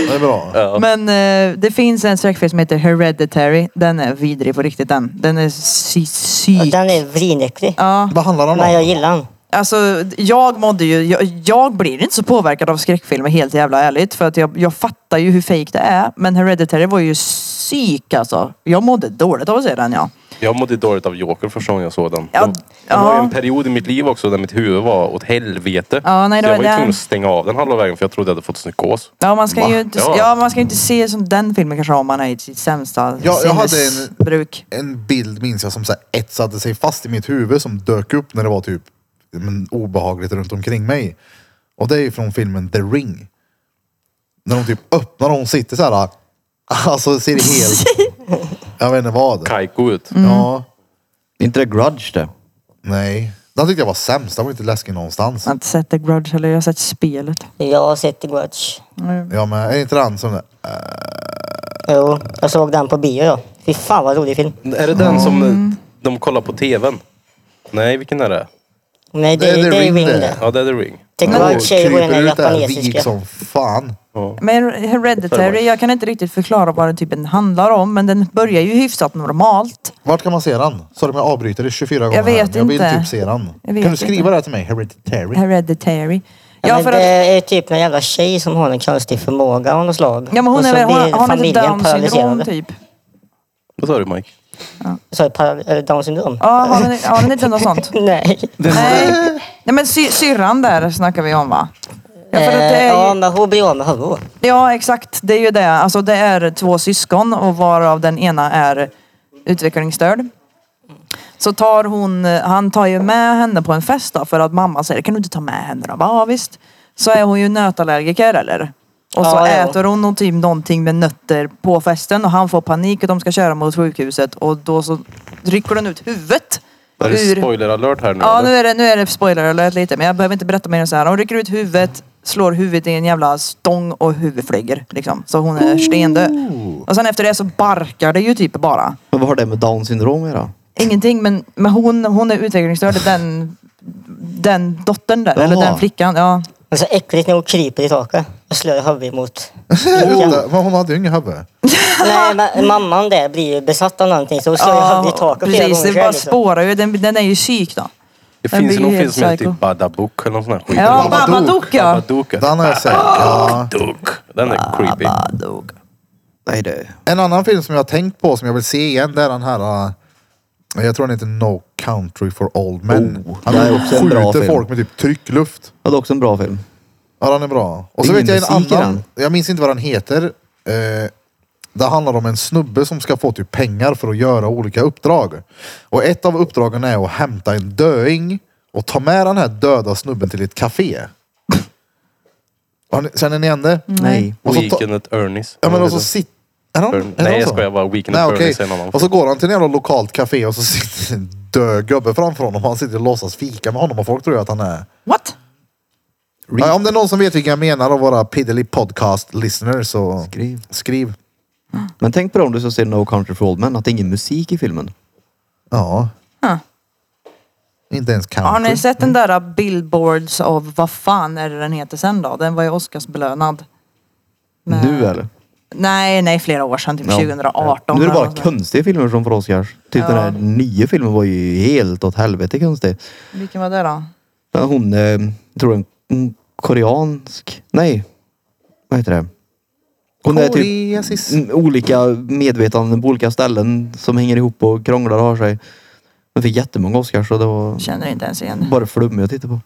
Det är bra. Men eh, det finns en skräckfilm som heter Hereditary. Den är vidrig på riktigt den. Den är sy- Och psyk. den är vrinäcklig. Ja, Vad handlar det om? Men jag då? gillar den. alltså jag mådde ju, jag, jag blir inte så påverkad av skräckfilmer helt jävla ärligt. För att jag, jag fattar ju hur fake det är. Men Hereditary var ju psyk alltså. Jag mådde dåligt av att se den ja. Jag mådde dåligt av Joker första gången jag såg den. Ja, det det var ja. ju en period i mitt liv också där mitt huvud var åt helvete. Ja, nej, det så jag var var ju där. tvungen att stänga av den halva vägen för jag trodde jag hade fått psykos. Ja man ska Va? ju inte, Ja. ja, man ska ju inte se som den filmen kanske om man är i sitt sämsta Ja, jag hade en- sinnesbruk. En bild minns jag som så här etsade sig fast i mitt huvud som dök upp när det var typ men, obehagligt runt omkring mig. Och det är ju från filmen The Ring. När de typ öppnar och hon sitter så här. Alltså ser helt... (laughs) Jag vet inte vad. Kaiko ut. Mm. Ja. Är inte det grudge det? Nej. Den tyckte jag var sämst. Den var inte läskig någonstans. Jag har inte sett The Grudge eller jag har sett spelet. Jag har sett The Grudge. Ja men är inte den som... Jo, jag såg den på bio då. Fy fan vad rolig film. Mm. Är det den som Mm. de kollar på tvn? Nej, vilken är det? Nej, Det det, är The det är Ring Ring det. det. Ja, det är The Ring. The Grudge är ju den där vik japanesiska. som fan. Men Hereditary, jag kan inte riktigt förklara vad den typen handlar om men den börjar ju hyfsat normalt. Vart kan man se den? Sorry men jag avbryter dig 24 gånger. här. vet jag vill inte. typ se den. Kan Jag vet du skriva inte. det här till mig? Hereditary. Hereditary. Ja, Ja, men för det att, är typ en jävla tjej som har en konstig förmåga av något slag. ja men hon och så är väl, hon, blir hon har lite familjen down syndrom paralyserad. typ. Vad sa du Mike? Så, para, eller down syndrom? Ja, har hon, har hon inte något sånt? (laughs) Nej. Nej. Nej men sy, syrran där snackar vi om va? Ja, för att det Eh, är Ja, ju, men hon blir av med huvudet. ja exakt, det är ju det. Alltså det är två syskon och varav den ena är utvecklingsstörd. Så tar hon, han tar ju med henne på en fest då, för att mamma säger kan du inte ta med henne då? Bara, Ja visst. Så är hon ju nötallergiker eller? Och så Ja, ja. äter hon någon typ någonting med nötter på festen och han får panik och de ska köra mot sjukhuset och då så rycker den ut huvudet. Är det spoiler alert här nu Ja, eller? nu är det, nu är det spoiler alert lite, men jag behöver inte berätta mer än så här. Hon rycker ut huvudet, slår huvudet i en jävla stång och huvudet flyger. Liksom. Så hon är stendöd. Och sen efter det så barkar det ju typ bara. Men vad har det med down syndrom att göra? Ingenting, men, men hon, hon är utvecklingsstörd, den, den dottern där, eller Jaha. den flickan. Ja. Men så äckligt när hon kryper i taket och slår huvudet emot. Jo, det- Men hon hade ju inget huvud. Nej, (laughs) men mamman där blir ju besatt av någonting så hon slår ju huvudet i taket flera precis. gånger Det själv, bara liksom. spårar ju. Den, den är ju psyk då. Det Den finns ju blir någon helt film som heter psycho. typ Babadook eller någon sån här skit. Ja, Babadook. Babadook ja. Babadook. Den har jag (laughs) sett. Ja. Babadook. Den är creepy. Babadook. Nej det... En annan film som jag har tänkt på som jag vill se igen det är den här. äh, Jag tror den heter No Country for Old Men. Oh, Han det är också en bra skjuter film. folk med typ tryckluft. Ja, det är också en bra film. Ja den är bra. Och så Det är vet jag en musik i annan. Jag minns inte vad den heter. Eh, det handlar om en snubbe som ska få typ pengar för att göra olika uppdrag. Och ett av uppdragen är att hämta en döing och ta med den här döda snubben till ett café. Har ni- Känner ni igen det? Nej. Och så ta- Weekend at Ernies. Ja men och så sitter... Är han, Burn- är han Nej, jag så? skojar bara. Weekend Nej, at okej. Bernies är en annan. Och så går han till en jävla lokalt café och så sitter en död gubbe framför honom. Han sitter och låtsas fika med honom och folk tror ju att han är... What? Ja, om det är någon som vet vilka jag menar av våra Piddly podcast listeners så Skriv. skriv. Men tänk på det om du ska se No Country for Old Men, att det är ingen musik i filmen. Ja. Huh. Inte ens Har country. ni sett den Mm. där Billboards av vad fan är det den heter sen då? Den var ju Oscarsbelönad. Nu eller? Nej, nej, flera år sedan. Typ Ja. 2018. Nu är det bara eller något sånt. konstiga filmer som får Oscars. Typ Ja. den här nya filmen var ju helt åt helvete konstig. Vilken var det då? Ja, Hon, eh, tror jag, en koreansk... Nej. Vad heter det? Hon är typ Psoriasis. mm, olika medvetanden på olika ställen som hänger ihop och krånglar och har sig. Den fick jättemånga Oscars och det var Känner inte ens igen det. bara flummigt att titta på.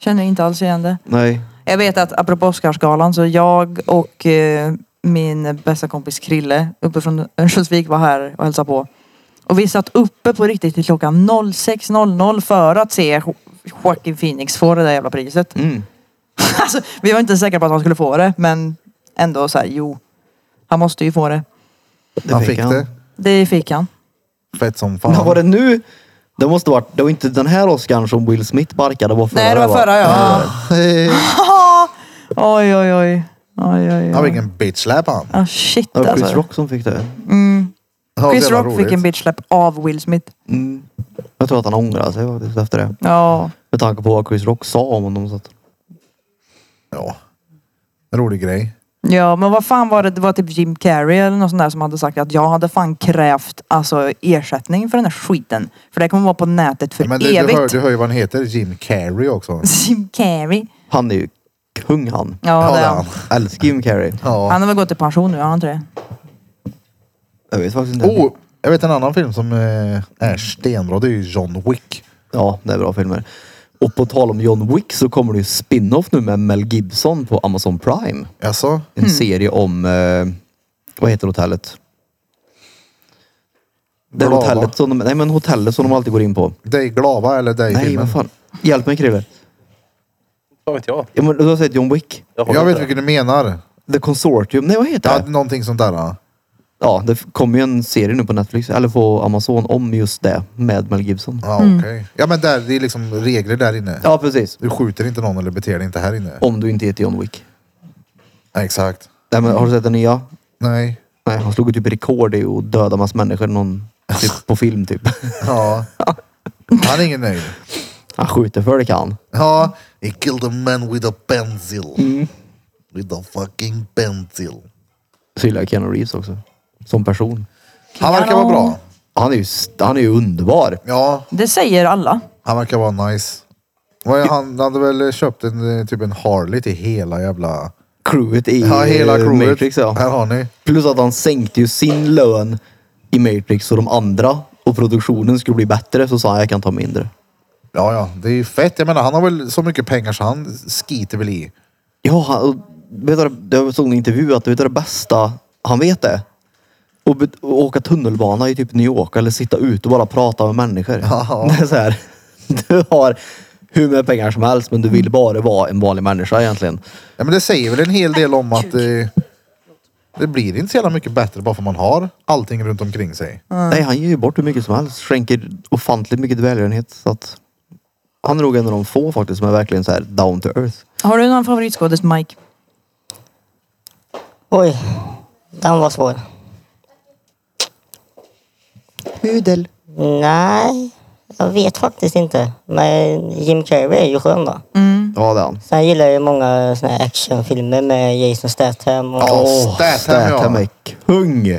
Känner inte alls igen det. Nej. Jag vet att apropå Oscarsgalan så jag och eh, min bästa kompis Krille uppe från Örnsköldsvik var här och hälsade på. Och vi satt uppe på riktigt till klockan 06.00 för att se Jo- Joaquin Phoenix få det där (laughs) jävla priset. (laughs) Mm. Alltså, vi var inte säkra på att han skulle få det men ändå så här, jo. Han måste ju få det. Det Han fick han. det. Det fick han. Fett som fan. Men var det nu? Det måste varit, det var inte den här Oscarn som Will Smith barkade. Det var förra Nej det var va? förra ja. Eh, Oj oj oj. Oj (laughs) oj Han oj. fick en bitch slap han. Ah, shit Det var Chris alltså. Rock som fick det. Det var så Chris jävla Rock fick roligt. en bitch slap av Will Smith. Mm. Jag tror att han ångrar sig faktiskt efter det. Ja. Med tanke på vad Chris Rock sa om honom. Så att... Ja. Rolig grej. Ja, men vad fan var det? Det var typ Jim Carrey eller något sånt där som hade sagt att jag hade fan krävt alltså, ersättning för den här skiten. För det kommer vara på nätet för Men du, du, evigt. hör, du hör ju vad han heter. Jim Carrey också. (laughs) Jim Carrey. Han är ju kung han. Ja, det det är är han. Älskar Jim Carrey. Ja. Han har väl gått i pension nu, har han inte det? Jag vet faktiskt inte. Oh, jag vet en annan film som eh, är stenbra. Det är ju John Wick. Ja, det är bra filmer. Och på tal om John Wick så kommer det ju spin-off nu med Mel Gibson på Amazon Prime. Alltså, En serie om, eh, vad heter hotellet? Det är Glava. hotellet som de, nej men hotellet som de alltid går in på. dig Glava eller dig Nej, filmen. vad fan. Hjälp mig Krille. Vad vet jag? Ja, men du har sett John Wick? har Jag vet inte det. vilken du menar. The Consortium? Nej, vad heter Ja, det? någonting sånt där. ja. Ja, det kommer ju en serie nu på Netflix, eller på Amazon, om just det. Med Mel Gibson. Ja, okej. Ja, men där, det är liksom regler där inne. Mm. Ja, precis. Du skjuter inte någon eller beter dig inte här inne. Om du inte heter John Wick. Exakt. Nej, men har du sett den nya? Nej. Nej, han slog ju typ rekord i att döda massa människor. Någon, typ, på (laughs) film typ. (laughs) Ja. Han är ingen nöjd. Han skjuter för det kan. Ja. He killed a man with a pencil. Mm. With a fucking pencil. Så gillar jag Keanu Reeves också. Som person. Han verkar vara bra. Han är ju, st- han är ju underbar. Ja, Det säger alla. han verkar vara nice. Vad är han? han hade väl köpt en, eh, typ en Harley till hela jävla... Crewet i Ja, hela eh, crewet. Matrix ja. Här har ni. Plus att han sänkte ju sin lön i Matrix och de andra och produktionen skulle bli bättre så sa han jag kan ta mindre. Ja, ja, det är ju fett. Jag menar, han har väl så mycket pengar så han skiter väl i. Ja, han, och, vet du, det- jag såg en intervju att vet du, det bästa, han vet det. Och, bet- och åka tunnelbana i typ New York eller sitta ute och bara prata med människor. Det är så här, (laughs) du har hur mycket pengar som helst men du vill bara vara en vanlig människa egentligen. Ja, men det säger väl en hel del om att eh, det blir inte så jävla mycket bättre bara för man har allting runt omkring sig. Nej, han ger ju bort hur mycket som helst. Skänker ofantligt mycket välgörenhet. Så att han är nog en av de få faktiskt som är verkligen så här down to earth. Har du någon favoritskådis Mike? Oj, den var svår. Pudel. Nej, jag vet faktiskt inte. Men Jim Carrey är ju skön då. Ja, det är han. Sen gillar jag ju många såna här actionfilmer med Jason Statham. Och... Ja, Åh, Statham, ja. Statham är kung. Ja,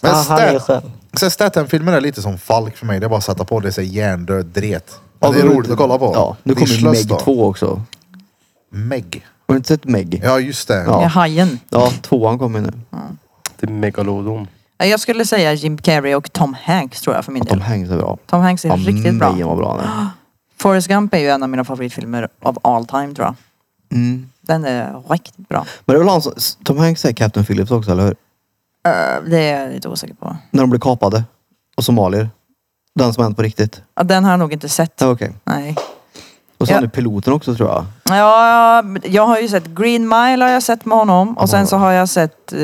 Men han är ju Stat- skön. så Statham-filmen är lite som Falk för mig. Det är bara att sätta på det sig hjärndöd dret. Ja, Men det är nu- roligt att kolla på. Ja, nu Det är kommer slöss Meg då. 2 också. Meg. Har du inte sett Meg? Ja, just det. Ja. Ja. Hajen. Ja, tvåan kommer nu. Till Megalodon. Nej, Jag skulle säga Jim Carrey och Tom Hanks tror jag för min Att de del. hänger så bra. Tom Hanks är Ja, riktigt bra. Mejen var bra (gasps) nu. Forrest Gump är ju en av mina favoritfilmer of all time tror jag. Mm. Den är riktigt bra. Men det är väl han som, Tom Hanks är Captain Phillips också, eller hur? Eh, Det är jag lite osäker på. När de blir kapade. Och somalier. Den som hänt på riktigt. Ja, Den har jag nog inte sett. Ja, okej. Nej. Och sen Ja. är piloten också tror jag. Ja, jag har ju sett Green Mile har jag sett med honom och sen så har jag sett eh,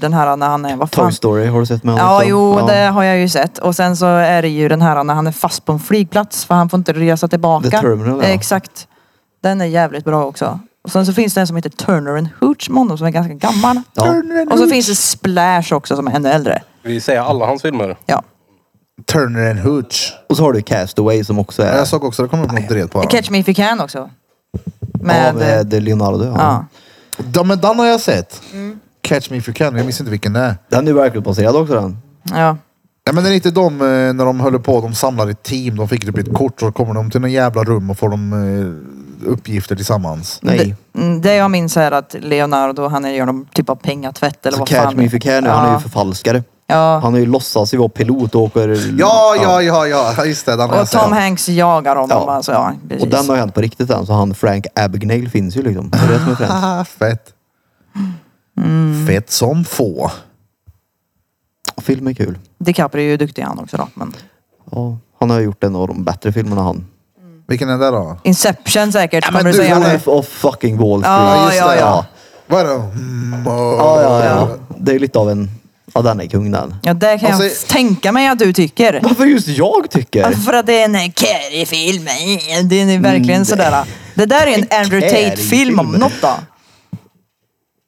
den här när han är, vad fan? Toy Story, har du sett med honom Ja, också? jo, det har jag ju sett. Och sen så är det ju den här när han är fast på en flygplats för han får inte resa tillbaka. The Terminal, ja. Exakt. Den är jävligt bra också. Och sen så finns det en som heter Turner and Hooch med honom som är ganska gammal. Ja. Och så finns det Splash också som är ännu äldre. Vi säger alla hans filmer. Ja. Turner and Hooch. Och så har du Castaway som också är... Jag såg också att det kom upp något dret på den. Catch Me If You Can också. Med, Med, eh, av eh, det Leonardo. Ja. ja. Ja, men den har jag sett. Catch Me If You Can. Jag minns inte vilken det är. Den är ju verklighetsbaserad också den. Ja. Nej men det är inte de eh, när de höll på, de samlade ett team, de fick typ ett kort så kommer de till någon jävla rum och får de eh, uppgifter tillsammans. Nej. Mm, Det jag minns är att Leonardo, han gör någon typ av pengatvätt eller Så vad Catch fan. Me If You Can, ja. han är ju förfalskare. Ja. Han har ju låtsats ju vara pilot och åker... Ja, Mm. ja, ja, ja, just det. Den har jag Och Tom sett. Hanks jagar honom. Ja. Alltså, ja, precis. Och den har hänt på riktigt än, så han Frank Abagnale finns ju liksom. Det är det som är främst. Ah, fett. Mm. Fett som få. Och Film är kul. DiCaprio är ju duktig han också då. Men... Ja, han har gjort en av de bättre filmerna han. Vilken är det då? Inception säkert Ja, men kommer du du säga får nu. Wolf of fucking Wall Street. Ja, just ja, det, ja. Vad är det? Mm, Ja, ja, ja. Det är lite av en... Ja, den är kung den. Ja, det kan Alltså- jag tänka mig att du tycker. Varför just jag tycker? För att det är en Carrie-film. Det är verkligen sådär. Det där är en Andrew Tate-film om Mm. Carrie-film. något då.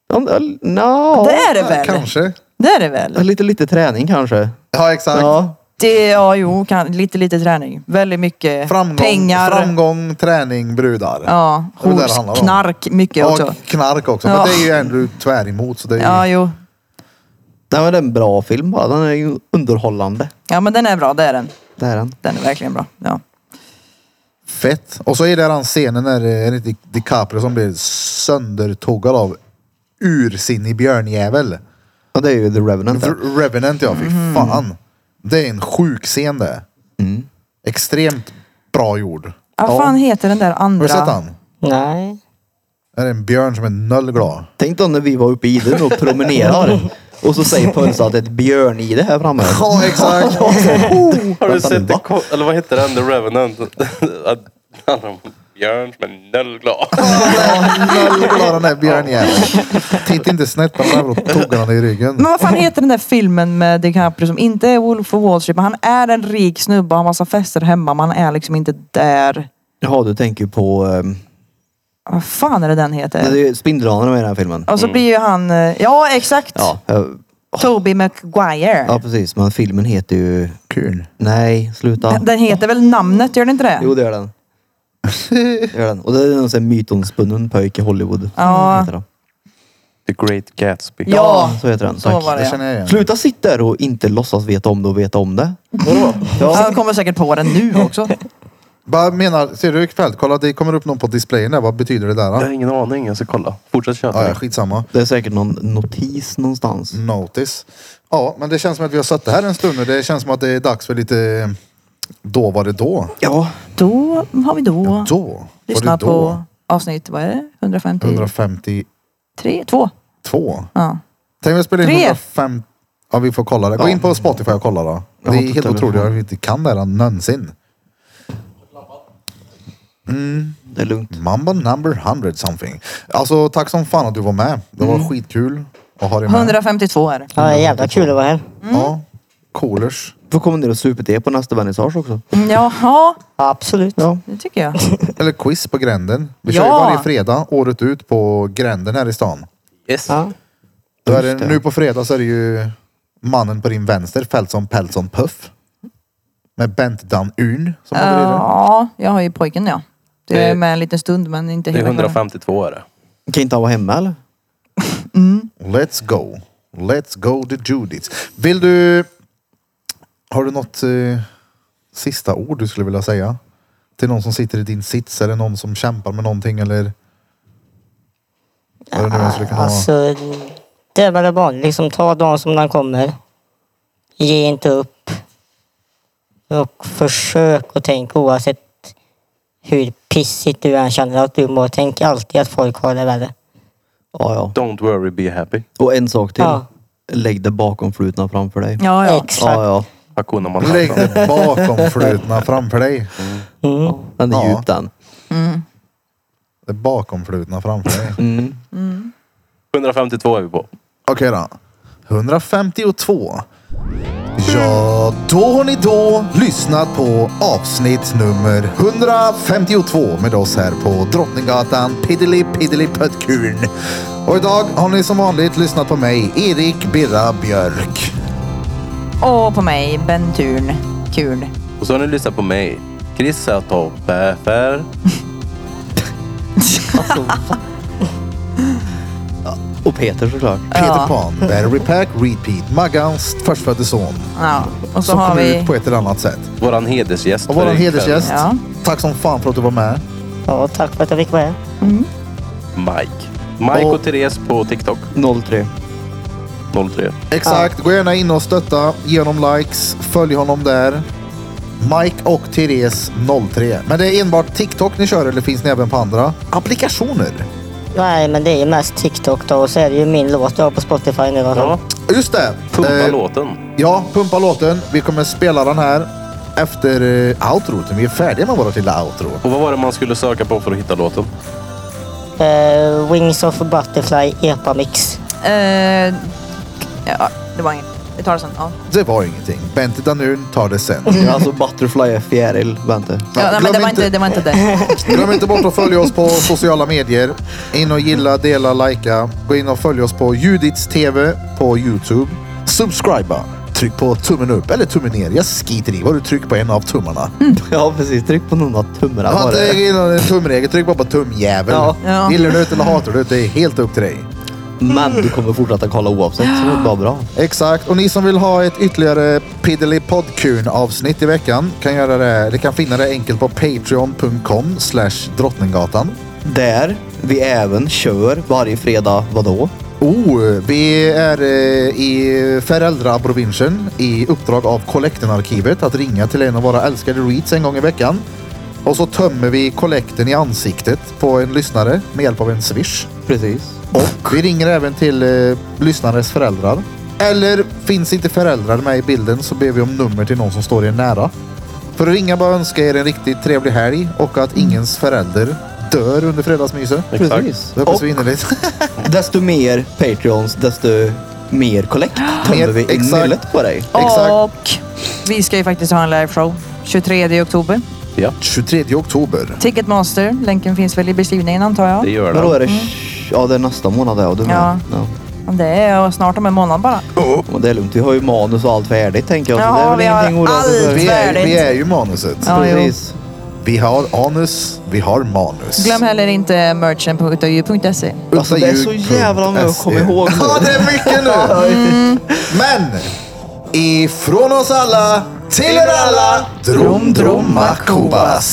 Ja, men, Nja... Det är det väl? Kanske. Det är det väl? Lite, lite träning kanske. Ja, exakt. Ja. Det, ja, jo, kan, lite, lite träning. Väldigt mycket Framgång, pengar. framgång, träning, brudar. Ja, Det är väl det det handlar hors, om. knark, mycket Ja, också. knark också. Ja. Men det är ju Andrew tvär emot. Så det är ju... Ja, jo. Nej, men det är en bra film bara. Den är ju underhållande. Ja, men den är bra. Det är den. Det är den. Den är verkligen bra. Ja. Fett. Och så är det den scenen när eh, är det Di- DiCaprio som blir söndertuggad av ursinnig björnjävel. Ja, det är ju The Revenant. där. R- Revenant ja, fy fan. Det är en sjuk scen det. Mm. Extremt bra gjord. Ja, Vad Ah, fan heter den där Har andra? du sett han? Nej. Är det en björn som är nollglad? Tänk då när vi var uppe i den och promenerar. Och så säger Pölsa att det är ett björnide här framme. (laughs) Ja, exakt. Har du Vänta nu, sett det? va? ko- Eller vad heter den? The Revenant? (laughs) Att han har björn som är nöllglad. Nollglad den där björnjäveln. Titta inte snett på den där och tuggar han i ryggen. Men (laughs) vad fan heter den där filmen med DiCaprio som inte är Wolf of Wall Street men han är en rik snubbe, har massa fester hemma men han är liksom inte där. Ah, Jaha, du tänker på... Um, Vad fan är det den heter? det är Spindelmannen med i den här filmen. Och så blir ju han, eh, ja exakt! Ja, eh, Toby Maguire. ja, precis. Men filmen heter ju... Kul. Nej, sluta. Den- Den heter väl namnet, gör den inte det? Jo, det gör den. Det gör den. Och det är en sån här mytomspunnen pojk i Hollywood. Ja. Heter den. (laughs) The Great Gatsby. Ja. Så heter den. Så Tack. var Det känner jag igen. Sluta sitta där och inte låtsas veta om det och veta om det. Han kommer säkert på den nu också. Vad menar, ser du ikväll? Kolla, det kommer upp någon på displayen där. Vad betyder det där? Jag Då? har ingen aning. Jag ska kolla. Fortsätt Ja, köpa. ja, skitsamma. Det är säkert någon notis någonstans. Mm. Notice. Ja, men det känns som att vi har suttit här en stund nu. Det känns som att det är dags för lite... eh, Då var det då. Ja. (laughs) Då har vi då Då var lyssnat det då. på avsnitt, vad är det? 153? 152. 2? Ja. Tänk om jag spelar in Tre. 105... Ja, vi får kolla det. Gå in på Spotify och kolla då. Det Jag är har inte helt telefon. otroligt. Jag inte kan det här någonsin. Det är lugnt. Mamba number 100 something. Alltså, tack som fan att du var med. Det var skitkul att ha dig med. 152 är det. Ja, det är jävla kul att vara här. Ja, coolers. Får komma ner och supa te på nästa vernissage också. Mm, Jaha, Absolut. Ja. det tycker jag. Eller quiz på gränden. Vi kör ju Ja. varje fredag, året ut, på gränden här i stan. Yes. Ja. Då är Just det, det. nu på fredag så är det ju mannen på din vänster, Feltson Peltson Puff. Med Bent Dan Un som håller i det. Ja, jag har ju pojken ja. Det är Det- med en liten stund men inte Det är hela kvällen. 152 är det. Kan inte han vara hemma eller? Let's go. Let's go to Judith. Vill du... Har du något eh, sista ord du skulle vilja säga? Till någon som sitter i din sits eller någon som kämpar med någonting eller? Vad det nu än skulle kunna vara. Alltså, det är väl det vanliga. Liksom, ta dagen som den kommer. Ge inte upp. Och försök att tänka oavsett hur pissigt du än känner att du mår. Tänk alltid att folk har det värre. Ja, ja. Don't worry, be happy. Och en sak till. Ja. Lägg det bakom flutna framför dig. Ja, ja. Exakt. Ja, ja. Hakuna Lägg Matata. det bakom flutna framför dig. Den är Ja. djup den. Det bakom flutna framför dig. 152 är vi på. Okej då. 152. Ja, då har ni då lyssnat på avsnitt nummer 152 med oss här på Drottninggatan Piddly Piddly Pöttkun. Och idag har ni som vanligt lyssnat på mig, Erik Birra Björk. Och på mig, Benturn. Kul. Och så har ni lyssnat på mig. Chris Säthope. För... Alltså, va? Och Peter såklart. Peter Ja. Pan, Battery Pack, Repeat, Maggans förstfödde son. Ja. Och så Som har kommer vi... ut på ett eller annat sätt. Våran hedersgäst. Och vår för ikväll, hedersgäst, Ja. tack som fan för att du var med. Ja, tack för att jag fick vara här. Mike. Mike Och- och Therese på TikTok 03. 03. Exakt, gå gärna in och stötta genom likes. Följ honom där. Mike och Therese 03. Men det är enbart TikTok ni kör eller finns ni även på andra applikationer? Nej, men det är ju mest TikTok då och så är det ju min låt jag har på Spotify nu. Ja, Ja. Just det! pumpa Eh, låten. Ja, pumpa låten. Vi kommer spela den här efter eh, outrot. Vi är färdiga med vårt lilla outro. Och vad var det man skulle söka på för att hitta låten? Eh, Wings of Butterfly EPA-mix. Eh, ja, det var inget. Vi tar det sen. Ja. Det var ingenting. Bente Danun tar det sen. Ja, alltså Butterfly är fjäril. Vänta. (laughs) Ja, nej, men glöm det var inte det. Var inte det. Glöm inte bort att följa oss på sociala medier. In och gilla, dela, likea. Gå in och följ oss på Judits TV på Youtube. Subscriba. Tryck på tummen upp eller tummen ner. Jag skiter i vad du trycker på en av tummarna. Ja, precis. Tryck på någon av tummarna Har bara. inte en tumregel, tryck bara på tumjävel. Ja. Ja. Gillar du det eller hatar du det, det är helt upp till dig. Men du kommer fortsätta kolla oavsett. Så det är bara bra. Exakt. Och ni som vill ha ett ytterligare Piddly Podkun avsnitt i veckan kan göra det. Ni kan finna det enkelt på patreon.com slash drottninggatan. Där vi även kör varje fredag, vadå? Oh, vi är eh, i föräldraprovinsen i uppdrag av Kollektenarkivet att ringa till en av våra älskade reads en gång i veckan. Och så tömmer vi kollekten i ansiktet på en lyssnare med hjälp av en swish. Precis. Och vi ringer även till eh, lyssnares föräldrar. Eller finns inte föräldrar med i bilden så ber vi om nummer till någon som står er nära. För att ringa bara önska er en riktigt trevlig helg och att ingens förälder dör under fredagsmyset. Precis. Det Och hoppas vi innerligt. (laughs) desto mer Patreons, desto mer kollekt tömmer Mer- vi i exakt. nyllet på dig. Exakt. Och vi ska ju faktiskt ha en liveshow 23 oktober. 23 oktober. Ticketmaster. Länken finns väl i beskrivningen antar jag. Det gör Men då den. är det... Ja, det är nästa månad det. Och du Mm. Ja. med. ja. Det är snart om en månad bara. Men det är lugnt. Vi har ju manus och allt färdigt tänker jag. Så Ja, det är väl vi har ingenting att oroa sig för. allt. Vi är, Värdigt. vi är ju manuset. Ja, jo. Precis. Vi har anus, vi har manus. Glöm heller inte merchen på utayu.se. Alltså, det är så jävla mycket att komma ihåg nu. E. Mm. Ja, det är mycket (laughs) nu. Men ifrån oss alla till er alla. Drom Drom Makobas.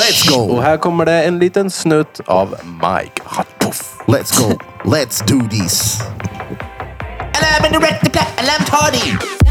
Let's Och go. här kommer det en liten snutt av Mike. Hot puff. Let's go. Let's do this. And I'm in the rectifier, and I'm tardy.